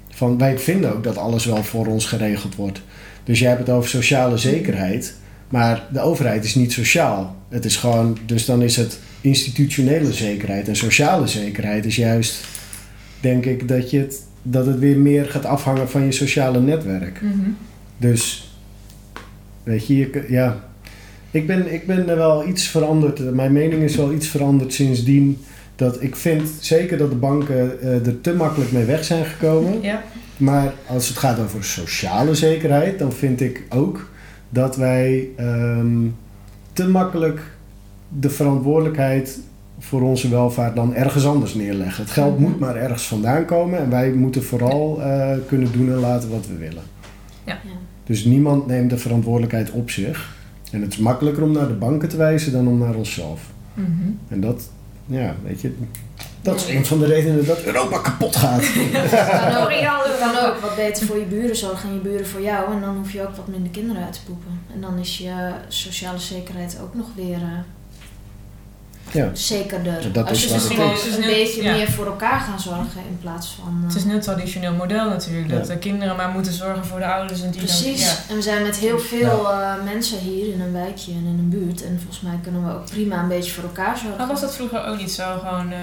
van... Wij vinden ook dat alles wel voor ons geregeld wordt. Dus jij hebt het over sociale zekerheid, maar de overheid is niet sociaal. Het is gewoon, dus dan is het institutionele zekerheid. En sociale zekerheid is juist, denk ik, dat, je het, dat het weer meer gaat afhangen van je sociale netwerk. Mhm. Dus, weet je, je kun- ja. Ik ben, ik ben er wel iets veranderd. Eh, Mijn mening is wel iets veranderd sindsdien. Dat ik vind zeker dat de banken eh, er te makkelijk mee weg zijn gekomen. Mhm. Ja. Maar als het gaat over sociale zekerheid, dan vind ik ook dat wij ehm, te makkelijk de verantwoordelijkheid voor onze welvaart dan ergens anders neerleggen. Het geld moet maar ergens vandaan komen en wij moeten vooral eh, kunnen doen en laten wat we willen. Ja. Dus niemand neemt de verantwoordelijkheid op zich. En het is makkelijker om naar de banken te wijzen dan om naar onszelf. Mhm. En dat, ja, weet je, dat is een van de redenen dat Europa kapot gaat. Kan ook, kan ook wat beter voor je buren zorgen en je buren voor jou. En dan hoef je ook wat minder kinderen uit te poepen. En dan is je sociale zekerheid ook nog weer eh, Ja. zekerder. Dat Als is je waar dus het gewoon is. een beetje Ja. meer voor elkaar gaan zorgen in plaats van... eh, Het is een heel traditioneel model natuurlijk, dat Ja. de kinderen maar moeten zorgen voor de ouders en die Precies. dan... En we zijn met heel veel eh, mensen hier in een wijkje en in een buurt. En volgens mij kunnen we ook prima een beetje voor elkaar zorgen. Maar Oh, was dat vroeger ook niet zo, gewoon eh,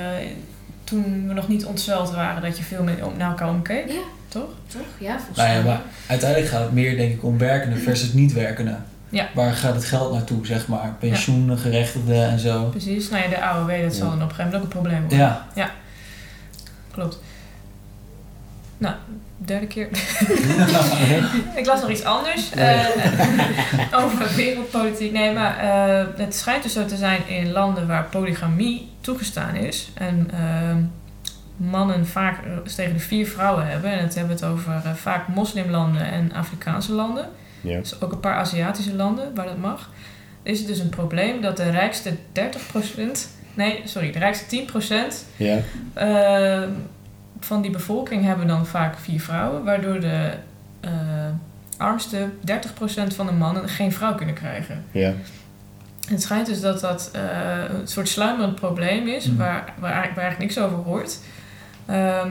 toen we nog niet ontzeld waren, dat je veel meer om- naar elkaar omkeek? Ja. Toch? Toch? Ja, volgens Nou mij. ja, maar uiteindelijk gaat het meer denk ik om werkenden versus niet werkenden. Ja. Waar gaat het geld naartoe, zeg maar? Pensioengerechtigden en zo. Precies. Nou ja, de AOW, dat zal dan op een gegeven moment ook een probleem worden. Ja, Klopt. Nou, derde keer. ik las nog iets anders eh, over wereldpolitiek. Nee, maar eh, het schijnt dus zo te zijn in landen waar polygamie toegestaan is. En ehm, mannen vaak eh, tegen de vier vrouwen hebben. En dat hebben we het over eh, vaak moslimlanden en Afrikaanse landen. Ja. Dus ook een paar Aziatische landen waar dat mag. Is het dus een probleem dat de rijkste 30%... Nee, sorry, de rijkste 10% Ja. eh, van die bevolking hebben dan vaak vier vrouwen, waardoor de eh, armste 30% van de mannen geen vrouw kunnen krijgen. Ja. Het schijnt dus dat dat eh, een soort sluimerend probleem is, Mhm. waar, waar, eigenlijk- waar eigenlijk niks over hoort. Ehm,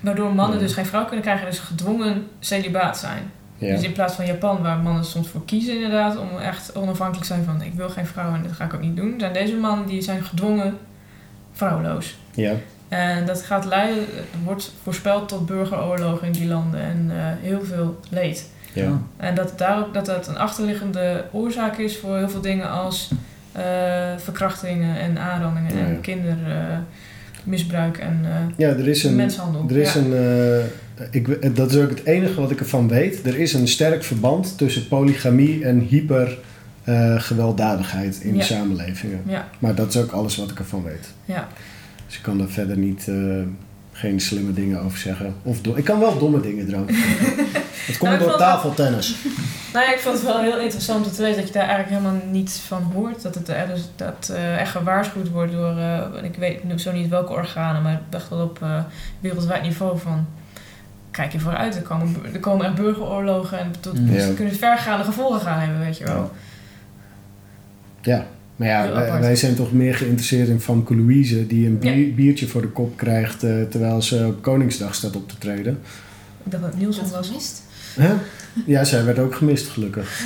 waardoor mannen dus geen vrouw kunnen krijgen, dus gedwongen celibaat zijn. Ja. Dus in plaats van Japan, waar mannen soms voor kiezen inderdaad, om echt onafhankelijk te zijn van ik wil geen vrouw en dat ga ik ook niet doen, zijn deze mannen die zijn gedwongen vrouwloos. Ja. En dat gaat leiden, wordt voorspeld tot burgeroorlogen in die landen en eh, heel veel leed. Ja. En dat, daarop, dat dat een achterliggende oorzaak is voor heel veel dingen als eh, verkrachtingen en aanrandingen Ja, ja. en kindermisbruik en eh, ja, er is een, menshandel. Er is Ja. een, eh, ik, we- dat is ook het enige wat ik ervan weet. Er is een sterk verband tussen polygamie en hyper eh, gewelddadigheid in Ja. samenlevingen. Ja. Maar dat is ook alles wat ik ervan weet. Ja. Dus ik kan daar verder niet, eh, geen slimme dingen over zeggen. Of do- ik kan wel domme dingen erover zeggen. Het komt Nou, door ik vond wel- tafeltennis. Nou ja, ik vond het wel heel interessant om te weten dat je daar eigenlijk helemaal niets van hoort. Dat het er dus, dat, eh, echt gewaarschuwd wordt door, eh, ik weet nu zo niet welke organen, maar echt wel op eh, wereldwijd niveau van... Kijk je vooruit, er komen, bu- er komen echt burgeroorlogen en tot, Mm. Ja. ze kunnen vergaande gevolgen gaan hebben, weet je wel. Maar ja, Heel wij, apart. wij zijn toch meer geïnteresseerd in Famke Louise... die een bier- Ja. biertje voor de kop krijgt... eh, terwijl ze op Koningsdag staat op te treden. Ik dacht dat het Dat Nielsen was was. mist. Hè? Ja, zij werd ook gemist, gelukkig.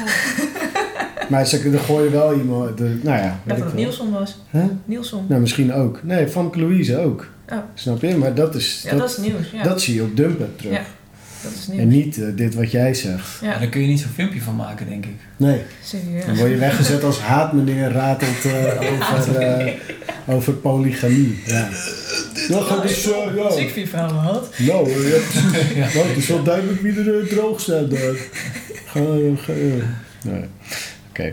Maar ze er gooien wel iemand. De, nou ja, Ik weet dacht ik dat het wel. Nielsen was. Hè? Nielsen. Nou, misschien ook. Nee, Famke Louise ook. Oh. Snap je? Maar dat is. Ja, dat, dat is nieuws. Ja. dat zie je op Dumpen terug. Ja. Dat is En niet niet eh, dit wat jij zegt. Ja, Ja, daar kun je niet zo'n filmpje van maken, denk ik. Nee, dan serieus. word je weggezet als haatmeneer ratelt eh, over, eh, over polygamie. Ja. Ja, dat is, eh, ja. Als ik vier vrouwen had. Nou, eh, ja, precies. nou, het is wel duidelijk wie er eh, droog staat daar. Ga, ga, eh. Nee. Oké.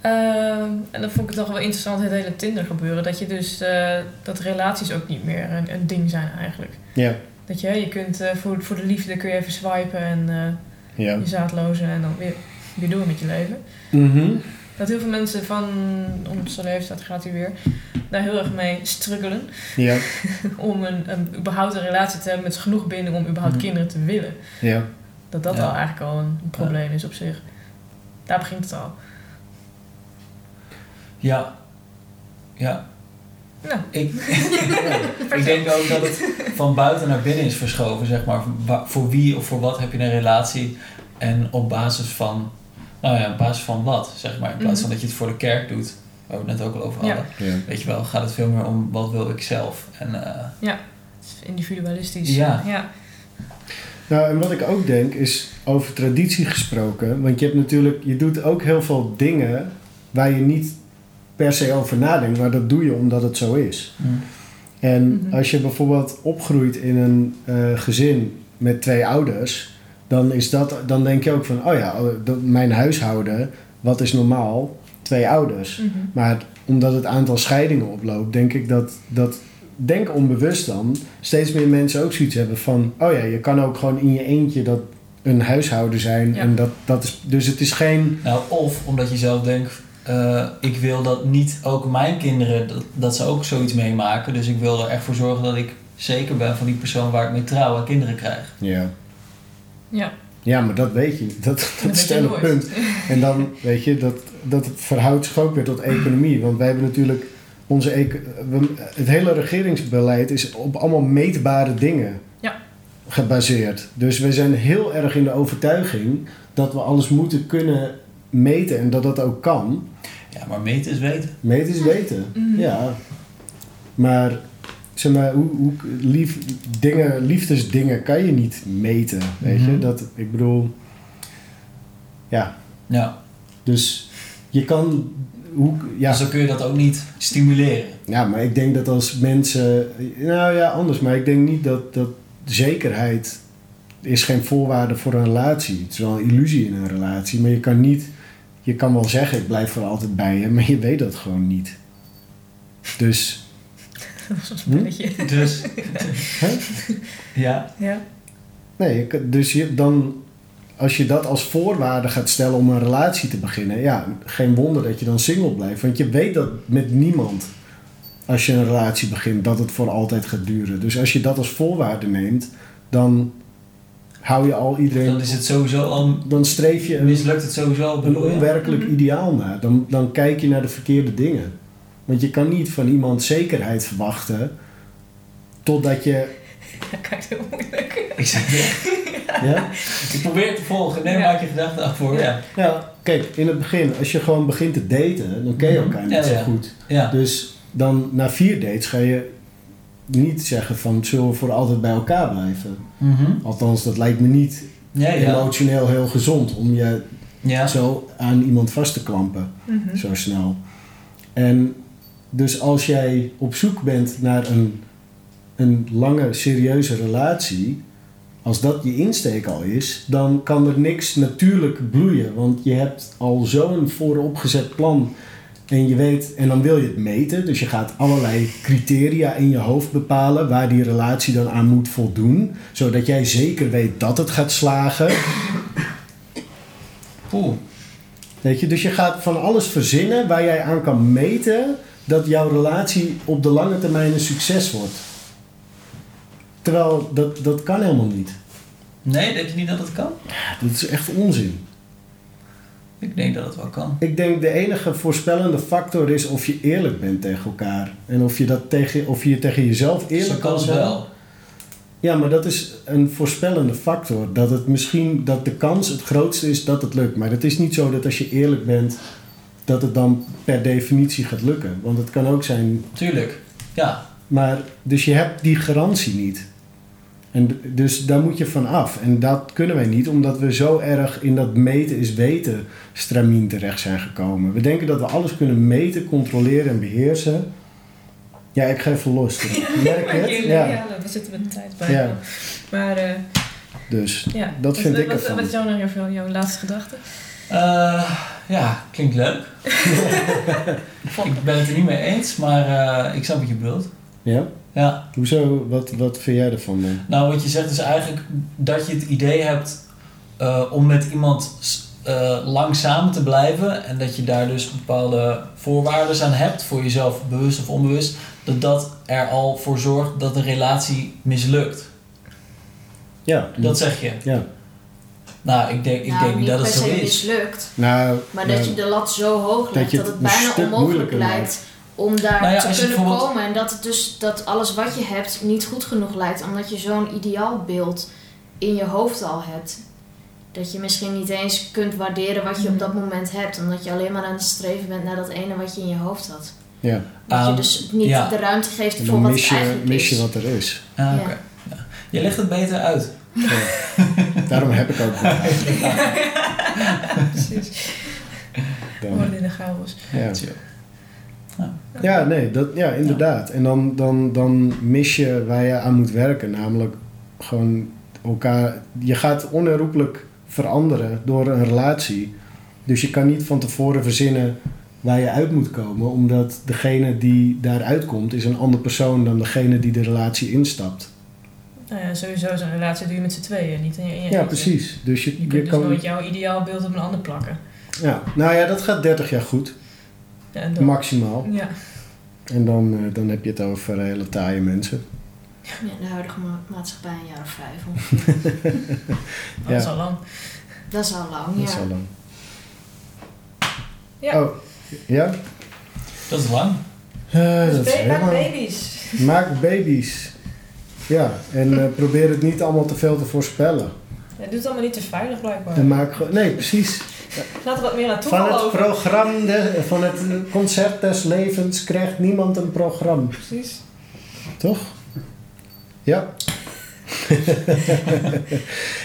Ehm, en dat vond ik toch wel interessant, het hele Tinder gebeuren. Dat je dus, eh, dat relaties ook niet meer een, een ding zijn eigenlijk. Ja, Dat je, je kunt eh, voor, voor de liefde kun je even swipen en eh, ja. je zaadlozen en dan weer, weer door met je leven. Mhm. Dat heel veel mensen van onze leeftijd, gaat hij weer, daar heel erg mee struggelen. Ja, Om een, een, überhaupt een relatie te hebben met genoeg binding om überhaupt Mhm. kinderen te willen. ja. Dat dat Ja. al eigenlijk al een probleem is op zich. Daar begint het al. Ja. Ja. Nou. Ik, ik denk ook dat het van buiten naar binnen is verschoven, zeg maar. Wa- Voor wie of voor wat heb je een relatie en op basis van, nou ja, op basis van wat, zeg maar. In plaats van dat je het voor de kerk doet, waar we het net ook al over Mhm. Ja. hadden. Weet je wel, gaat het veel meer om wat wil ik zelf. En eh, Het is individualistisch. Ja. ja. Nou, en wat ik ook denk is over traditie gesproken. Want je hebt natuurlijk, je doet ook heel veel dingen waar je niet per se over nadenkt, maar dat doe je omdat het zo is. mm, En Mhm. als je bijvoorbeeld opgroeit in een eh, gezin met twee ouders, dan, is dat, dan denk je ook van, oh ja, oh, dat- mijn huishouden, wat is normaal? Twee ouders. Mhm. Maar omdat het aantal scheidingen oploopt, denk ik dat, dat denk onbewust dan, steeds meer mensen ook zoiets hebben van, oh ja, je kan ook gewoon in je eentje dat een huishouden zijn. Ja. En dat, dat is, dus het is geen, nou, of omdat je zelf denkt, eh, ik wil dat niet ook mijn kinderen, dat, dat ze ook zoiets meemaken. Dus ik wil er echt voor zorgen dat ik zeker ben van die persoon waar ik mee trouw en kinderen krijg. ja. Ja. Ja, maar dat weet je. Dat, dat is weet het je hele nooit. punt. En dan, weet je, dat, dat verhoudt zich ook weer tot economie. Want wij hebben natuurlijk onze... eco- we- het hele regeringsbeleid is op allemaal meetbare dingen Ja. gebaseerd. Dus we zijn heel erg in de overtuiging dat we alles moeten kunnen meten en dat dat ook kan. Ja, maar meten is weten. Meten is weten, Mhm. ja. Maar, zeg maar, hoe, hoe lief, dingen, liefdesdingen kan je niet meten, weet je. Mhm. Dat, ik bedoel, ja, Ja. dus je kan. Hoe, ja, Dus dan kun je dat ook niet stimuleren. ja, maar ik denk dat als mensen. Nou ja, anders. Maar ik denk niet dat, dat zekerheid is geen voorwaarde voor een relatie. Het is wel een illusie in een relatie. Maar je kan niet. Je kan wel zeggen, ik blijf voor altijd bij je. Maar je weet dat gewoon niet. Dus. Dat was een Hm? spelletje. Dus, Hè? ja. Ja. Nee, je kan- dus je, dan. Als je dat als voorwaarde gaat stellen om een relatie te beginnen, ja, geen wonder dat je dan single blijft. Want je weet dat met niemand, als je een relatie begint, dat het voor altijd gaat duren. Dus als je dat als voorwaarde neemt, dan hou je al Dan iedereen. is het sowieso al, Dan streef je een, mislukt het sowieso al. een bedoel je? onwerkelijk Mhm. ideaal na. Dan, dan kijk je naar de verkeerde dingen. Want je kan niet van iemand zekerheid verwachten totdat je. Dat kijkt heel moeilijk. Ik, zeg- Ja? ik probeer te volgen. Nee, Ja. maak je gedachten af voor. Ja. Mhm. Ja, kijk, in het begin, als je gewoon begint te daten, dan ken je elkaar niet Ja, zo ja. goed. ja. Dus dan na vier dates ga je niet zeggen van zullen we voor altijd bij elkaar blijven. Mhm. Althans, dat lijkt me niet Ja, ja. emotioneel heel gezond om je Ja. zo aan iemand vast te klampen, Mhm. zo snel. En dus als jij op zoek bent naar een, een lange, serieuze relatie, als dat je insteek al is, dan kan er niks natuurlijk bloeien. Want je hebt al zo'n vooropgezet plan. En je weet, en dan wil je het meten. Dus je gaat allerlei criteria in je hoofd bepalen waar die relatie dan aan moet voldoen. Zodat jij zeker weet dat het gaat slagen. Oeh. Weet je, dus je gaat van alles verzinnen waar jij aan kan meten dat jouw relatie op de lange termijn een succes wordt. Terwijl dat, dat kan helemaal niet. Nee, denk je niet dat het kan? Dat is echt onzin. Ik denk dat het wel kan. Ik denk de enige voorspellende factor is of je eerlijk bent tegen elkaar. En of je, dat tegen, of je tegen jezelf eerlijk Ze kan kan het zijn. wel. Ja, maar dat is een voorspellende factor. Dat het misschien dat de kans het grootste is dat het lukt. Maar het is niet zo dat als je eerlijk bent, dat het dan per definitie gaat lukken. Want het kan ook zijn Tuurlijk. Ja. Maar dus je hebt die garantie niet. En d- dus daar moet je van af. En dat kunnen wij niet, omdat we zo erg in dat meten is weten stramien terecht zijn gekomen. We denken dat we alles kunnen meten, controleren en beheersen. Ja, ik ga even los. Merk je Maar het? jullie, Ja. ja, we zitten met de tijd bij. Ja. Maar eh, Dus ja, Dat vind wat, ik wat, ervan. Wat is jouw, nog even jouw laatste gedachte? Eh, ja, klinkt leuk. ik ben het er niet mee eens, maar eh, ik snap wat je bedoelt. ja. Ja. Hoezo? Wat, wat vind jij ervan dan? Nou, wat je zegt is eigenlijk dat je het idee hebt eh, om met iemand s- eh, lang samen te blijven en dat je daar dus bepaalde voorwaarden aan hebt voor jezelf, bewust of onbewust, dat dat er al voor zorgt dat de relatie mislukt. Ja. Dat zeg je. Mm. Ja. Nou, ik denk, ik Nou, denk niet dat het per zo se is. mislukt. Nou, Maar nou, dat je de lat zo hoog legt je dat, het het een bijna stuk onmogelijk moeilijker lijkt om daar Nou ja, als te je kunnen bijvoorbeeld- komen. En dat het dus dat alles wat je hebt niet goed genoeg lijkt. Omdat je zo'n ideaalbeeld in je hoofd al hebt. Dat je misschien niet eens kunt waarderen wat Hmm. je op dat moment hebt. Omdat je alleen maar aan het streven bent naar dat ene wat je in je hoofd had. ja. Dat je Ehm, dus niet ja. de ruimte geeft En voor dan wat mis het je, eigenlijk mis je is. wat er is. Ah, Ja. oké. Ja. Je legt het beter uit. Daarom heb ik ook gelijk. Precies. Dan- Woorden in de chaos. Ja. Chill. Ja, nee, dat, ja, inderdaad. En dan, dan, dan mis je waar je aan moet werken. Namelijk gewoon elkaar... Je gaat onherroepelijk veranderen door een relatie. Dus je kan niet van tevoren verzinnen waar je uit moet komen. Omdat degene die daaruit komt is een ander persoon dan degene die de relatie instapt. Nou ja, sowieso zo'n relatie doe je met z'n tweeën, niet in je in Ja, je eentje. precies. Dus je, Je kunt dus nooit jouw ideaalbeeld op een ander plakken. Ja, nou ja, dat gaat 30 jaar goed. Ja, en dan- Maximaal. ja. En dan, eh, dan heb je het over hele taaie mensen. Ja, de huidige ma- maatschappij een jaar of vijf. Oh, Dat is al lang. Dat is al lang, Dat is ja. al lang. Ja. Oh, ja? Dat is lang. Eh, Dus dat is ba- maak helemaal- baby's. Maak baby's. Ja, en eh, probeer het niet allemaal te veel te voorspellen. Ja, doe het allemaal niet te veilig blijkbaar. En maak gewoon... Nee, precies. Laat er wat meer aan Van toeval het over. programma, de- van het concert des levens krijgt niemand een programma. Precies. Toch? Ja.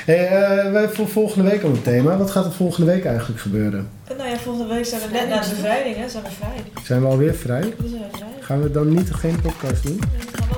hey, eh, we hebben voor volgende week al een thema. Wat gaat er volgende week eigenlijk gebeuren? En nou ja, volgende week zijn we net na de bevrijding, hè? Zijn we vrij. Zijn we alweer vrij? We zijn vrij. Gaan we dan niet geen podcast doen? We gaan